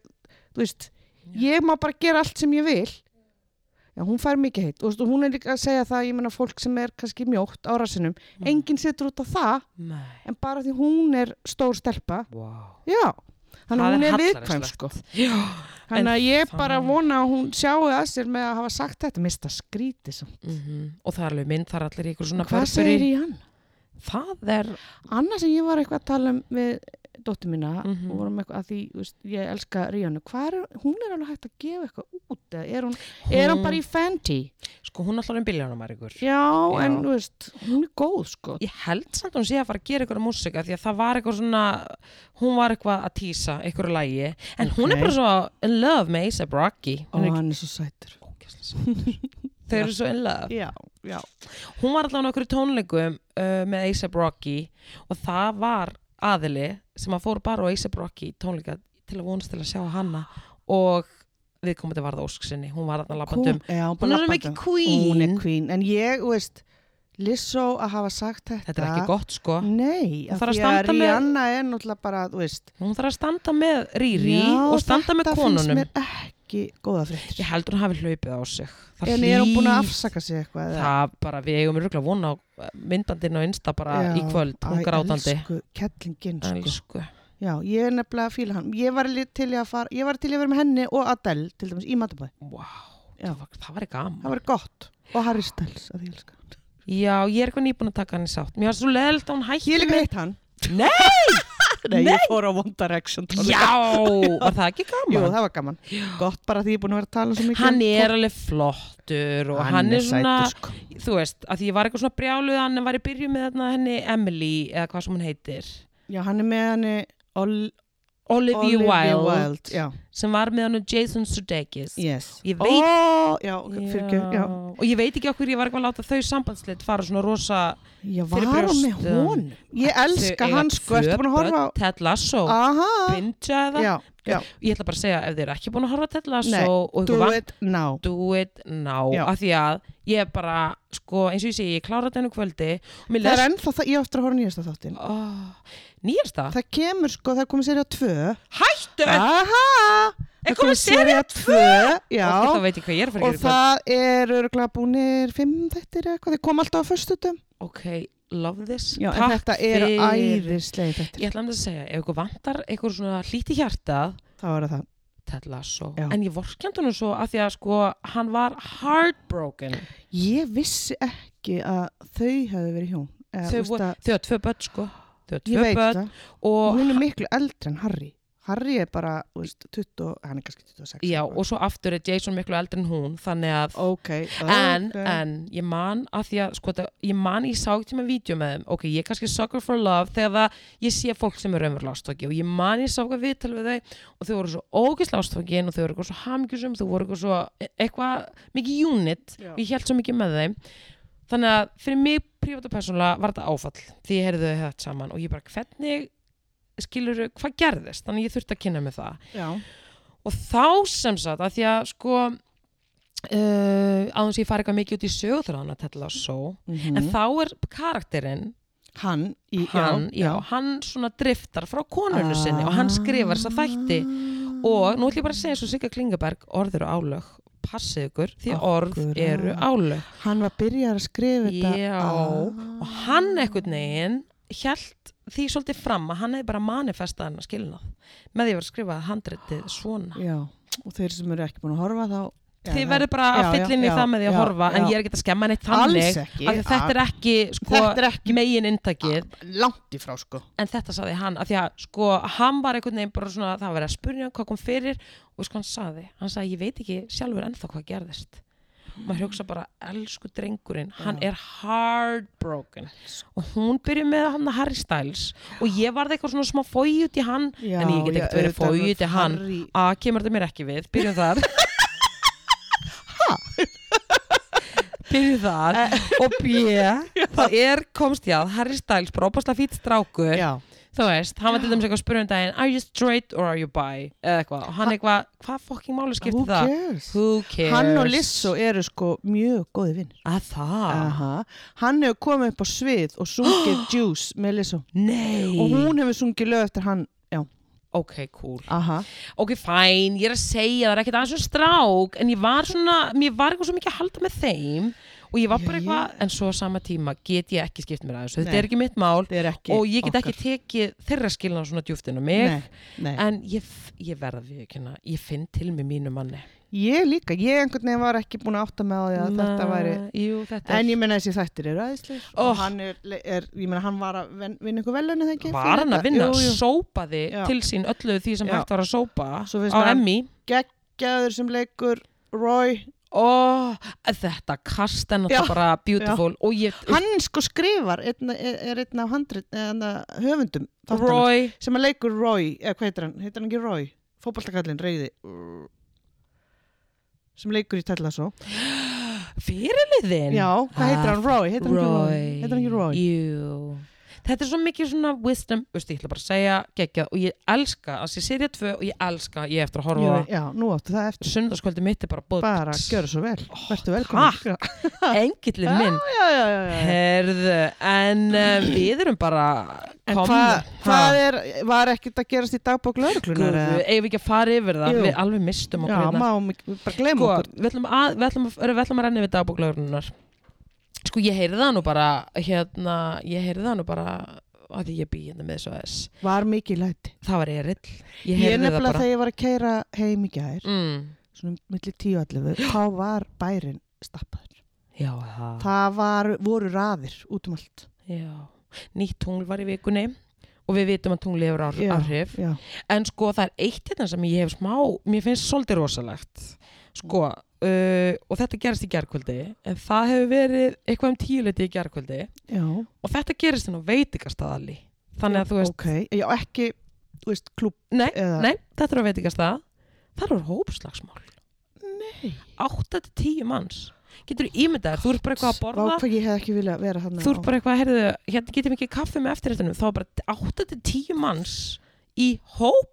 Speaker 2: þú veist, ég má bara gera allt sem ég vil já, hún fær mikið heitt og þú veist, hún er líka að segja það, ég menna fólk sem er kannski mjótt á rassinum
Speaker 1: Mm.
Speaker 2: enginn setur út á það,
Speaker 1: nei,
Speaker 2: en bara því hún er stór stelpa,
Speaker 1: wow
Speaker 2: já þannig
Speaker 1: Það
Speaker 2: að hún
Speaker 1: er
Speaker 2: er viðkvæm
Speaker 1: hallærislegt.
Speaker 2: sko
Speaker 1: já,
Speaker 2: Þannig að ég
Speaker 1: það-
Speaker 2: bara vona að hún sjáu að sér með að hafa sagt þetta mista skríti samt.
Speaker 1: mhm. og það er alveg mynd, það er allir í ykkur svona
Speaker 2: Hvað
Speaker 1: Burberry.
Speaker 2: segir ég hann?
Speaker 1: það er
Speaker 2: Annars sem ég var eitthvað að tala um við dóttir mína
Speaker 1: Mhm.
Speaker 2: og vorum eitthvað að því, þú veist, ég elska Ríjánu. Hvað er, hún er alveg hægt að gefa eitthvað út eða er hún, er hún bara í Fenty?
Speaker 1: sko hún allar um biljónumar ykkur
Speaker 2: Já, en þú veist, hún er góð sko.
Speaker 1: ég held samt að hún sé að fara að gera ykkur músika því að það var eitthvað svona hún var eitthvað að tísa ykkur lægi en hún er
Speaker 2: Ok.
Speaker 1: bara svo in love með A$AP Rocky
Speaker 2: Og
Speaker 1: hún er
Speaker 2: hann er svo sætur.
Speaker 1: ógæslega sætur þau eru svo in love
Speaker 2: Já, já.
Speaker 1: hún var allavega á okkur tónleikum uh, með A$AP Rocky og það var aðili sem að fór bara á A$AP Rocky tónleika til að vonast til að sjá hana og viðkomandi varð ósk sinni hún var þarna lappandum
Speaker 2: já,
Speaker 1: hún er svo
Speaker 2: hún, labbandi. um-
Speaker 1: mikið queen
Speaker 2: Hún er queen, en ég, þú veist, Lissó að hafa sagt þetta.
Speaker 1: þetta er ekki gott sko
Speaker 2: Nei,
Speaker 1: Hún
Speaker 2: af
Speaker 1: þarf að
Speaker 2: því að
Speaker 1: standa með-
Speaker 2: Rihanna er náttúrulega bara, þú veist
Speaker 1: hún þarf að standa með Riri
Speaker 2: Já,
Speaker 1: og standa með konunum
Speaker 2: Þetta finnst mér ekki góða fréttir
Speaker 1: Ég heldur hún hafi hlaupið á sig það
Speaker 2: En er hún búin að
Speaker 1: hlýt-
Speaker 2: afsaka sig eitthvað? eða?
Speaker 1: Það bara, við eigum rúglega vona á eh, myndandinn og insta bara
Speaker 2: Já,
Speaker 1: í kvöld hún
Speaker 2: æ,
Speaker 1: grátandi
Speaker 2: Elsku, kettlingin, sko
Speaker 1: Elsku.
Speaker 2: Já, ég er nefnilega að fíla hann Ég var li- til í að fara, ég var til í að vera með henni og Adele til dæmis í matabæ
Speaker 1: Vá,
Speaker 2: Já.
Speaker 1: það var, það var ekki gaman
Speaker 2: Það var gott Og Harry Styles, að ég elska hann.
Speaker 1: Já, ég er eitthvað nýbúin að taka hann í sátt Mér var svo leðilt að hún hætti
Speaker 2: Ég líka
Speaker 1: með-
Speaker 2: heitt hann
Speaker 1: <laughs> Nei,
Speaker 2: <laughs> Nei, ég fór á One Direction tónleika.
Speaker 1: já, var það ekki
Speaker 2: Jú,
Speaker 1: gaman
Speaker 2: það var gaman Gott bara því ég er búin að vera að tala svo mikið
Speaker 1: Hann
Speaker 2: um
Speaker 1: er
Speaker 2: fólk.
Speaker 1: alveg flottur og hann, er svona,
Speaker 2: sætur, sko.
Speaker 1: þú veist, að því ég var eitthvað svona brjáluð að hann var í byrju með þarna henni Emily eða hvað sem hún heitir
Speaker 2: Já, hann er með henni Ol-
Speaker 1: Olivia, Wilde,
Speaker 2: Já,
Speaker 1: sem var með hann Jason Sudeikis
Speaker 2: yes
Speaker 1: Ég veit
Speaker 2: Ó, já, fyrir já
Speaker 1: og ég veit ekki okkur ég var eitthvað að láta þau sambandsleitt fara svona rosa
Speaker 2: Ég
Speaker 1: Fyrir
Speaker 2: var á með
Speaker 1: brjóstum.
Speaker 2: hún Ég elska
Speaker 1: Þau eiga
Speaker 2: hann sko,
Speaker 1: tvö
Speaker 2: ertu búin að horfa
Speaker 1: börn, Ted Lasso,
Speaker 2: á Aha,
Speaker 1: Binja eða
Speaker 2: já, já
Speaker 1: ég ætla bara að segja ef þeir eru ekki búin að horfa á Ted Lasso
Speaker 2: Nei,
Speaker 1: og
Speaker 2: Do
Speaker 1: ykkur vant
Speaker 2: it now
Speaker 1: do it now
Speaker 2: Já.
Speaker 1: af því að ég er bara sko eins og ég segi ég klára þetta hennu kvöldi og mér
Speaker 2: Það er
Speaker 1: les
Speaker 2: ennþá það, ég á eftir að horfa á nýjasta þáttin
Speaker 1: oh, nýjasta
Speaker 2: Það kemur sko, það er komið serið á tvö
Speaker 1: <laughs> hættu
Speaker 2: Aha,
Speaker 1: Er komið
Speaker 2: sería tvö Já,
Speaker 1: og þá veit ég hvað ég er að fara
Speaker 2: og
Speaker 1: að gera
Speaker 2: það er örgulega búinir fimm þettir eitthvað, þeir kom alltaf á föstutum
Speaker 1: það... ok, love this
Speaker 2: Já, en
Speaker 1: Takk
Speaker 2: þetta er
Speaker 1: fyrir-
Speaker 2: æðislega þetta
Speaker 1: ég ætla að segja ef ykkur vantar ykkur svona hlíti hjartað
Speaker 2: Það var það
Speaker 1: Ted Lasso
Speaker 2: Já.
Speaker 1: en ég vorkjandi hann svo að því að sko hann var heartbroken
Speaker 2: Ég vissi ekki að þau hefðu verið hjón Eh,
Speaker 1: þau
Speaker 2: þú veist
Speaker 1: voru-
Speaker 2: að-
Speaker 1: þau hafa tvö börn sko þau hafa
Speaker 2: Ég
Speaker 1: tvö
Speaker 2: veit
Speaker 1: börn
Speaker 2: það
Speaker 1: og,
Speaker 2: hún er miklu eldri en Harry Harry er bara, þú veist, 20, hann er kannski 26
Speaker 1: já,
Speaker 2: eitthvað.
Speaker 1: og svo aftur er Jason miklu eldri en hún þannig að
Speaker 2: ok,
Speaker 1: en,
Speaker 2: ok.
Speaker 1: en ég man að því að sko þetta- ég man ég sá ekki með vídeo með þeim ok, ég er kannski sucker for love þegar það, ég sé fólk sem er raunverulega ástfóki og ég man ég sá eitthvað viðtal við þau og þau voru svo ógislega ástfókin og þau voru eitthvað svo hamgjusum þau voru eitthvað svo e- eitthvað mikið unit
Speaker 2: Já.
Speaker 1: og ég held svo mikið með þeim þannig að fyrir mig prívat og persónulega var þetta áfall því ég heyrði þau þetta saman og ég bara hvernig skilur hvað gerðist þannig að ég þurfti að kynna með það
Speaker 2: já,
Speaker 1: og þá sem sagt að því að sko uh, aðeins ég fari eitthvað mikið út í sögurþráðan að tella á svo en þá er karakterinn
Speaker 2: hann, í,
Speaker 1: hann, já,
Speaker 2: Mhm. já,
Speaker 1: hann svona driftar frá konunnu
Speaker 2: Ah.
Speaker 1: sinni og hann skrifar þess að þætti og nú ætlum ég bara að segja svo Sigga Klingaberg orður og álög passið ykkur því að
Speaker 2: Okkur,
Speaker 1: orð
Speaker 2: já.
Speaker 1: eru álög
Speaker 2: hann var byrjar að skrifa þetta
Speaker 1: Já. og hann ekkert neginn hjælt því svolítið fram að hann hefði bara manifestað hennar skilnað með því að vera að skrifa handritið svona
Speaker 2: Já, og þeir sem eru ekki búin að horfa þá Já,
Speaker 1: þið
Speaker 2: það-
Speaker 1: verður bara að
Speaker 2: já, já,
Speaker 1: fylla inn í
Speaker 2: já,
Speaker 1: það með því að
Speaker 2: já,
Speaker 1: horfa en
Speaker 2: já.
Speaker 1: ég er ekki að skemma neitt
Speaker 2: Alls
Speaker 1: þannig
Speaker 2: ekki,
Speaker 1: af því að þetta er ekki, sko,
Speaker 2: Þetta er ekki-
Speaker 1: megin inntakið
Speaker 2: langt í frá sko
Speaker 1: en þetta saði hann af því að sko hann var einhvern veginn bara svona það var verið að spurja hann hvað kom fyrir og sko hann saði, hann saði ég veit ekki sjálfur ennþá hvað gerðist maður hugsa bara, elsku drengurinn hann er heartbroken og hún byrjuð með hann að Harry Styles og ég varði eitthvað svona smá fói út í hann
Speaker 2: Já,
Speaker 1: en ég get
Speaker 2: já,
Speaker 1: ekkert verið
Speaker 2: auðvitað
Speaker 1: fói
Speaker 2: með
Speaker 1: út í hann
Speaker 2: Harry.
Speaker 1: að kemur þetta mér ekki við, byrjum þar byrjum þar
Speaker 2: Eh.
Speaker 1: og B, það er komst ég að Harry Styles, bara opaslega fýtt strákur
Speaker 2: Já,
Speaker 1: þú veist, hann var til dæmis eitthvað að spyrja um daginn are you straight or are you bi eða eitthvað, og hann eitthvað, hvað fokking máli skipti
Speaker 2: who
Speaker 1: það
Speaker 2: cares?
Speaker 1: who cares
Speaker 2: Hann og Lissó eru sko mjög góði vinnir
Speaker 1: að það,
Speaker 2: Aha. Hann hefur komið upp á svið
Speaker 1: <gasps>
Speaker 2: og sungið Juice með Lissó
Speaker 1: nei
Speaker 2: og hún hefur sungið lög eftir hann Já,
Speaker 1: ok, cool,
Speaker 2: aha
Speaker 1: ok, fine ég er að segja, það er ekkert aðeins um strák en ég var svona, mér var eitthvað svo mikið að halda með þeim og ég var bara
Speaker 2: Já,
Speaker 1: eitthvað en svo á sama tíma get ég ekki skipt mér að þessu þetta
Speaker 2: Nei.
Speaker 1: er ekki mitt mál
Speaker 2: Þetta er ekki
Speaker 1: og ég get
Speaker 2: okkar.
Speaker 1: ekki tekið þeirra skilna svona djúftinu mig
Speaker 2: Nei, nei.
Speaker 1: en ég, f- ég verða við ekki hérna ég finn til með mínu manni
Speaker 2: Ég líka, ég einhvern veginn var ekki búin að átta með á því að þetta væri
Speaker 1: jú, þetta er
Speaker 2: En ég meina þessi þættir eru aðeinsleir
Speaker 1: Oh.
Speaker 2: og hann er, er, ég meina hann var að ven- vinna ykkur velunni þegar ekki
Speaker 1: var hann að vinna,
Speaker 2: Jú, jú,
Speaker 1: sópaði
Speaker 2: Já.
Speaker 1: til sín öllu því sem
Speaker 2: Já.
Speaker 1: hægt var að sópa
Speaker 2: Svo finnst
Speaker 1: á
Speaker 2: mér hann-
Speaker 1: Emmy
Speaker 2: geggjaður sem leikur Roy
Speaker 1: og þetta kast er náttúrulega
Speaker 2: Já.
Speaker 1: bara beautiful og ég,
Speaker 2: hann sko skrifar einna, er, er einn af handrit, eða, höfundum þáttanna,
Speaker 1: Roy
Speaker 2: sem að leikur Roy, eða hvað heitir hann, heitir hann ekki Roy fótboltakallin, reyði sem leikur í Tellasó
Speaker 1: fyrirliðin
Speaker 2: já, hvað heitir hann, Roy, heitir hann ekki Roy heitir hann ekki Roy
Speaker 1: Ah, Jú. þetta er svo mikið svona wisdom veistu, ég ætla bara að segja geggjað og ég elska að sé sérið tvö og ég elska ég eftir að horfa
Speaker 2: já, nú áttu það eftir
Speaker 1: sundarskvöldi mitt er bara
Speaker 2: bara,
Speaker 1: búið <laughs>
Speaker 2: gjör svo vel, verður velkomin já,
Speaker 1: engillin minn
Speaker 2: já, já, já, já.
Speaker 1: herðu en um, við erum bara
Speaker 2: En
Speaker 1: komnir.
Speaker 2: hvað
Speaker 1: Ha?
Speaker 2: hva er, var ekkert að gerast í dagbók lauruglunar?
Speaker 1: Guð, eigum við ekki að fara yfir það
Speaker 2: Jú.
Speaker 1: við alveg mistum
Speaker 2: Já,
Speaker 1: okkur hérna.
Speaker 2: máum, bara gleym
Speaker 1: sko,
Speaker 2: okkur.
Speaker 1: við ætlum að, við ætlum að, við ætlum að renna yfir dagbóklaugrunar sko ég heyrði það nú bara hérna, ég heyrði það nú bara að því ég bý hérna með þessu aðeins
Speaker 2: Var mikið læti.
Speaker 1: það var erill, ég
Speaker 2: Ég
Speaker 1: heyrði það
Speaker 2: nefnilega
Speaker 1: bara
Speaker 2: þegar ég var að keira heim í gær,
Speaker 1: mm.
Speaker 2: svona millir tíu
Speaker 1: <gasps>
Speaker 2: allir, þá var bærin stappaður.
Speaker 1: já, það
Speaker 2: Það var, voru raðir út um allt.
Speaker 1: já. nýtt tungl var í vikunni og við vitum að tungli hefur ár,
Speaker 2: Já.
Speaker 1: áhrif
Speaker 2: Já,
Speaker 1: en sko það er eitt hérna sem ég hef smá mér finnst svolítið rosalegt sko, uh, og þetta gerist í gerkvöldi en það hefur verið eitthvað um tíuleiti í gerkvöldi
Speaker 2: já.
Speaker 1: og þetta gerist inn á veitingastadalli þannig að þú veist,
Speaker 2: Ok, já, ekki, þú veist, klúb.
Speaker 1: nei,
Speaker 2: eða-
Speaker 1: nei þetta er á veitingastad það eru hópslagsmál
Speaker 2: Nei.
Speaker 1: 8-10 manns getur ímyndað, þér, þú ert bara eitthvað að
Speaker 2: Vá,
Speaker 1: borða
Speaker 2: hvað ég hef ekki viljað vera þannig
Speaker 1: þú ert bara eitthvað, heyrðu, hérna getum ekki kaffi með eftirréttunum, þá er bara 8-10 manns í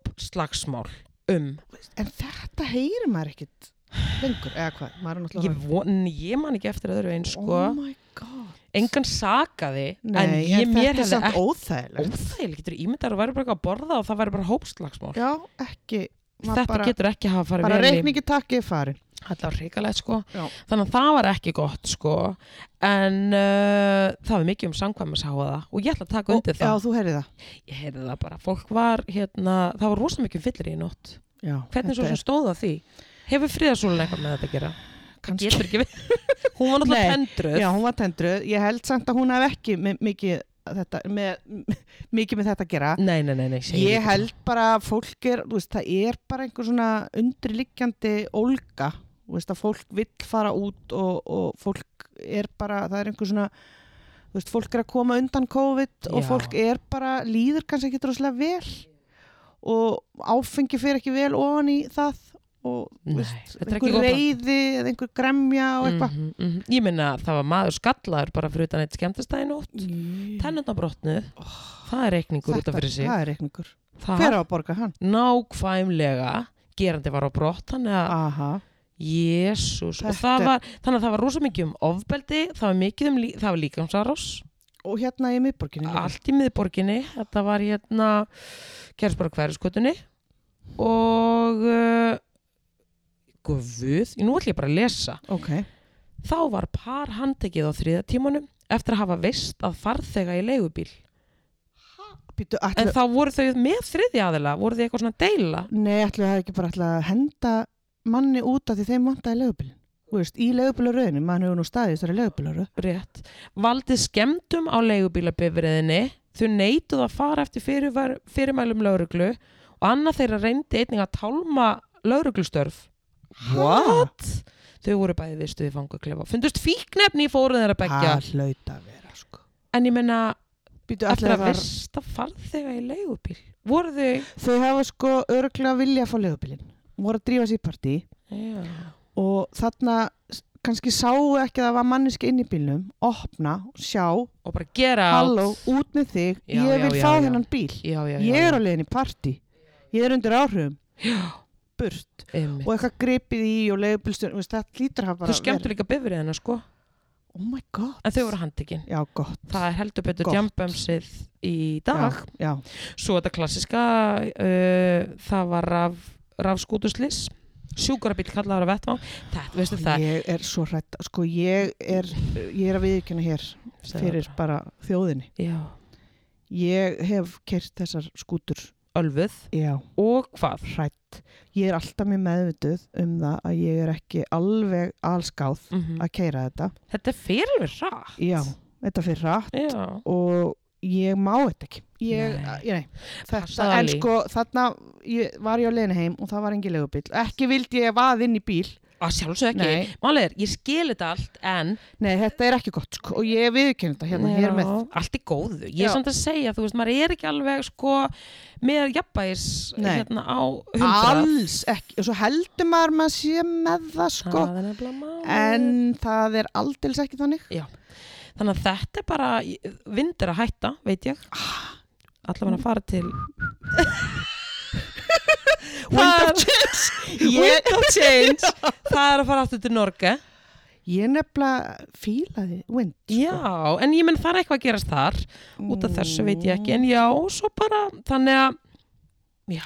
Speaker 1: hópslagsmál um
Speaker 2: En þetta heyrir maður ekkit lengur, eða hvað, maður er
Speaker 1: ég,
Speaker 2: náttúrulega...
Speaker 1: von, ég man ekki eftir öðru eins sko
Speaker 2: Oh my god.
Speaker 1: engan sakaði
Speaker 2: Nei,
Speaker 1: en ég mér
Speaker 2: þetta er
Speaker 1: hefði
Speaker 2: samt
Speaker 1: ekki
Speaker 2: óþægilegt.
Speaker 1: óþægileg getur ímyndar að vera bara eitthvað að borða og það væri bara hópslagsmál
Speaker 2: Já, ekki. maður
Speaker 1: þetta
Speaker 2: bara,
Speaker 1: getur ekki hafa farið
Speaker 2: Bara
Speaker 1: vel í-
Speaker 2: reikningi takk ég farin.
Speaker 1: Þetta var hrikalegt sko
Speaker 2: Já.
Speaker 1: Þannig að það var ekki gott sko En uh, það var mikið um sangkvæmisáða Og ég ætla að taka undir
Speaker 2: Já,
Speaker 1: það
Speaker 2: þú heyrið það.
Speaker 1: Ég heyrði það bara Fólk var hérna Það var rosa mikið fyllir í nótt
Speaker 2: Já,
Speaker 1: Hvernig
Speaker 2: þetta
Speaker 1: svo
Speaker 2: er-
Speaker 1: sem stóð það því Hefur friðarsúlun eitthvað með þetta að gera? Það
Speaker 2: Kannski.
Speaker 1: Getur ekki við <laughs> Hún var náttúrulega
Speaker 2: Nei.
Speaker 1: tendruð
Speaker 2: Já, hún var tendruð. Ég held samt að hún hef ekki mi- mikið, þetta, með, mikið með þetta að gera.
Speaker 1: Nei, nei, nei, nei segi
Speaker 2: Ég
Speaker 1: ekki
Speaker 2: held bara að fólk er, þú veist, það er bara einhver svona undirliggjandi ólga. Þú veist, að fólk vill fara út og, og fólk er bara, það er einhver svona, þú veist, fólk er að koma undan COVID og
Speaker 1: Já.
Speaker 2: fólk er bara, líður kannski ekki droslega vel og áfengi fyrir ekki vel ofan í það og þú
Speaker 1: Nei,
Speaker 2: veist,
Speaker 1: þetta er ekki
Speaker 2: einhver
Speaker 1: gott plan.
Speaker 2: reyði eða einhver gremja og eitthvað.
Speaker 1: Mhm, mhm. Ég minna að það var maður skallaður bara fyrir utan eitt skemmtistæði nótt Tennundabrotnu Það er reikningur út af fyrir sig
Speaker 2: Oh. um það er reikningur
Speaker 1: Það-
Speaker 2: hver á að borga hann?
Speaker 1: nákvæmlega gerandi var á brott þannig að
Speaker 2: Aha.
Speaker 1: jésús og
Speaker 2: Þetta
Speaker 1: það
Speaker 2: er-
Speaker 1: var, þannig að það var rosa mikið um ofbeldi, það var mikið um lí, það var líkamsarás,
Speaker 2: og hérna í miðborginni líka.
Speaker 1: allt í miðborginni þetta var hérna gerðs bara hverjuskotunni og uh, eh, guð, nú ætlum ég bara að lesa
Speaker 2: ok,
Speaker 1: þá var par handtekið á þriða tímanum eftir að hafa veist að farþega í leigubíl
Speaker 2: býtu,
Speaker 1: en
Speaker 2: ætlu,
Speaker 1: þá voru þau með þriðja aðila voru þau eitthvað svona að deila
Speaker 2: nei, ætlu það ekki bara ætla að henda manni út af því þeim vantaði leigubílinn, þú veist, í leigubílaröðinu mann hefur nú staðið þessari leigubílaröð
Speaker 1: rétt, valdið skemmtum á leigubílabifriðinni, þau neituð að fara eftir fyrirvar, fyrirmælum lauruglu og annað þeirra reyndi einning að tálma lauruglustörf
Speaker 2: what?
Speaker 1: þau voru bæði vistuð í fangaklefa fundust fíknefni í fóruð þeirra begja
Speaker 2: það hlaut að vera, sko
Speaker 1: en ég menna,
Speaker 2: býtu, ætlu
Speaker 1: eftir
Speaker 2: það
Speaker 1: að
Speaker 2: var,
Speaker 1: versta farþega í leigubíl voru þau
Speaker 2: þau hafa sko örgulega vilja að fá leigubílinn, voru að drífa sér í partí
Speaker 1: já,
Speaker 2: og þarna s- kannski sáu ekki að það var manneski inn í bílnum, opna, sjá
Speaker 1: og bara gera allt.
Speaker 2: halló, út með þig,
Speaker 1: Já,
Speaker 2: ég
Speaker 1: já,
Speaker 2: vil
Speaker 1: já,
Speaker 2: fá
Speaker 1: já.
Speaker 2: þennan bíl
Speaker 1: já, já, já,
Speaker 2: ég er á leiðin í partí, ég er undir áhrifum burt
Speaker 1: Einmitt.
Speaker 2: og eitthvað gripið í og leiðubilstjórn það lítur hafa
Speaker 1: Þau
Speaker 2: bara
Speaker 1: skemmtu líka bifriðina sko
Speaker 2: verið. oh my god,
Speaker 1: en þau voru handtekinn.
Speaker 2: já gott
Speaker 1: Það er heldur betur
Speaker 2: Gott.
Speaker 1: jambömsið í dag.
Speaker 2: já, já.
Speaker 1: Svo þetta klassiska, uh, það var raf, rafskútuslis, sjúkurabíll kallaður að vettvang. Þetta, veistu það,
Speaker 2: ég er svo hrætt, sko ég er, ég er að viðkjöna hér
Speaker 1: Segðu
Speaker 2: fyrir bara þjóðinni
Speaker 1: já,
Speaker 2: ég hef kert þessar skútur
Speaker 1: ölfuð
Speaker 2: já
Speaker 1: og hvað?
Speaker 2: hrætt. Ég er alltaf mér meðvituð um það að ég er ekki alveg allskáð
Speaker 1: Mhm.
Speaker 2: að keira þetta.
Speaker 1: Þetta fer alveg rætt.
Speaker 2: Já, þetta fyrir rætt
Speaker 1: Já,
Speaker 2: og ég má þetta ekki. Ég,
Speaker 1: Nei.
Speaker 2: ég, nei. Þetta,
Speaker 1: Passaðu
Speaker 2: en
Speaker 1: alveg.
Speaker 2: sko þarna ég, var ég á leiðinu heim og það var engin leigubíl. Ekki vildi ég vaða inn í bíl.
Speaker 1: að sjálfsög
Speaker 2: Nei.
Speaker 1: ekki. Málið er, ég skil þetta allt en
Speaker 2: Nei, þetta er ekki gott sko og ég viðkynna þetta hérna hér með.
Speaker 1: Já, allt í góðu. Ég
Speaker 2: Já.
Speaker 1: er samt að segja, þú veist, maður er ekki alveg sko með jafnbæis
Speaker 2: Nei.
Speaker 1: hérna á hundrað.
Speaker 2: Alls ekki. Og svo heldur maður maður sé með það sko.
Speaker 1: Það er nefnilega málið.
Speaker 2: En það er aldils ekki þannig.
Speaker 1: Þannig að þetta er bara, vind er að hætta, veit ég. Alla að fara til...
Speaker 2: Wind
Speaker 1: of <laughs> change.
Speaker 2: Ég-
Speaker 1: Wind of change. Það er að fara aftur til Norge.
Speaker 2: Ég nefnilega fílaði vind sko.
Speaker 1: Já, en ég menn það er eitthvað að gerast þar. Út af þessu veit ég
Speaker 2: Mm,
Speaker 1: ekki. En já, svo bara, þannig að, já.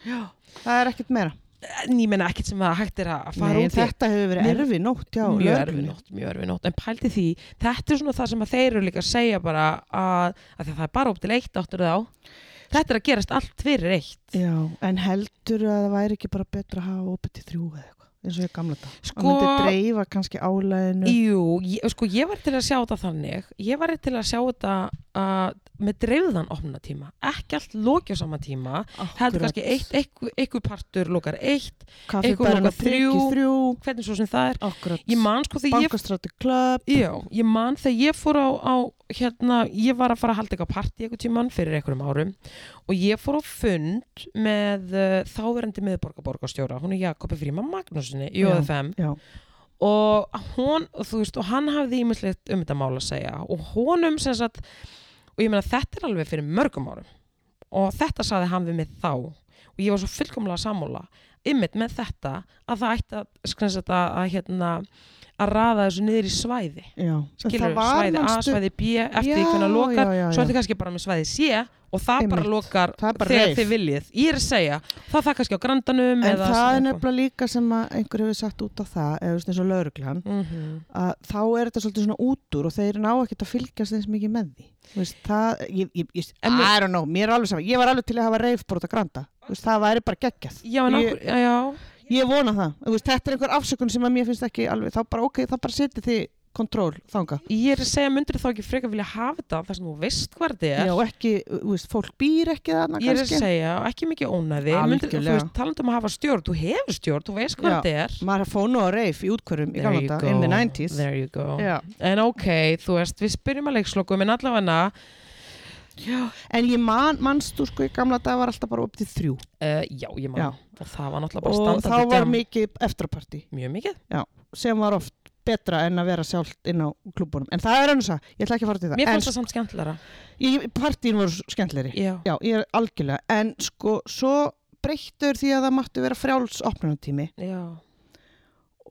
Speaker 2: Það er ekkert meira.
Speaker 1: En ég menna ekkert sem að hægt er að fara
Speaker 2: Nei,
Speaker 1: út í.
Speaker 2: þetta hefur verið
Speaker 1: Mér-
Speaker 2: erfi nótt já,
Speaker 1: mjög erfið nótt, mjög erfið nótt en pælti því, þetta er svona það sem að þeir eru líka að segja bara að, að það er bara upp til eitt áttur þá þetta er að gerast allt fyrir eitt
Speaker 2: Já, en heldur að það væri ekki bara betra að hafa opið til þrjú eða eitthvað, eins og ég gamla dag.
Speaker 1: Sko-
Speaker 2: Það myndi dreifa kannski álæðinu.
Speaker 1: Jú, ég, sko ég var til að sjá þetta þannig ég var til að sjá þetta uh, með dreifðan opnatíma ekki allt lokið á sama tíma heldur kannski eitt, einhver, einhver partur lokar eitt,
Speaker 2: Kaffi
Speaker 1: eitthvað
Speaker 2: bara
Speaker 1: lokað þrjú.
Speaker 2: þrjú.
Speaker 1: hvernig svo sem það er
Speaker 2: Akkurat.
Speaker 1: ég man sko þegar ég
Speaker 2: Bankastræti klöp.
Speaker 1: Já, ég man þegar ég fór á, á hérna, ég var að fara að halda eitthvað partí eitthvað tíman fyrir einhverjum árum og ég fór á fund með uh, þáverandi miðborgarborgarstjóra hún er Jakobi Fríman Magnúsinni í
Speaker 2: Já.
Speaker 1: OFM
Speaker 2: Já,
Speaker 1: og hún, og þú veist, og hann hafði ímislegt um þetta mál að segja og honum sem sagt, og ég meina þetta er alveg fyrir mörgum árum og þetta saði hann við mig þá og ég var svo fullkomlega sammála ymmit með þetta að það ætti að, sem sagt, að, að, hérna, að raða þessu niður í svæði
Speaker 2: já. En
Speaker 1: skilur
Speaker 2: það var
Speaker 1: svæði A,
Speaker 2: manstu-
Speaker 1: svæði B eftir
Speaker 2: Já,
Speaker 1: því hvernig það lokar,
Speaker 2: já, já,
Speaker 1: svo
Speaker 2: já.
Speaker 1: ertu kannski bara með svæði C og það
Speaker 2: Einmitt.
Speaker 1: bara lokar
Speaker 2: Það er bara
Speaker 1: þegar
Speaker 2: reif.
Speaker 1: þið viljið ég er að segja, það er það kannski á grandanum
Speaker 2: En
Speaker 1: eða
Speaker 2: það er
Speaker 1: svona eitthvað.
Speaker 2: nefnilega líka sem að einhver hefur sagt út á það, eða þú veist eins og lauruglan,
Speaker 1: Mhm.
Speaker 2: að þá er þetta svolítið svona útúr og þeir ná ekkert að fylgjast eins mikið með því Þú veist, það, ég, ég, ég,
Speaker 1: En mér-
Speaker 2: I don't know, mér er alveg saman ég var alveg til að hafa reifbrót að granda Þú veist, það væri bara geggjað
Speaker 1: já, en
Speaker 2: ég,
Speaker 1: okkur, já, já
Speaker 2: ég vona það, Þú veist, þetta er einhver afsökun sem að mér finnst ekki alveg, þá bara ok, þá bara setið þið kontról þanga
Speaker 1: ég er að segja, myndir þá ekki frekar vilja hafa þetta þar sem þú veist hvað þetta er
Speaker 2: Já, og ekki, þú veist, fólk býr ekki þarna
Speaker 1: ég er að
Speaker 2: kannski
Speaker 1: segja, ekki mikið ónæði myndir, þú
Speaker 2: Algjörlega.
Speaker 1: veist, talandi um að hafa stjórn, þú hefur stjórn þú veist hvað
Speaker 2: Já.
Speaker 1: þetta er
Speaker 2: maður fór nú á reif í útkvörum í gamla dag, in the 90s
Speaker 1: there you go
Speaker 2: Já.
Speaker 1: en ok, þú veist, við spyrjum að leikslokum en allavega
Speaker 2: en ég man, manstu sko í gamla dag var alltaf bara upp til þrjú
Speaker 1: uh, já, ég man,
Speaker 2: Já.
Speaker 1: og það var náttúrulega bara
Speaker 2: og þá
Speaker 1: standandi
Speaker 2: var
Speaker 1: djam-
Speaker 2: mikið eftirparti
Speaker 1: mjög mikið
Speaker 2: sem var oft betra en að vera sjálft inn á klubunum en það er ennum það, ég ætla ekki að fara til það
Speaker 1: Mér fannst
Speaker 2: en
Speaker 1: það samt skemmtilega.
Speaker 2: ég, partín voru skemmtleri
Speaker 1: Já.
Speaker 2: já, ég er algjörlega en sko, svo breyttur því að það máttu vera frjáls opnunartími
Speaker 1: Já.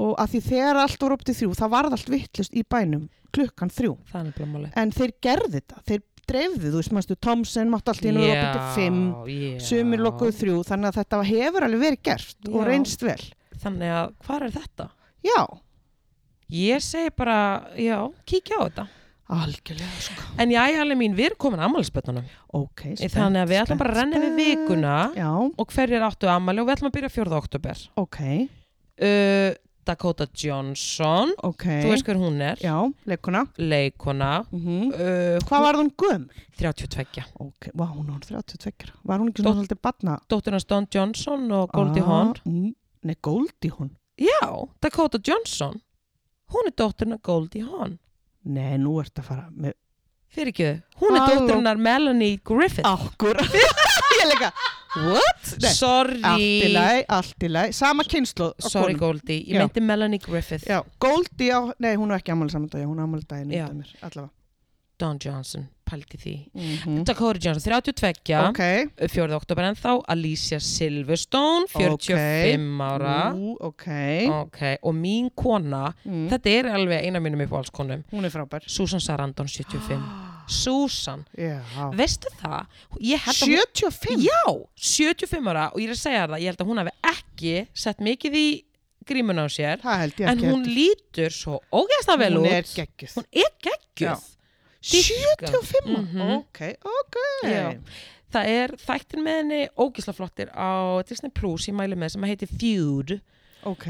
Speaker 2: og að því þegar allt voru upp til þrjú það varð allt vittlust í bænum klukkan þrjú
Speaker 1: Það er nefnilega málið.
Speaker 2: en þeir gerði þetta, þeir dreifðu þú veist, mannstu, Tomsen mátt allt í einu vera opið til fimm
Speaker 1: yeah.
Speaker 2: sumir lokuðu þrjú, þannig að þetta hefur alveg verið gert
Speaker 1: Já.
Speaker 2: og reynst vel
Speaker 1: þannig að hvað er þetta?
Speaker 2: já,
Speaker 1: Ég segi bara, já, kíkja á þetta
Speaker 2: algjörlega sko.
Speaker 1: En já, alveg mín, við erum komin að ammælisbötunum
Speaker 2: ok, spennt,
Speaker 1: Þannig að við ætlum bara að renna við vikuna
Speaker 2: já,
Speaker 1: og hverjir áttu ammæli og við ætlum að byrja 4. oktober
Speaker 2: ok,
Speaker 1: uh, Dakota Johnson
Speaker 2: ok
Speaker 1: þú veist hver hún er
Speaker 2: já, leikuna
Speaker 1: leikona
Speaker 2: mm
Speaker 1: uh,
Speaker 2: hvað var hún gömul?
Speaker 1: 32
Speaker 2: ok, vá, hún var 32 var hún ekki svona
Speaker 1: Dótt-
Speaker 2: haldið batna?
Speaker 1: dóttir hans Don Johnson og Goldie Hawn
Speaker 2: mm, nei, Goldie Hawn
Speaker 1: já, Dakota Johnson hún er dóttirna Goldie Hawn
Speaker 2: nei, nú ert að fara með
Speaker 1: fyrir ekki, hún er
Speaker 2: Halló.
Speaker 1: dóttirna Melanie Griffith <laughs>
Speaker 2: Akkur Ég leika
Speaker 1: what?
Speaker 2: Nei, Allt í
Speaker 1: sorry,
Speaker 2: læg, allt í læg Sama kynslu
Speaker 1: sorry Goldie ég
Speaker 2: Já.
Speaker 1: meinti Melanie Griffith
Speaker 2: Já, Goldi á, nei hún er ekki ammali saman dag, hún er ammali daginn
Speaker 1: Já.
Speaker 2: undan mér, allavega.
Speaker 1: Don Johnson, pælti því
Speaker 2: Mm -hmm.
Speaker 1: Dakota Johnson, 32
Speaker 2: Ok,
Speaker 1: 4. oktober en þá Alicia Silverstone, 45 ára
Speaker 2: Ú, ok,
Speaker 1: ok, og mín kona
Speaker 2: Mm.
Speaker 1: þetta er alveg eina mínum uppáhaldskonum
Speaker 2: hún er frábær.
Speaker 1: Susan Sarandon 75 Susan,
Speaker 2: <gasps> Já.
Speaker 1: veistu það ég held að
Speaker 2: 75?
Speaker 1: hún já, 75 ára og ég er að segja það, ég held að hún hafi ekki sett mikið í grímun á sér
Speaker 2: Það held ég
Speaker 1: en
Speaker 2: ekki.
Speaker 1: hún lítur svo ógæsta vel
Speaker 2: Hún
Speaker 1: út
Speaker 2: er geggjuð.
Speaker 1: hún er geggjöð
Speaker 2: 75?
Speaker 1: Mhm.
Speaker 2: Ok, ok.
Speaker 1: Já. það er þættin með henni ógæsla flottir á Disney Plus ég mæli með sem að heiti Feud
Speaker 2: Ok,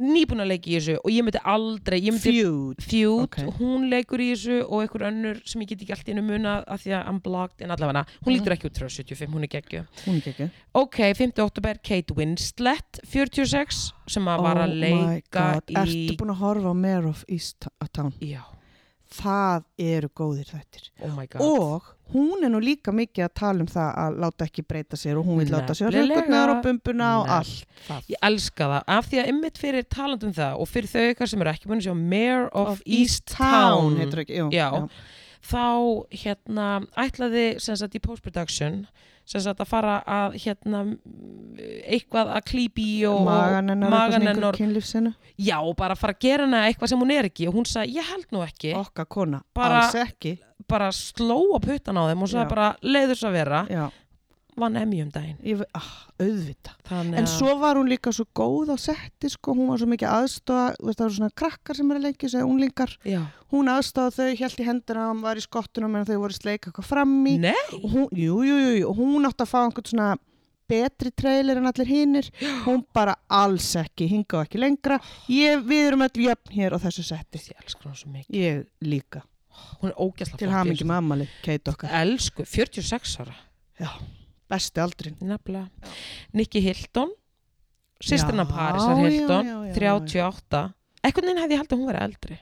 Speaker 1: nýbúin að leika í þessu og ég myndi aldrei ég myndi
Speaker 2: feud.
Speaker 1: Feud,
Speaker 2: Ok.
Speaker 1: hún leikur í þessu og einhver önnur sem ég get ekki allt í einu muna af því að unblocked en allavega hún lítur
Speaker 2: Mhm.
Speaker 1: ekki út frá 75, hún er geggju
Speaker 2: Hún er geggjuð.
Speaker 1: ok, 5. oktober, Kate Winslet 46, sem að var
Speaker 2: Oh
Speaker 1: að
Speaker 2: my
Speaker 1: leika
Speaker 2: god,
Speaker 1: í
Speaker 2: Ertu búin að horfa á Mare of East Town?
Speaker 1: já,
Speaker 2: Það eru góðir þættir.
Speaker 1: oh my god
Speaker 2: og hún er nú líka mikið að tala um það að láta ekki breyta sér og hún vil láta sér
Speaker 1: Nefnilega.
Speaker 2: rökkurnar og bumbuna og
Speaker 1: Nef-
Speaker 2: allt það.
Speaker 1: ég elska það, af því að ymmit fyrir talandum það og fyrir þau ykkar sem eru ekki búin að sjá Mayor of, East Town
Speaker 2: heitir ekki, jú,
Speaker 1: Já. þá hérna ætlaði sem sagt í post-production sem sagt að fara að hérna eitthvað að klípi og
Speaker 2: magan hennar, magan
Speaker 1: hennar
Speaker 2: hennar kynlífsinu,
Speaker 1: Já, bara fara að gera hana eitthvað sem hún er ekki og hún sagði, ég held nú ekki
Speaker 2: okka kona,
Speaker 1: Bara-
Speaker 2: alls ekki
Speaker 1: bara slóa puttan á þeim og sagði
Speaker 2: Já.
Speaker 1: bara leiðus að vera,
Speaker 2: Já,
Speaker 1: vann emmi um daginn
Speaker 2: ég, ve- ah, auðvita
Speaker 1: Þannig
Speaker 2: en
Speaker 1: að-
Speaker 2: svo var hún líka svo góð á setti sko, hún var svo mikið aðstofa þú veist, það eru svona krakkar sem eru að leikja segja unglingar
Speaker 1: Já.
Speaker 2: hún aðstofa þau, held í hendina hún var í skottuna meðan þau voru að sleika eitthvað fram í
Speaker 1: Nei,
Speaker 2: og hún, jú, jú, jú, jú, og hún átti að fá einhvern svona betri trailer en allir hinnir hún bara alls ekki, hinga og ekki lengra ég, við erum öll jöfn hér á þessu setti
Speaker 1: ég elskar hún svo mikið
Speaker 2: ég líka,
Speaker 1: Hún er ógæsla
Speaker 2: til hamingi með ammali Kate okkar,
Speaker 1: Elsku, 46 ára,
Speaker 2: já, besti aldrin
Speaker 1: nefnilega Nikki Hilton, sýstrina
Speaker 2: Já,
Speaker 1: Parísar
Speaker 2: já,
Speaker 1: Hilton
Speaker 2: já, já, já.
Speaker 1: 38, einhvern veginn hefði ég haldið að hún væri eldri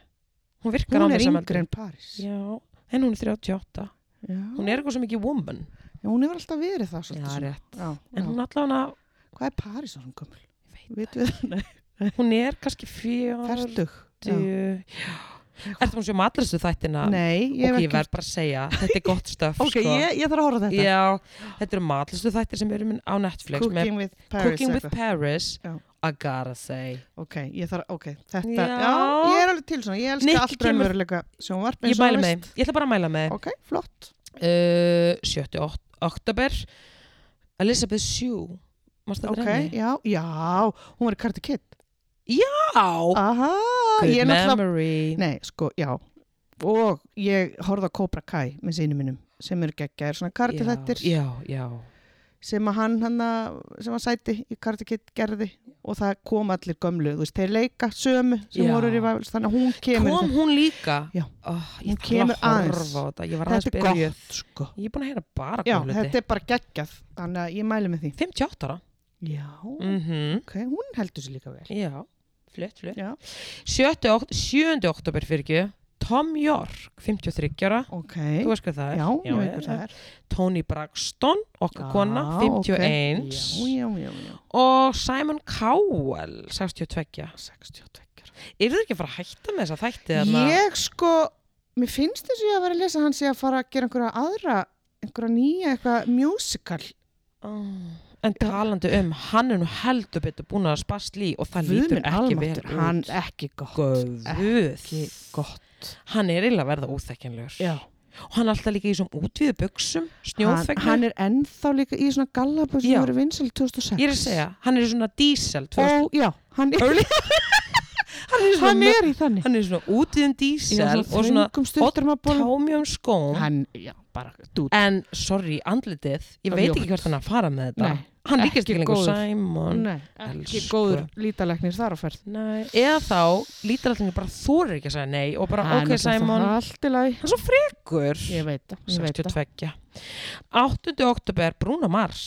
Speaker 1: Hún virkar á
Speaker 2: hún
Speaker 1: mig
Speaker 2: er
Speaker 1: sem
Speaker 2: yngri en Paris já.
Speaker 1: Já, en hún er 38 Hún er eitthvað svo mikið woman
Speaker 2: Já, hún hefur alltaf verið það
Speaker 1: Já,
Speaker 2: svolítið svona.
Speaker 1: rétt.
Speaker 2: já,
Speaker 1: En
Speaker 2: já.
Speaker 1: hún allavega
Speaker 2: hvað er Paris á hún gömul?
Speaker 1: Veit
Speaker 2: Vitum við það? Nei,
Speaker 1: hún er kannski fjör
Speaker 2: Fertug Já.
Speaker 1: Ertu hún sem matlastu þættina?
Speaker 2: Nei, ég
Speaker 1: ok,
Speaker 2: hef
Speaker 1: ég verð bara að segja, þetta er gott stöf
Speaker 2: Ok,
Speaker 1: sko.
Speaker 2: ég, ég þarf að horfa á þetta
Speaker 1: Já, þetta eru matlastu þættir sem eru minn á Netflix með
Speaker 2: Cooking with Paris
Speaker 1: Cooking with
Speaker 2: eitthvað.
Speaker 1: Paris
Speaker 2: Já.
Speaker 1: I gotta say
Speaker 2: Ok, ég þarf, ok, þetta,
Speaker 1: Já.
Speaker 2: já, ég er alveg til svona, ég elska
Speaker 1: Nikki
Speaker 2: allt
Speaker 1: kemur-
Speaker 2: raunveruleika sjónvarp
Speaker 1: Ég
Speaker 2: eins og
Speaker 1: mæla
Speaker 2: þú
Speaker 1: með,
Speaker 2: veist.
Speaker 1: ég ætla bara að mæla með
Speaker 2: Ok, flott.
Speaker 1: uh, 7. ok- oktober Elizabeth Shue Mást þetta
Speaker 2: Ok,
Speaker 1: reyni?
Speaker 2: já, já, hún var í Karti Kid.
Speaker 1: Já,
Speaker 2: Aha,
Speaker 1: good
Speaker 2: ég er náttúrulega,
Speaker 1: memory
Speaker 2: nei, sko, já, og ég horfði á Cobra Kai með sínum minnum sem eru geggjaðir svona Karti
Speaker 1: Já,
Speaker 2: þettir
Speaker 1: Já, já
Speaker 2: sem að hann hann sem að sæti í Karti Kid gerði og það kom allir gömlu, þú veist, þeir leika sömu sem
Speaker 1: Já.
Speaker 2: voru rivals, þannig að hún kemur. í
Speaker 1: Kom
Speaker 2: þetta.
Speaker 1: hún líka?
Speaker 2: Já.
Speaker 1: oh,
Speaker 2: Hún
Speaker 1: Ég þarf
Speaker 2: kemur
Speaker 1: að
Speaker 2: aðeins.
Speaker 1: horfa á þetta Ég var aðeins
Speaker 2: Þetta er
Speaker 1: byrjuð
Speaker 2: gott, sko.
Speaker 1: Ég er búin að heyra bara
Speaker 2: Já,
Speaker 1: góðluti.
Speaker 2: þetta er bara geggjað, þannig að ég mæli með því.
Speaker 1: 58 ára.
Speaker 2: Já,
Speaker 1: Mm
Speaker 2: ok, hún heldur sér líka vel.
Speaker 1: Já, flött, flött.
Speaker 2: Já.
Speaker 1: 7. Ok 7. oktober fyrir ekki, Tom York, 53 ára.
Speaker 2: Ok,
Speaker 1: Þú veist hvað það er.
Speaker 2: já, ég veit hvað það er.
Speaker 1: Tony Braxton, okkar kona,
Speaker 2: Já,
Speaker 1: 51.
Speaker 2: ok. Já, já, já, já.
Speaker 1: Og Simon Cowell, 62.
Speaker 2: 62.
Speaker 1: Eru þið ekki að fara að hætta með þessa þætti? þarna?
Speaker 2: Ég sko, mér finnst þess að ég að vera að lesa að hann sé að fara að gera einhverja aðra, einhverja nýja, eitthvað musical.
Speaker 1: Ó, En talandi um, hann er nú heldur betur búin að spast lí og það
Speaker 2: Guð
Speaker 1: lítur
Speaker 2: minn
Speaker 1: ekki vel
Speaker 2: almáttur,
Speaker 1: út.
Speaker 2: Hann ekki gott. Ekki
Speaker 1: Guð.
Speaker 2: gott.
Speaker 1: Hann er eiginlega að verða óþekkinlegur.
Speaker 2: Já.
Speaker 1: og hann er alltaf líka í svona útvíðu buksum
Speaker 2: Hann,
Speaker 1: snjóþegnar,
Speaker 2: hann er ennþá líka í svona gallabur sem
Speaker 1: Já.
Speaker 2: voru vinsal 2006.
Speaker 1: ég er að segja hann er í svona dísel
Speaker 2: Ó, já, hann er,
Speaker 1: Early. hann er
Speaker 2: Eh, hann
Speaker 1: svona,
Speaker 2: er í þannig
Speaker 1: hann er svona útiðin dísel og svona
Speaker 2: oddtámum
Speaker 1: támjum skóm
Speaker 2: hann, já, bara dút
Speaker 1: en sorry, andlitið ég
Speaker 2: Það er
Speaker 1: veit ekki
Speaker 2: ljótt.
Speaker 1: hvert hann er að fara með þetta
Speaker 2: Nei,
Speaker 1: hann líkist
Speaker 2: ekki
Speaker 1: ekki lengur
Speaker 2: góður.
Speaker 1: Simon
Speaker 2: Nei, ekki
Speaker 1: elsku.
Speaker 2: góður lítalæknir þar á ferð
Speaker 1: Nei. eða þá lítur allir bara þorir ekki að segja nei og bara
Speaker 2: Hann
Speaker 1: ok
Speaker 2: er bara
Speaker 1: Simon,
Speaker 2: allt í lagi
Speaker 1: hann er svo frekur
Speaker 2: ég veit það, ég veit það
Speaker 1: 62 8. oktober Bruna Mars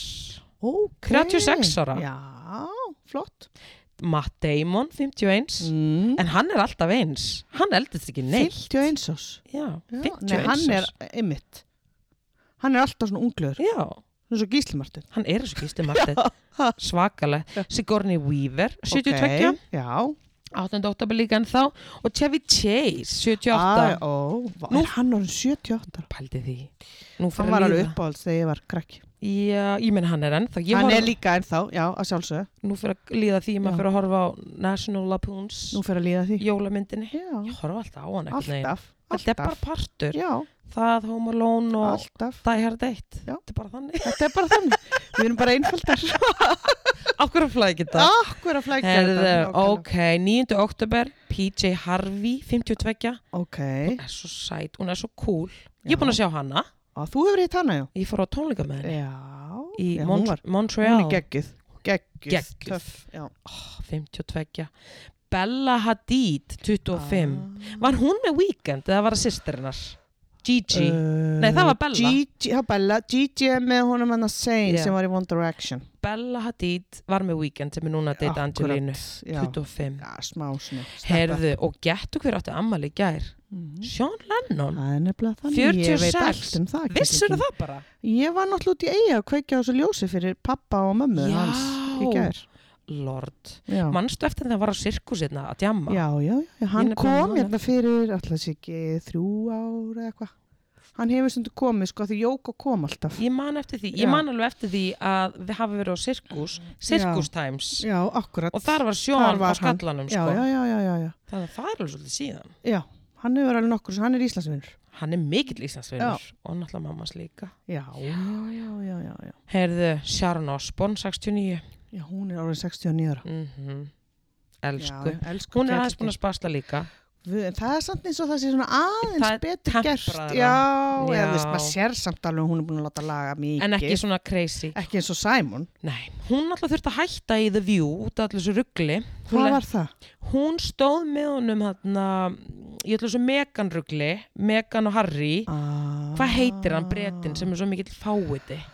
Speaker 2: okay.
Speaker 1: 36 ára.
Speaker 2: já, flott
Speaker 1: Matt Damon 51
Speaker 2: mm.
Speaker 1: en hann er alltaf eins hann eldist ekki neitt
Speaker 2: 51 ás
Speaker 1: já,
Speaker 2: Já,
Speaker 1: 51
Speaker 2: Nei, hann er ymmit Hann er alltaf svona unglegur,
Speaker 1: já,
Speaker 2: svona svo gíslimartin
Speaker 1: hann er þessu gísli
Speaker 2: <laughs>
Speaker 1: Martin svakalega Sigourney Weaver 72
Speaker 2: Já
Speaker 1: 8. oktober líka en þá og Chevy Chase 78
Speaker 2: Æ, ó, vá,
Speaker 1: Nú-
Speaker 2: er Hann var 78 ára.
Speaker 1: pældi því Nú fer
Speaker 2: Hann
Speaker 1: að
Speaker 2: var alveg
Speaker 1: líða.
Speaker 2: uppáhalds þegar ég var krakki
Speaker 1: já, ég menn hann er ennþá ég
Speaker 2: Hann
Speaker 1: var
Speaker 2: er líka ennþá, já, að sjálfsögðu
Speaker 1: nú fyrir að líða því
Speaker 2: Já.
Speaker 1: maður fyrir að horfa á National Lapoons
Speaker 2: Nú fer að líða því
Speaker 1: jólamyndinni
Speaker 2: Já,
Speaker 1: ég horfa alltaf á hann ekkert neginn
Speaker 2: alltaf
Speaker 1: þetta er bara
Speaker 2: Alltaf
Speaker 1: partur
Speaker 2: Já,
Speaker 1: það Home Alone og
Speaker 2: alltaf
Speaker 1: Die Hard 1
Speaker 2: Já.
Speaker 1: þetta er bara þannig <laughs>
Speaker 2: Þetta er bara þannig, við erum bara einfaldar
Speaker 1: af hverju flæði ekki það
Speaker 2: Akkur að flækja
Speaker 1: Herðu,
Speaker 2: þetta
Speaker 1: ok, 9. oktober PJ Harvey, 52
Speaker 2: Ok,
Speaker 1: er svo sæt, hún er svo cool ég er búin að sjá hana,
Speaker 2: og þú hefur hitt hana, já
Speaker 1: ég fór á tónleika með henni
Speaker 2: Já,
Speaker 1: í
Speaker 2: já,
Speaker 1: Mont
Speaker 2: hún var
Speaker 1: Montreal
Speaker 2: Hún er geggjuð Geggjuð,
Speaker 1: Geggjuð.
Speaker 2: töff, já.
Speaker 1: 52 Bella Hadid 25
Speaker 2: Ah.
Speaker 1: Var hún með Weekend eða var það sýstir hennar? Gigi
Speaker 2: Uh,
Speaker 1: Nei, það var Bella.
Speaker 2: Gigi, það var Bella. Gigi er með honum hann að segja
Speaker 1: Já.
Speaker 2: sem var í One Direction
Speaker 1: Bella Hadid var með Weekend sem er núna að deyta
Speaker 2: Akkurat,
Speaker 1: Angelínu
Speaker 2: já.
Speaker 1: 25
Speaker 2: Já, smá svona steppa.
Speaker 1: Herðu og gettu hver átti ammali í gær
Speaker 2: Mhm.
Speaker 1: Sean Lennon
Speaker 2: Það er nefnilega þannig Ég veit
Speaker 1: 46.
Speaker 2: allt um það
Speaker 1: Vissur
Speaker 2: kjúklinginn.
Speaker 1: það bara?
Speaker 2: Ég var náttúrulega út í eiga að kveikja á þessu ljósi fyrir pappa og mömmu
Speaker 1: Já.
Speaker 2: hans í gær
Speaker 1: Lord
Speaker 2: Já,
Speaker 1: Manstu eftir þegar það var á sirkusirna að djamma?
Speaker 2: já, já, já,
Speaker 1: Ég
Speaker 2: hann
Speaker 1: nefnilega
Speaker 2: kom
Speaker 1: man
Speaker 2: hérna fyrir alltaf sér ekki þrjú ár eða eitthvað Hann hefur stundu komið sko því Jóko kom alltaf
Speaker 1: Ég man eftir því,
Speaker 2: Já.
Speaker 1: ég man alveg eftir því að við hafi verið á sirkus, sirkus times
Speaker 2: Já, akkurat
Speaker 1: og þar var Sean
Speaker 2: Þar var
Speaker 1: á skallanum
Speaker 2: já,
Speaker 1: sko.
Speaker 2: já, já, já, já, já.
Speaker 1: Það, það er alveg svolítið síðan.
Speaker 2: já, hann hefur alveg nokkur hann er Íslandsvinnur
Speaker 1: Hann er mikill Íslandsvinnur og náttúrulega mammas líka.
Speaker 2: Já, já, já, já, já, já.
Speaker 1: Herðu, Sharon Osborn, 69.
Speaker 2: Já, hún er árið 69 ára.
Speaker 1: Mm Elsku.
Speaker 2: Já, elsku.
Speaker 1: Hún er aðeins búin
Speaker 2: kærleikinn.
Speaker 1: að spasla líka.
Speaker 2: Guð, en Það er samt eins og það sé svona aðeins
Speaker 1: Það er
Speaker 2: betur
Speaker 1: tempraðra.
Speaker 2: gert. Já, eða
Speaker 1: Já.
Speaker 2: þú veist, maður sér samt alveg að hún er búin að láta laga mikið.
Speaker 1: En ekki svona crazy.
Speaker 2: Ekki eins og Simon.
Speaker 1: Nei, hún náttúrulega þurfti að hætta í The View út af allir þessu ruggli. Hún,
Speaker 2: Hvað
Speaker 1: le-
Speaker 2: var það?
Speaker 1: hún stóð með honum hérna, í allir þessu Megan ruggli, Megan og Harry.
Speaker 2: Ah.
Speaker 1: Hvað heitir hann brettin sem er svo mikill fáiði?
Speaker 2: Ó,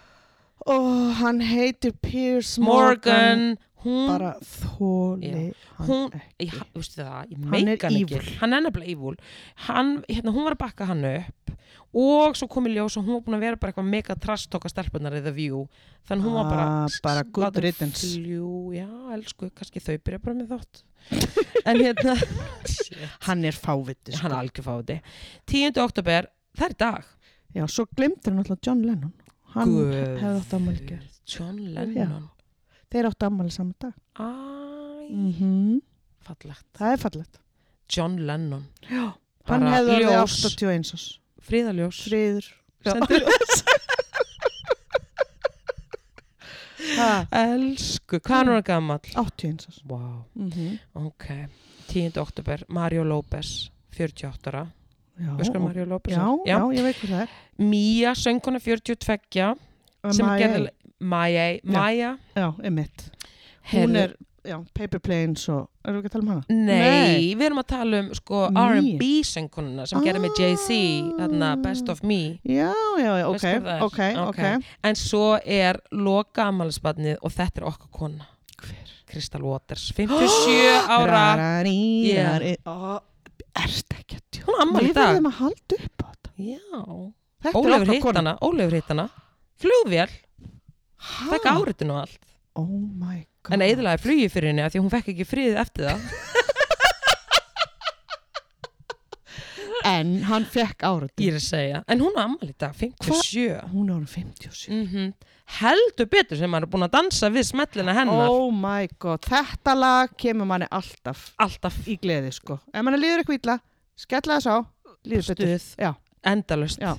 Speaker 2: Oh, hann heitir Piers Morgan.
Speaker 1: Morgan, hún
Speaker 2: Bara þóli hann
Speaker 1: Hún-
Speaker 2: ekki.
Speaker 1: ég, ha- veistu það, ég
Speaker 2: Hann er
Speaker 1: meika hann ekki
Speaker 2: evil.
Speaker 1: hann er nefnilega ívúl hérna, hún var að bakka hann upp og svo kom í ljós og hún var búin að vera bara eitthvað mega trastokka stelpunar í The View þannig hún var bara,
Speaker 2: Ah, bara
Speaker 1: s-
Speaker 2: good
Speaker 1: látin
Speaker 2: riddance.
Speaker 1: fljú, já, elsku, kannski þau byrja bara með þátt <laughs> en hérna shit,
Speaker 2: Hann er fáviti.
Speaker 1: hann
Speaker 2: Sko.
Speaker 1: er algjör fáti 10. oktober, það er í dag
Speaker 2: Já, svo glemdi hann alltaf John Lennon. Hann
Speaker 1: Guð.
Speaker 2: hefði átt ammæli gerð.
Speaker 1: John Lennon
Speaker 2: Þeir áttu ammæli saman dag.
Speaker 1: æ,
Speaker 2: Mm
Speaker 1: Mhm. fallegt
Speaker 2: Það er fallegt.
Speaker 1: John Lennon
Speaker 2: Já. Hann
Speaker 1: Bara
Speaker 2: hefði orðið
Speaker 1: ljós.
Speaker 2: 81 árs.
Speaker 1: fríðaljós
Speaker 2: Friður. Já.
Speaker 1: Sendu-
Speaker 2: Ha,
Speaker 1: elsku, hvað hann var gammal
Speaker 2: 81 árs.
Speaker 1: wow
Speaker 2: Mm
Speaker 1: Mhm. Ok, 10. oktober, Mario López, 48 ára,
Speaker 2: já,
Speaker 1: öskar Mario López.
Speaker 2: já,
Speaker 1: er?
Speaker 2: já, ég veit hvað það er.
Speaker 1: Mía, sönguna 42, sem
Speaker 2: Maya-
Speaker 1: gerði, Maja, Maja,
Speaker 2: Já, emitt. Hún
Speaker 1: heyrðu-
Speaker 2: er, já, Paper Planes og, erum við ekki að tala um hana?
Speaker 1: nei, við erum að tala um sko
Speaker 2: Mía.
Speaker 1: R&B söngununa sem gerði með Jay-Z, þarna Best of Me.
Speaker 2: Já, já, já, ok,
Speaker 1: Veistu hvað það er?
Speaker 2: ok, ok.
Speaker 1: En svo er loka ammælisbarnið og þetta er okkar kona,
Speaker 2: Hver?
Speaker 1: Kristal Waters,
Speaker 2: <gasps>
Speaker 1: 57 ára,
Speaker 2: Rararírar. Erst ekki að tjóða.
Speaker 1: hún ammæli í
Speaker 2: Við
Speaker 1: dag.
Speaker 2: verðum að halda upp á þetta.
Speaker 1: Já,
Speaker 2: Þetta
Speaker 1: Ólefur
Speaker 2: okkar
Speaker 1: hitt
Speaker 2: kona.
Speaker 1: hana,
Speaker 2: Ah.
Speaker 1: Ólefur hitt hana, flugvél,
Speaker 2: Ha?
Speaker 1: fekk áritun og allt.
Speaker 2: Oh my god.
Speaker 1: en eðlaði flugi fyrir henni af því að hún fekk ekki frið eftir það
Speaker 2: <laughs> En hann fekk áratun.
Speaker 1: ég er að segja, en hún á ammali dag 57
Speaker 2: Hún er orðin 57.
Speaker 1: mm heldur betur sem hann er búin að dansa við smellina hennar
Speaker 2: Oh my god, þetta lag kemur manni alltaf
Speaker 1: alltaf
Speaker 2: í gleði sko. Ef manni líður eitthvað illa, skella þess á, líður betur.
Speaker 1: stuð,
Speaker 2: Já.
Speaker 1: endalust
Speaker 2: Já.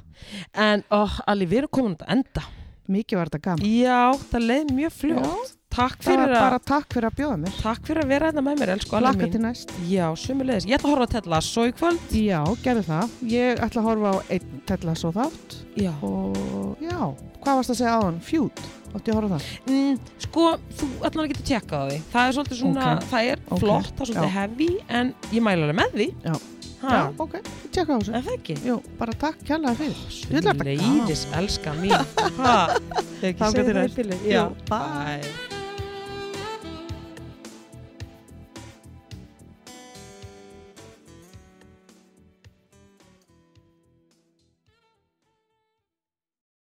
Speaker 1: en oh, allir við erum komin að enda
Speaker 2: Mikið var þetta gaman.
Speaker 1: já, það leið mjög fljótt Takk
Speaker 2: það var
Speaker 1: fyrir, að,
Speaker 2: bara takk fyrir að bjóða mér
Speaker 1: takk fyrir að vera hérna með mér, elsku Anna
Speaker 2: Laka
Speaker 1: mín.
Speaker 2: til næst
Speaker 1: Já, sumulegis. Ég ætla að horfa að tella svo í kvöld.
Speaker 2: Já, gerðu það Ég ætla að horfa á einn tella svo þátt
Speaker 1: Já.
Speaker 2: og já, hvað varst að segja áðan? Fjút, átti ég að horfa á það
Speaker 1: Mm, sko, þú allan að geta tjekkað á því. Það er svolítið svona,
Speaker 2: Ok.
Speaker 1: það er
Speaker 2: Ok.
Speaker 1: flott, það er svolítið heavy, en ég mæla alveg með því.
Speaker 2: Já.
Speaker 1: Ha,
Speaker 2: Já, ok, ég tjekka á þessu
Speaker 1: en það ekki.
Speaker 2: Jú, bara takk kjærlega fyrir Ég ætla að taka <laughs>
Speaker 1: Sumulegis, elska mín. Ha, þau ekki
Speaker 2: Þangað til
Speaker 1: segja
Speaker 2: næst.
Speaker 1: það í bili.
Speaker 2: Jú,
Speaker 1: Já,
Speaker 2: bye.
Speaker 1: bye.